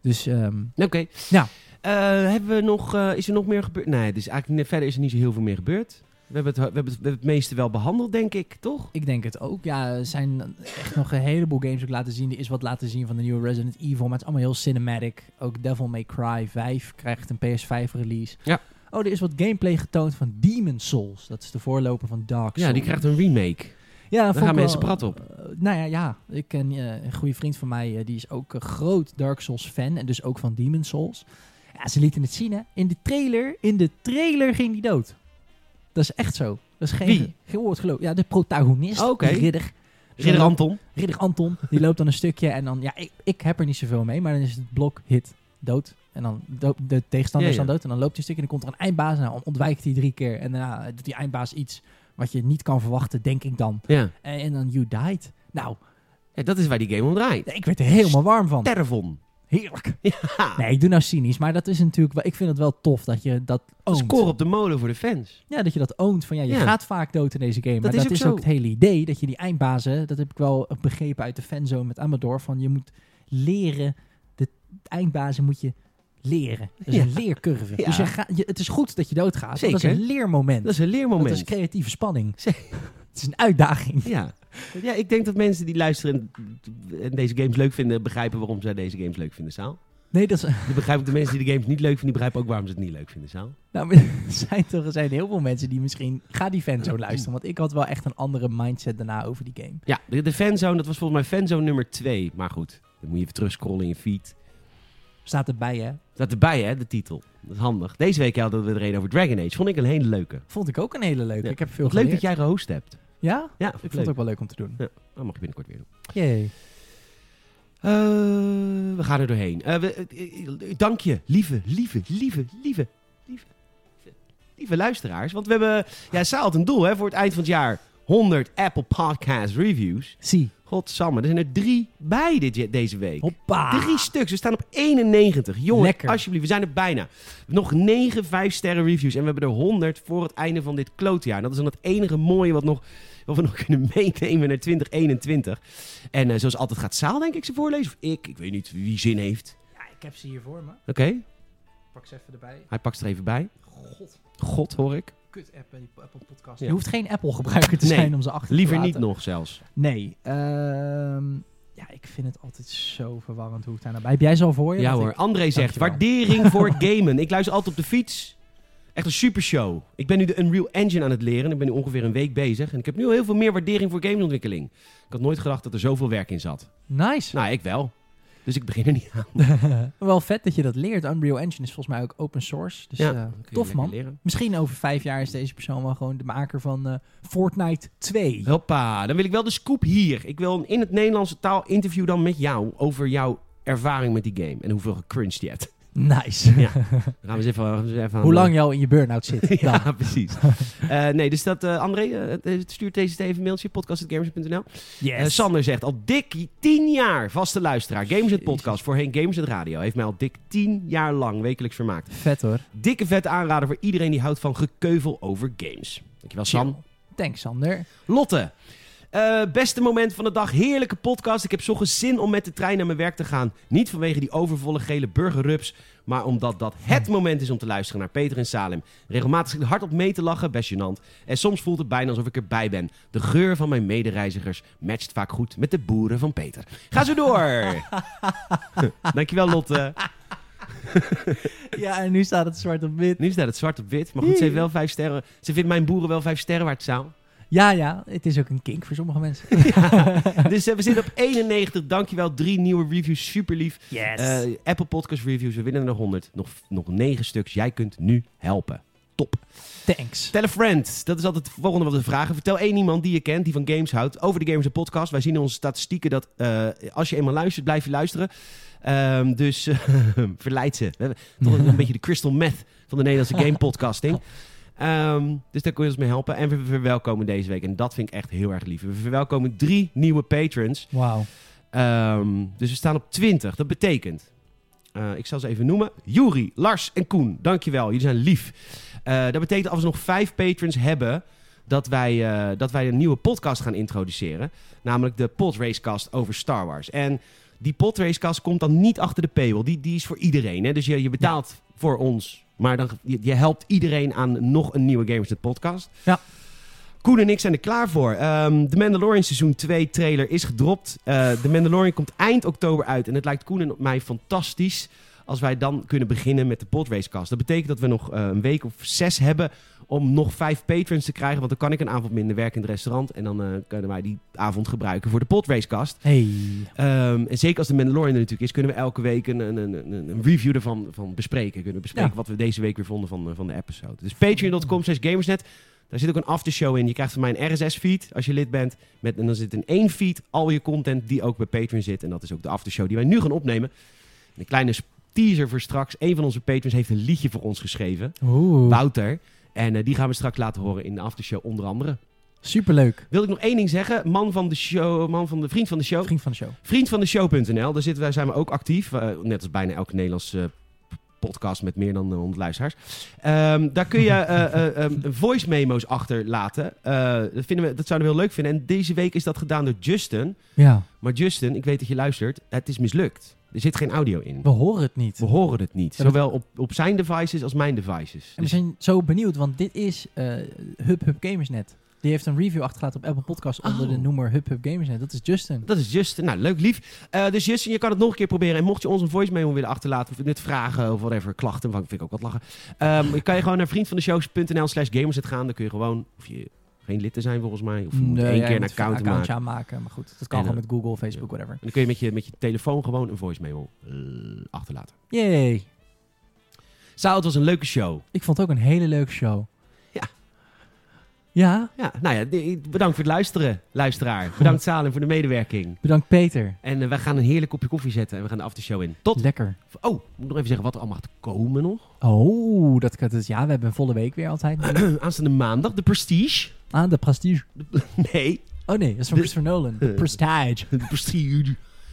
[SPEAKER 3] Dus ehm,
[SPEAKER 2] Oké.
[SPEAKER 3] Ja.
[SPEAKER 2] Eh, hebben we nog, eh, is er nog meer gebeurd? Nee, dus eigenlijk ne- verder is er niet zo heel veel meer gebeurd. We hebben, het, we, hebben het, we hebben het meeste wel behandeld, denk ik, toch?
[SPEAKER 3] ik denk het ook. Ja, er zijn echt nog een heleboel games ook laten zien. Er is wat laten zien van de nieuwe Resident Evil. Maar het is allemaal heel cinematic. Ook Devil May Cry 5 krijgt een PS5 release.
[SPEAKER 2] Ja.
[SPEAKER 3] Oh, er is wat gameplay getoond van Demon Souls. Dat is de voorloper van Dark Souls.
[SPEAKER 2] Ja, die krijgt een remake.
[SPEAKER 3] Ja,
[SPEAKER 2] Daar
[SPEAKER 3] vond
[SPEAKER 2] gaan
[SPEAKER 3] ik wel-
[SPEAKER 2] mensen prat op.
[SPEAKER 3] Eh, nou ja, ja. Ik ken eh, een goede vriend van mij, eh, die is ook een groot Dark Souls fan en dus ook van Demon Souls. Ja, ze lieten het zien, hè. In de trailer, in de trailer ging die dood. Dat is echt zo. Dat is geen,
[SPEAKER 2] Wie?
[SPEAKER 3] geen woord geloof. Ja, de protagonist,
[SPEAKER 2] Oké.
[SPEAKER 3] de ridder. Eh,
[SPEAKER 2] Ridder Anton.
[SPEAKER 3] Ridder Anton, die loopt dan een stukje en dan, ja, ik, ik heb er niet zoveel mee, maar dan is het blok, hit, dood. En dan do- de tegenstander
[SPEAKER 2] Ja, ja.
[SPEAKER 3] is dan dood en dan loopt hij een stukje en dan komt er een eindbaas en dan ontwijkt hij drie keer. En daarna doet die eindbaas iets wat je niet kan verwachten, denk ik dan.
[SPEAKER 2] Ja.
[SPEAKER 3] Eh, En, en dan You Died. Nou,
[SPEAKER 2] Ja, dat is waar die game om draait.
[SPEAKER 3] ik werd er helemaal warm van.
[SPEAKER 2] Terravon.
[SPEAKER 3] Heerlijk.
[SPEAKER 2] Ja.
[SPEAKER 3] Nee, ik doe nou cynisch, maar dat is natuurlijk wel... Ik vind het wel tof dat je Oh, dat oont.
[SPEAKER 2] Score op de molen voor de fans.
[SPEAKER 3] Ja, dat je dat oont. Van ja, je
[SPEAKER 2] Ja.
[SPEAKER 3] gaat vaak dood in deze game.
[SPEAKER 2] Dat
[SPEAKER 3] maar
[SPEAKER 2] is
[SPEAKER 3] dat
[SPEAKER 2] ook
[SPEAKER 3] is
[SPEAKER 2] zo.
[SPEAKER 3] ook het hele idee. Dat je die eindbazen... Dat heb ik wel begrepen uit de fanzone met Amador. Van je moet leren... De eindbazen moet je leren. Dat is
[SPEAKER 2] Ja.
[SPEAKER 3] een leercurve.
[SPEAKER 2] Ja.
[SPEAKER 3] Dus je gaat je, het is goed dat je doodgaat. want Dat is
[SPEAKER 2] Zeker.
[SPEAKER 3] een leermoment.
[SPEAKER 2] Dat is een leermoment.
[SPEAKER 3] Dat is creatieve spanning.
[SPEAKER 2] Ze-
[SPEAKER 3] het is een uitdaging.
[SPEAKER 2] Ja. ja, ik denk dat mensen die luisteren en- en deze games leuk vinden, begrijpen waarom zij deze games leuk vinden, Saal.
[SPEAKER 3] Nee, dat is...
[SPEAKER 2] Ik begrijp ook de mensen die de games niet leuk vinden, die begrijpen ook waarom ze het niet leuk vinden, Saal.
[SPEAKER 3] Nou, maar (laughs) er zijn toch er zijn heel veel mensen die misschien... Ga die fan zo luisteren. Want ik had wel echt een andere mindset daarna over die game.
[SPEAKER 2] Ja, de, de fanzone, dat was volgens mij fanzone nummer 2. Maar goed, dan moet je even terugscrollen in je feed.
[SPEAKER 3] Staat erbij, hè?
[SPEAKER 2] Staat erbij, hè, de titel. Dat is handig. Deze week hadden we het er een over Dragon Age. Vond ik een hele leuke.
[SPEAKER 3] Vond ik ook een hele leuke.
[SPEAKER 2] Ja.
[SPEAKER 3] Ik heb veel
[SPEAKER 2] Wat leuk dat
[SPEAKER 3] geleerd.
[SPEAKER 2] jij gehost hebt.
[SPEAKER 3] Ja?
[SPEAKER 2] Ja, vond
[SPEAKER 3] Ik
[SPEAKER 2] ik
[SPEAKER 3] vond
[SPEAKER 2] leuk.
[SPEAKER 3] het ook wel leuk om te doen.
[SPEAKER 2] Dat mag je binnenkort weer doen.
[SPEAKER 3] Jee.
[SPEAKER 2] Eh, we gaan er doorheen. Eh, we- eh, eh, dank je, lieve, lieve, lieve, lieve, lieve, lieve luisteraars. Want we hebben, ja, Saal had een doel hè, voor het eind van het jaar. 100 Apple Podcast Reviews.
[SPEAKER 3] Zie.
[SPEAKER 2] Godsamme, er zijn er drie bij dit, deze week.
[SPEAKER 3] Hoppa.
[SPEAKER 2] Drie stuks. We staan op 91. Jongen,
[SPEAKER 3] Ah. Lekker.
[SPEAKER 2] alsjeblieft. We zijn er bijna. Nog 9 5-sterren reviews. En we hebben er 100 voor het einde van dit klootjaar. En Dat is dan het enige mooie wat, nog, wat we nog (laughs) kunnen meenemen naar 2021. En eh, zoals altijd gaat Saal, denk ik, ze voorlezen. Of ik. Ik weet niet wie zin heeft.
[SPEAKER 3] Ja, ik heb ze hier voor me.
[SPEAKER 2] Oké,
[SPEAKER 3] Pak ze even erbij.
[SPEAKER 2] hij pakt ze er even bij.
[SPEAKER 3] God,
[SPEAKER 2] God, hoor ik.
[SPEAKER 3] kut app bij die Apple podcast.
[SPEAKER 2] Ja.
[SPEAKER 3] Je hoeft geen Apple gebruiker te
[SPEAKER 2] Nee,
[SPEAKER 3] zijn om ze achter te
[SPEAKER 2] Liever
[SPEAKER 3] laten.
[SPEAKER 2] niet nog zelfs.
[SPEAKER 3] Nee. ehm, ja, ik vind het altijd zo verwarrend hoe ik daar naar bij. Heb jij ze al voor je?
[SPEAKER 2] Oh Ja
[SPEAKER 3] Want
[SPEAKER 2] hoor,
[SPEAKER 3] ik-
[SPEAKER 2] André zegt, (laughs)
[SPEAKER 3] Dankjewel.
[SPEAKER 2] waardering voor het gamen. Ik luister altijd op de fiets. Echt een super show. Ik ben nu de Unreal Engine aan het leren. Ik ben nu ongeveer een week bezig. En ik heb nu al heel veel meer waardering voor gameontwikkeling. Ik had nooit gedacht dat er zoveel werk in zat.
[SPEAKER 3] Nice.
[SPEAKER 2] Nou, ik wel. Dus ik begin er niet aan.
[SPEAKER 3] Wel vet dat je dat leert. Unreal Engine is volgens mij ook open source. Dus
[SPEAKER 2] Ja,
[SPEAKER 3] eh, tof man.
[SPEAKER 2] Leren.
[SPEAKER 3] Misschien over vijf jaar is deze persoon wel gewoon de maker van eh, Fortnite 2.
[SPEAKER 2] Hoppa, dan wil ik wel de scoop hier. Ik wil een in het Nederlandse taal interview dan met jou over jouw ervaring met die game. En hoeveel gecrunched je hebt.
[SPEAKER 3] Nice.
[SPEAKER 2] Ja. Dan gaan we eens even, gaan we eens even aan
[SPEAKER 3] Hoe
[SPEAKER 2] de-
[SPEAKER 3] lang jou in je burn-out zit.
[SPEAKER 2] (laughs) Ja,
[SPEAKER 3] dan. (laughs)
[SPEAKER 2] precies. Eh, nee, dus dat, eh André, eh, stuur deze even een mailtje, podcast.gamers.nl. Eh,
[SPEAKER 3] Yes.
[SPEAKER 2] Sander zegt al dik 10 jaar vaste luisteraar. Games het Podcast, voorheen Games het Radio. Heeft mij al dik 10 jaar lang wekelijks vermaakt.
[SPEAKER 3] Vet hoor.
[SPEAKER 2] Dikke vet aanrader voor iedereen die houdt van gekeuvel over games. Dankjewel, Sam.
[SPEAKER 3] Thanks Sander.
[SPEAKER 2] Lotte. Eh, beste moment van de dag, heerlijke podcast. Ik heb zo zin om met de trein naar mijn werk te gaan. Niet vanwege die overvolle gele burgerrups, maar omdat dat het moment is om te luisteren naar Peter en Salem. Regelmatig zit ik hard op mee te lachen, best gênant. En soms voelt het bijna alsof ik erbij ben. De geur van mijn medereizigers matcht vaak goed met de boeren van Peter. Ga zo door! (laughs) Dankjewel Lotte.
[SPEAKER 3] Ja, en nu staat het zwart op wit.
[SPEAKER 2] Nu staat het zwart op wit, maar goed, ze heeft wel vijf sterren. Ze vindt mijn boeren wel vijf sterren waard, Saal.
[SPEAKER 3] Ja, ja. Het is ook een kink voor sommige
[SPEAKER 2] (laughs)
[SPEAKER 3] mensen.
[SPEAKER 2] Dus eh, we zitten op 91. Dankjewel. Drie nieuwe reviews. Super lief.
[SPEAKER 3] Yes.
[SPEAKER 2] Eh, Apple Podcast Reviews. We winnen er nog 100. Nog, nog 9 stuks. Jij kunt nu helpen. Top.
[SPEAKER 3] Thanks.
[SPEAKER 2] Tell a friend. Dat is altijd het volgende wat we vragen. Vertel één iemand die je kent, die van games houdt, over de Games en Podcast. Wij zien in onze statistieken dat eh, als je eenmaal luistert, blijf je luisteren. Ehm, dus (laughs) eh, verleid ze. We hebben toch een beetje de crystal meth van de Nederlandse game podcasting. Ehm, dus daar kun je ons mee helpen. En we verwelkomen deze week. En dat vind ik echt heel erg lief. We verwelkomen drie nieuwe patrons.
[SPEAKER 3] Wauw.
[SPEAKER 2] Ehm, dus we staan op 20. Dat betekent. eh, ik zal ze even noemen. Juri, Lars en Koen, dankjewel. Jullie zijn lief. Eh, dat betekent als we nog vijf patrons hebben. Dat wij, eh, dat wij een nieuwe podcast gaan introduceren. Namelijk de Podracecast over Star Wars. En die Podracecast komt dan niet achter de paywall. Die, die is voor iedereen. Hè? Dus je, je betaalt voor ons. Maar dan, je, je helpt iedereen aan nog een nieuwe Gamersnet podcast.
[SPEAKER 3] Ja.
[SPEAKER 2] Koen en ik zijn er klaar voor. Ehm de Mandalorian seizoen 2 trailer is gedropt. Eh de Mandalorian komt eind oktober uit. En het lijkt Koen en mij fantastisch als wij dan kunnen beginnen met de podracecast. Dat betekent dat we nog eh, een week of zes hebben om nog vijf patrons te krijgen. Want dan kan ik een avond minder werken in het restaurant. En dan eh, kunnen wij die avond gebruiken voor de podracecast.
[SPEAKER 3] Hey.
[SPEAKER 2] Ehm, en zeker als de Mandalorian er natuurlijk is, kunnen we elke week een, een, een, een een review ervan van bespreken. Kunnen we bespreken
[SPEAKER 3] Ja.
[SPEAKER 2] wat we deze week weer vonden van, eh, van de episode. Dus patreon.com slash gamersnet. Daar zit ook een aftershow in. Je krijgt van mij een RSS-feed als je lid bent. Met, en dan zit in één feed al je content die ook bij Patreon zit. En dat is ook de aftershow die wij nu gaan opnemen. Een kleine s- teaser voor straks. Een van onze patrons heeft een liedje voor ons geschreven.
[SPEAKER 3] Oeh.
[SPEAKER 2] Wouter. En eh, die gaan we straks laten horen in de aftershow onder andere.
[SPEAKER 3] Superleuk.
[SPEAKER 2] Wil ik nog één ding zeggen. Man van de show, man van de vriend van de show.
[SPEAKER 3] Ging van de show.
[SPEAKER 2] Vriendvandeshow.nl, daar zitten wij, zijn we ook actief. Eh, net als bijna elke Nederlandse eh, p- podcast met meer dan eh, 100 luisteraars. Ehm, daar kun je
[SPEAKER 3] (laughs)
[SPEAKER 2] eh, eh, ehm, voice memo's achterlaten. Eh, dat, vinden we, dat zouden we heel leuk vinden. En deze week is dat gedaan door Justin.
[SPEAKER 3] Ja.
[SPEAKER 2] Maar Justin, ik weet dat je luistert, het is mislukt. Er zit geen audio in.
[SPEAKER 3] We horen het niet.
[SPEAKER 2] We horen het niet.
[SPEAKER 3] Ja, dat-
[SPEAKER 2] Zowel op, op zijn devices als mijn devices.
[SPEAKER 3] En we
[SPEAKER 2] Dus
[SPEAKER 3] zijn zo benieuwd, want dit is eh, Hub Hub Gamersnet. Die heeft een review achtergelaten op Apple Podcasts onder
[SPEAKER 2] Oh.
[SPEAKER 3] de noemer Hub Hub Gamersnet. Dat is Justin.
[SPEAKER 2] dat is Justin. Nou, leuk, lief. Eh, dus Justin, je kan het nog een keer proberen. En mocht je ons een voice memo willen achterlaten, of net vragen of whatever, klachten, want vind ik ook wat lachen. Ehm, (laughs) je kan je gewoon naar vriendvandeshows.nl slash gamerset gaan. Dan kun je gewoon, of je geen lid te zijn volgens mij, of je moet
[SPEAKER 3] Nee,
[SPEAKER 2] één
[SPEAKER 3] jij
[SPEAKER 2] keer een
[SPEAKER 3] moet
[SPEAKER 2] account
[SPEAKER 3] accountje
[SPEAKER 2] maken.
[SPEAKER 3] aanmaken. Maar goed, dat kan
[SPEAKER 2] En,
[SPEAKER 3] gewoon
[SPEAKER 2] eh,
[SPEAKER 3] met Google, Facebook, whatever.
[SPEAKER 2] En dan kun je met je, met je telefoon gewoon een voice memo eh, achterlaten.
[SPEAKER 3] Yay.
[SPEAKER 2] Saal, het was een leuke show.
[SPEAKER 3] Ik vond het ook een hele leuke show.
[SPEAKER 2] Ja.
[SPEAKER 3] Ja,
[SPEAKER 2] Ja, nou ja, d- bedankt voor het luisteren, luisteraar. Bedankt Salem voor de medewerking.
[SPEAKER 3] bedankt Peter.
[SPEAKER 2] En eh, wij gaan een heerlijk kopje koffie zetten en we gaan de aftershow in. Tot,
[SPEAKER 3] Lekker.
[SPEAKER 2] oh, moet ik nog even zeggen wat er allemaal gaat komen nog. (clears throat)
[SPEAKER 3] Oh, dat kan dus. Ja, we hebben een volle week weer
[SPEAKER 2] (coughs)
[SPEAKER 3] altijd.
[SPEAKER 2] Aanstaande maandag, de Prestige.
[SPEAKER 3] ah, de prestige.
[SPEAKER 2] (laughs) Nee,
[SPEAKER 3] Oh nee, dat is van
[SPEAKER 2] De-
[SPEAKER 3] Christopher
[SPEAKER 2] (laughs)
[SPEAKER 3] Nolan. Prestige.
[SPEAKER 2] de Prestige.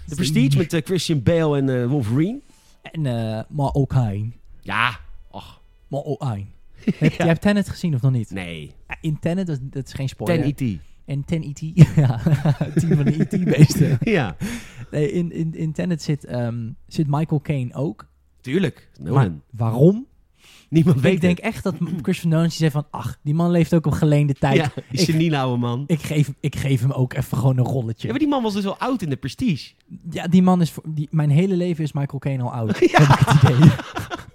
[SPEAKER 2] De Prestige met eh, Christian Bale en eh, Wolverine.
[SPEAKER 3] En eh maar ook Hein.
[SPEAKER 2] Ja, ach,
[SPEAKER 3] Maar
[SPEAKER 2] (laughs)
[SPEAKER 3] ook Hein. Heb- Jij hebt Tenet gezien of nog niet?
[SPEAKER 2] nee.
[SPEAKER 3] Ja, In Tenet, dat, dat is geen spoiler.
[SPEAKER 2] Ten E E.T.
[SPEAKER 3] En Ten E.T. (laughs) ja, team van
[SPEAKER 2] (laughs)
[SPEAKER 3] de E.T.-beesten.
[SPEAKER 2] Ja,
[SPEAKER 3] Nee, in, in, in Tenet zit, ehm, zit Michael Caine ook.
[SPEAKER 2] tuurlijk.
[SPEAKER 3] Maar
[SPEAKER 2] Nolan.
[SPEAKER 3] waarom?
[SPEAKER 2] Niemand weet
[SPEAKER 3] Ik denk echt dat Christopher Nolan die zei van... Ach, die man leeft ook op geleende tijd.
[SPEAKER 2] Ja, die
[SPEAKER 3] ik,
[SPEAKER 2] seniele oude man.
[SPEAKER 3] ik, geef, ik geef hem ook even gewoon een
[SPEAKER 2] Ja,
[SPEAKER 3] rolletje. Ja,
[SPEAKER 2] maar die man was dus al oud in de Prestige. (laughs)
[SPEAKER 3] (laughs) die man is... voor- Die, mijn hele leven is Michael Caine al oud. Heb ik het idee.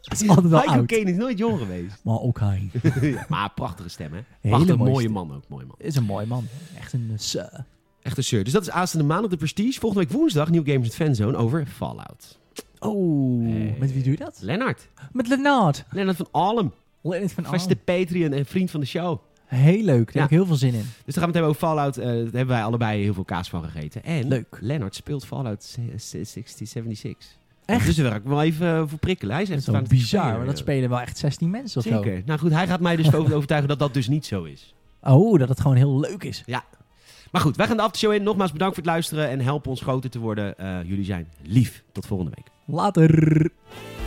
[SPEAKER 3] Het is altijd wel
[SPEAKER 2] Michael
[SPEAKER 3] oud.
[SPEAKER 2] Caine is nooit jong geweest.
[SPEAKER 3] Maar ook hij.
[SPEAKER 2] (laughs) Ja, maar prachtige stem, hè? Prachtig,
[SPEAKER 3] mooie
[SPEAKER 2] mooie,
[SPEAKER 3] stem.
[SPEAKER 2] man ook, mooie man.
[SPEAKER 3] Is een mooi man. Echt een eh, sir.
[SPEAKER 2] Echt een shirt. Dus dat is aanstaande maand op de Prestige. Volgende week woensdag, New Games at Fanzone over Fallout.
[SPEAKER 3] Oh,
[SPEAKER 2] Hey.
[SPEAKER 3] met wie doe je dat?
[SPEAKER 2] Lennart.
[SPEAKER 3] Met Lennart.
[SPEAKER 2] Lennart van Alem.
[SPEAKER 3] Lennart van
[SPEAKER 2] Vaste
[SPEAKER 3] Arm.
[SPEAKER 2] Patreon en vriend van de show.
[SPEAKER 3] Heel leuk. Daar
[SPEAKER 2] Ja.
[SPEAKER 3] heb ik heel veel zin in.
[SPEAKER 2] Dus dan gaan we het hebben over Fallout. Eh, daar hebben wij allebei heel veel kaas van gegeten. En
[SPEAKER 3] Leuk.
[SPEAKER 2] Lennart speelt Fallout 6076.
[SPEAKER 3] Echt?
[SPEAKER 2] Dus daar wil ik wel even eh, voor prikkelen. Hij is
[SPEAKER 3] Dat
[SPEAKER 2] echt
[SPEAKER 3] is wel
[SPEAKER 2] aan het
[SPEAKER 3] bizar.
[SPEAKER 2] spelen.
[SPEAKER 3] Maar dat spelen wel echt 16 mensen of zo.
[SPEAKER 2] Zeker. Nou goed, hij gaat mij
[SPEAKER 3] (laughs)
[SPEAKER 2] dus over overtuigen dat dat dus niet zo is.
[SPEAKER 3] Oh, dat het gewoon heel leuk is.
[SPEAKER 2] Maar goed, wij gaan de aftershow in. Nogmaals bedankt voor het luisteren en help ons groter te worden. Eh, jullie zijn lief. Tot volgende week.
[SPEAKER 3] Later.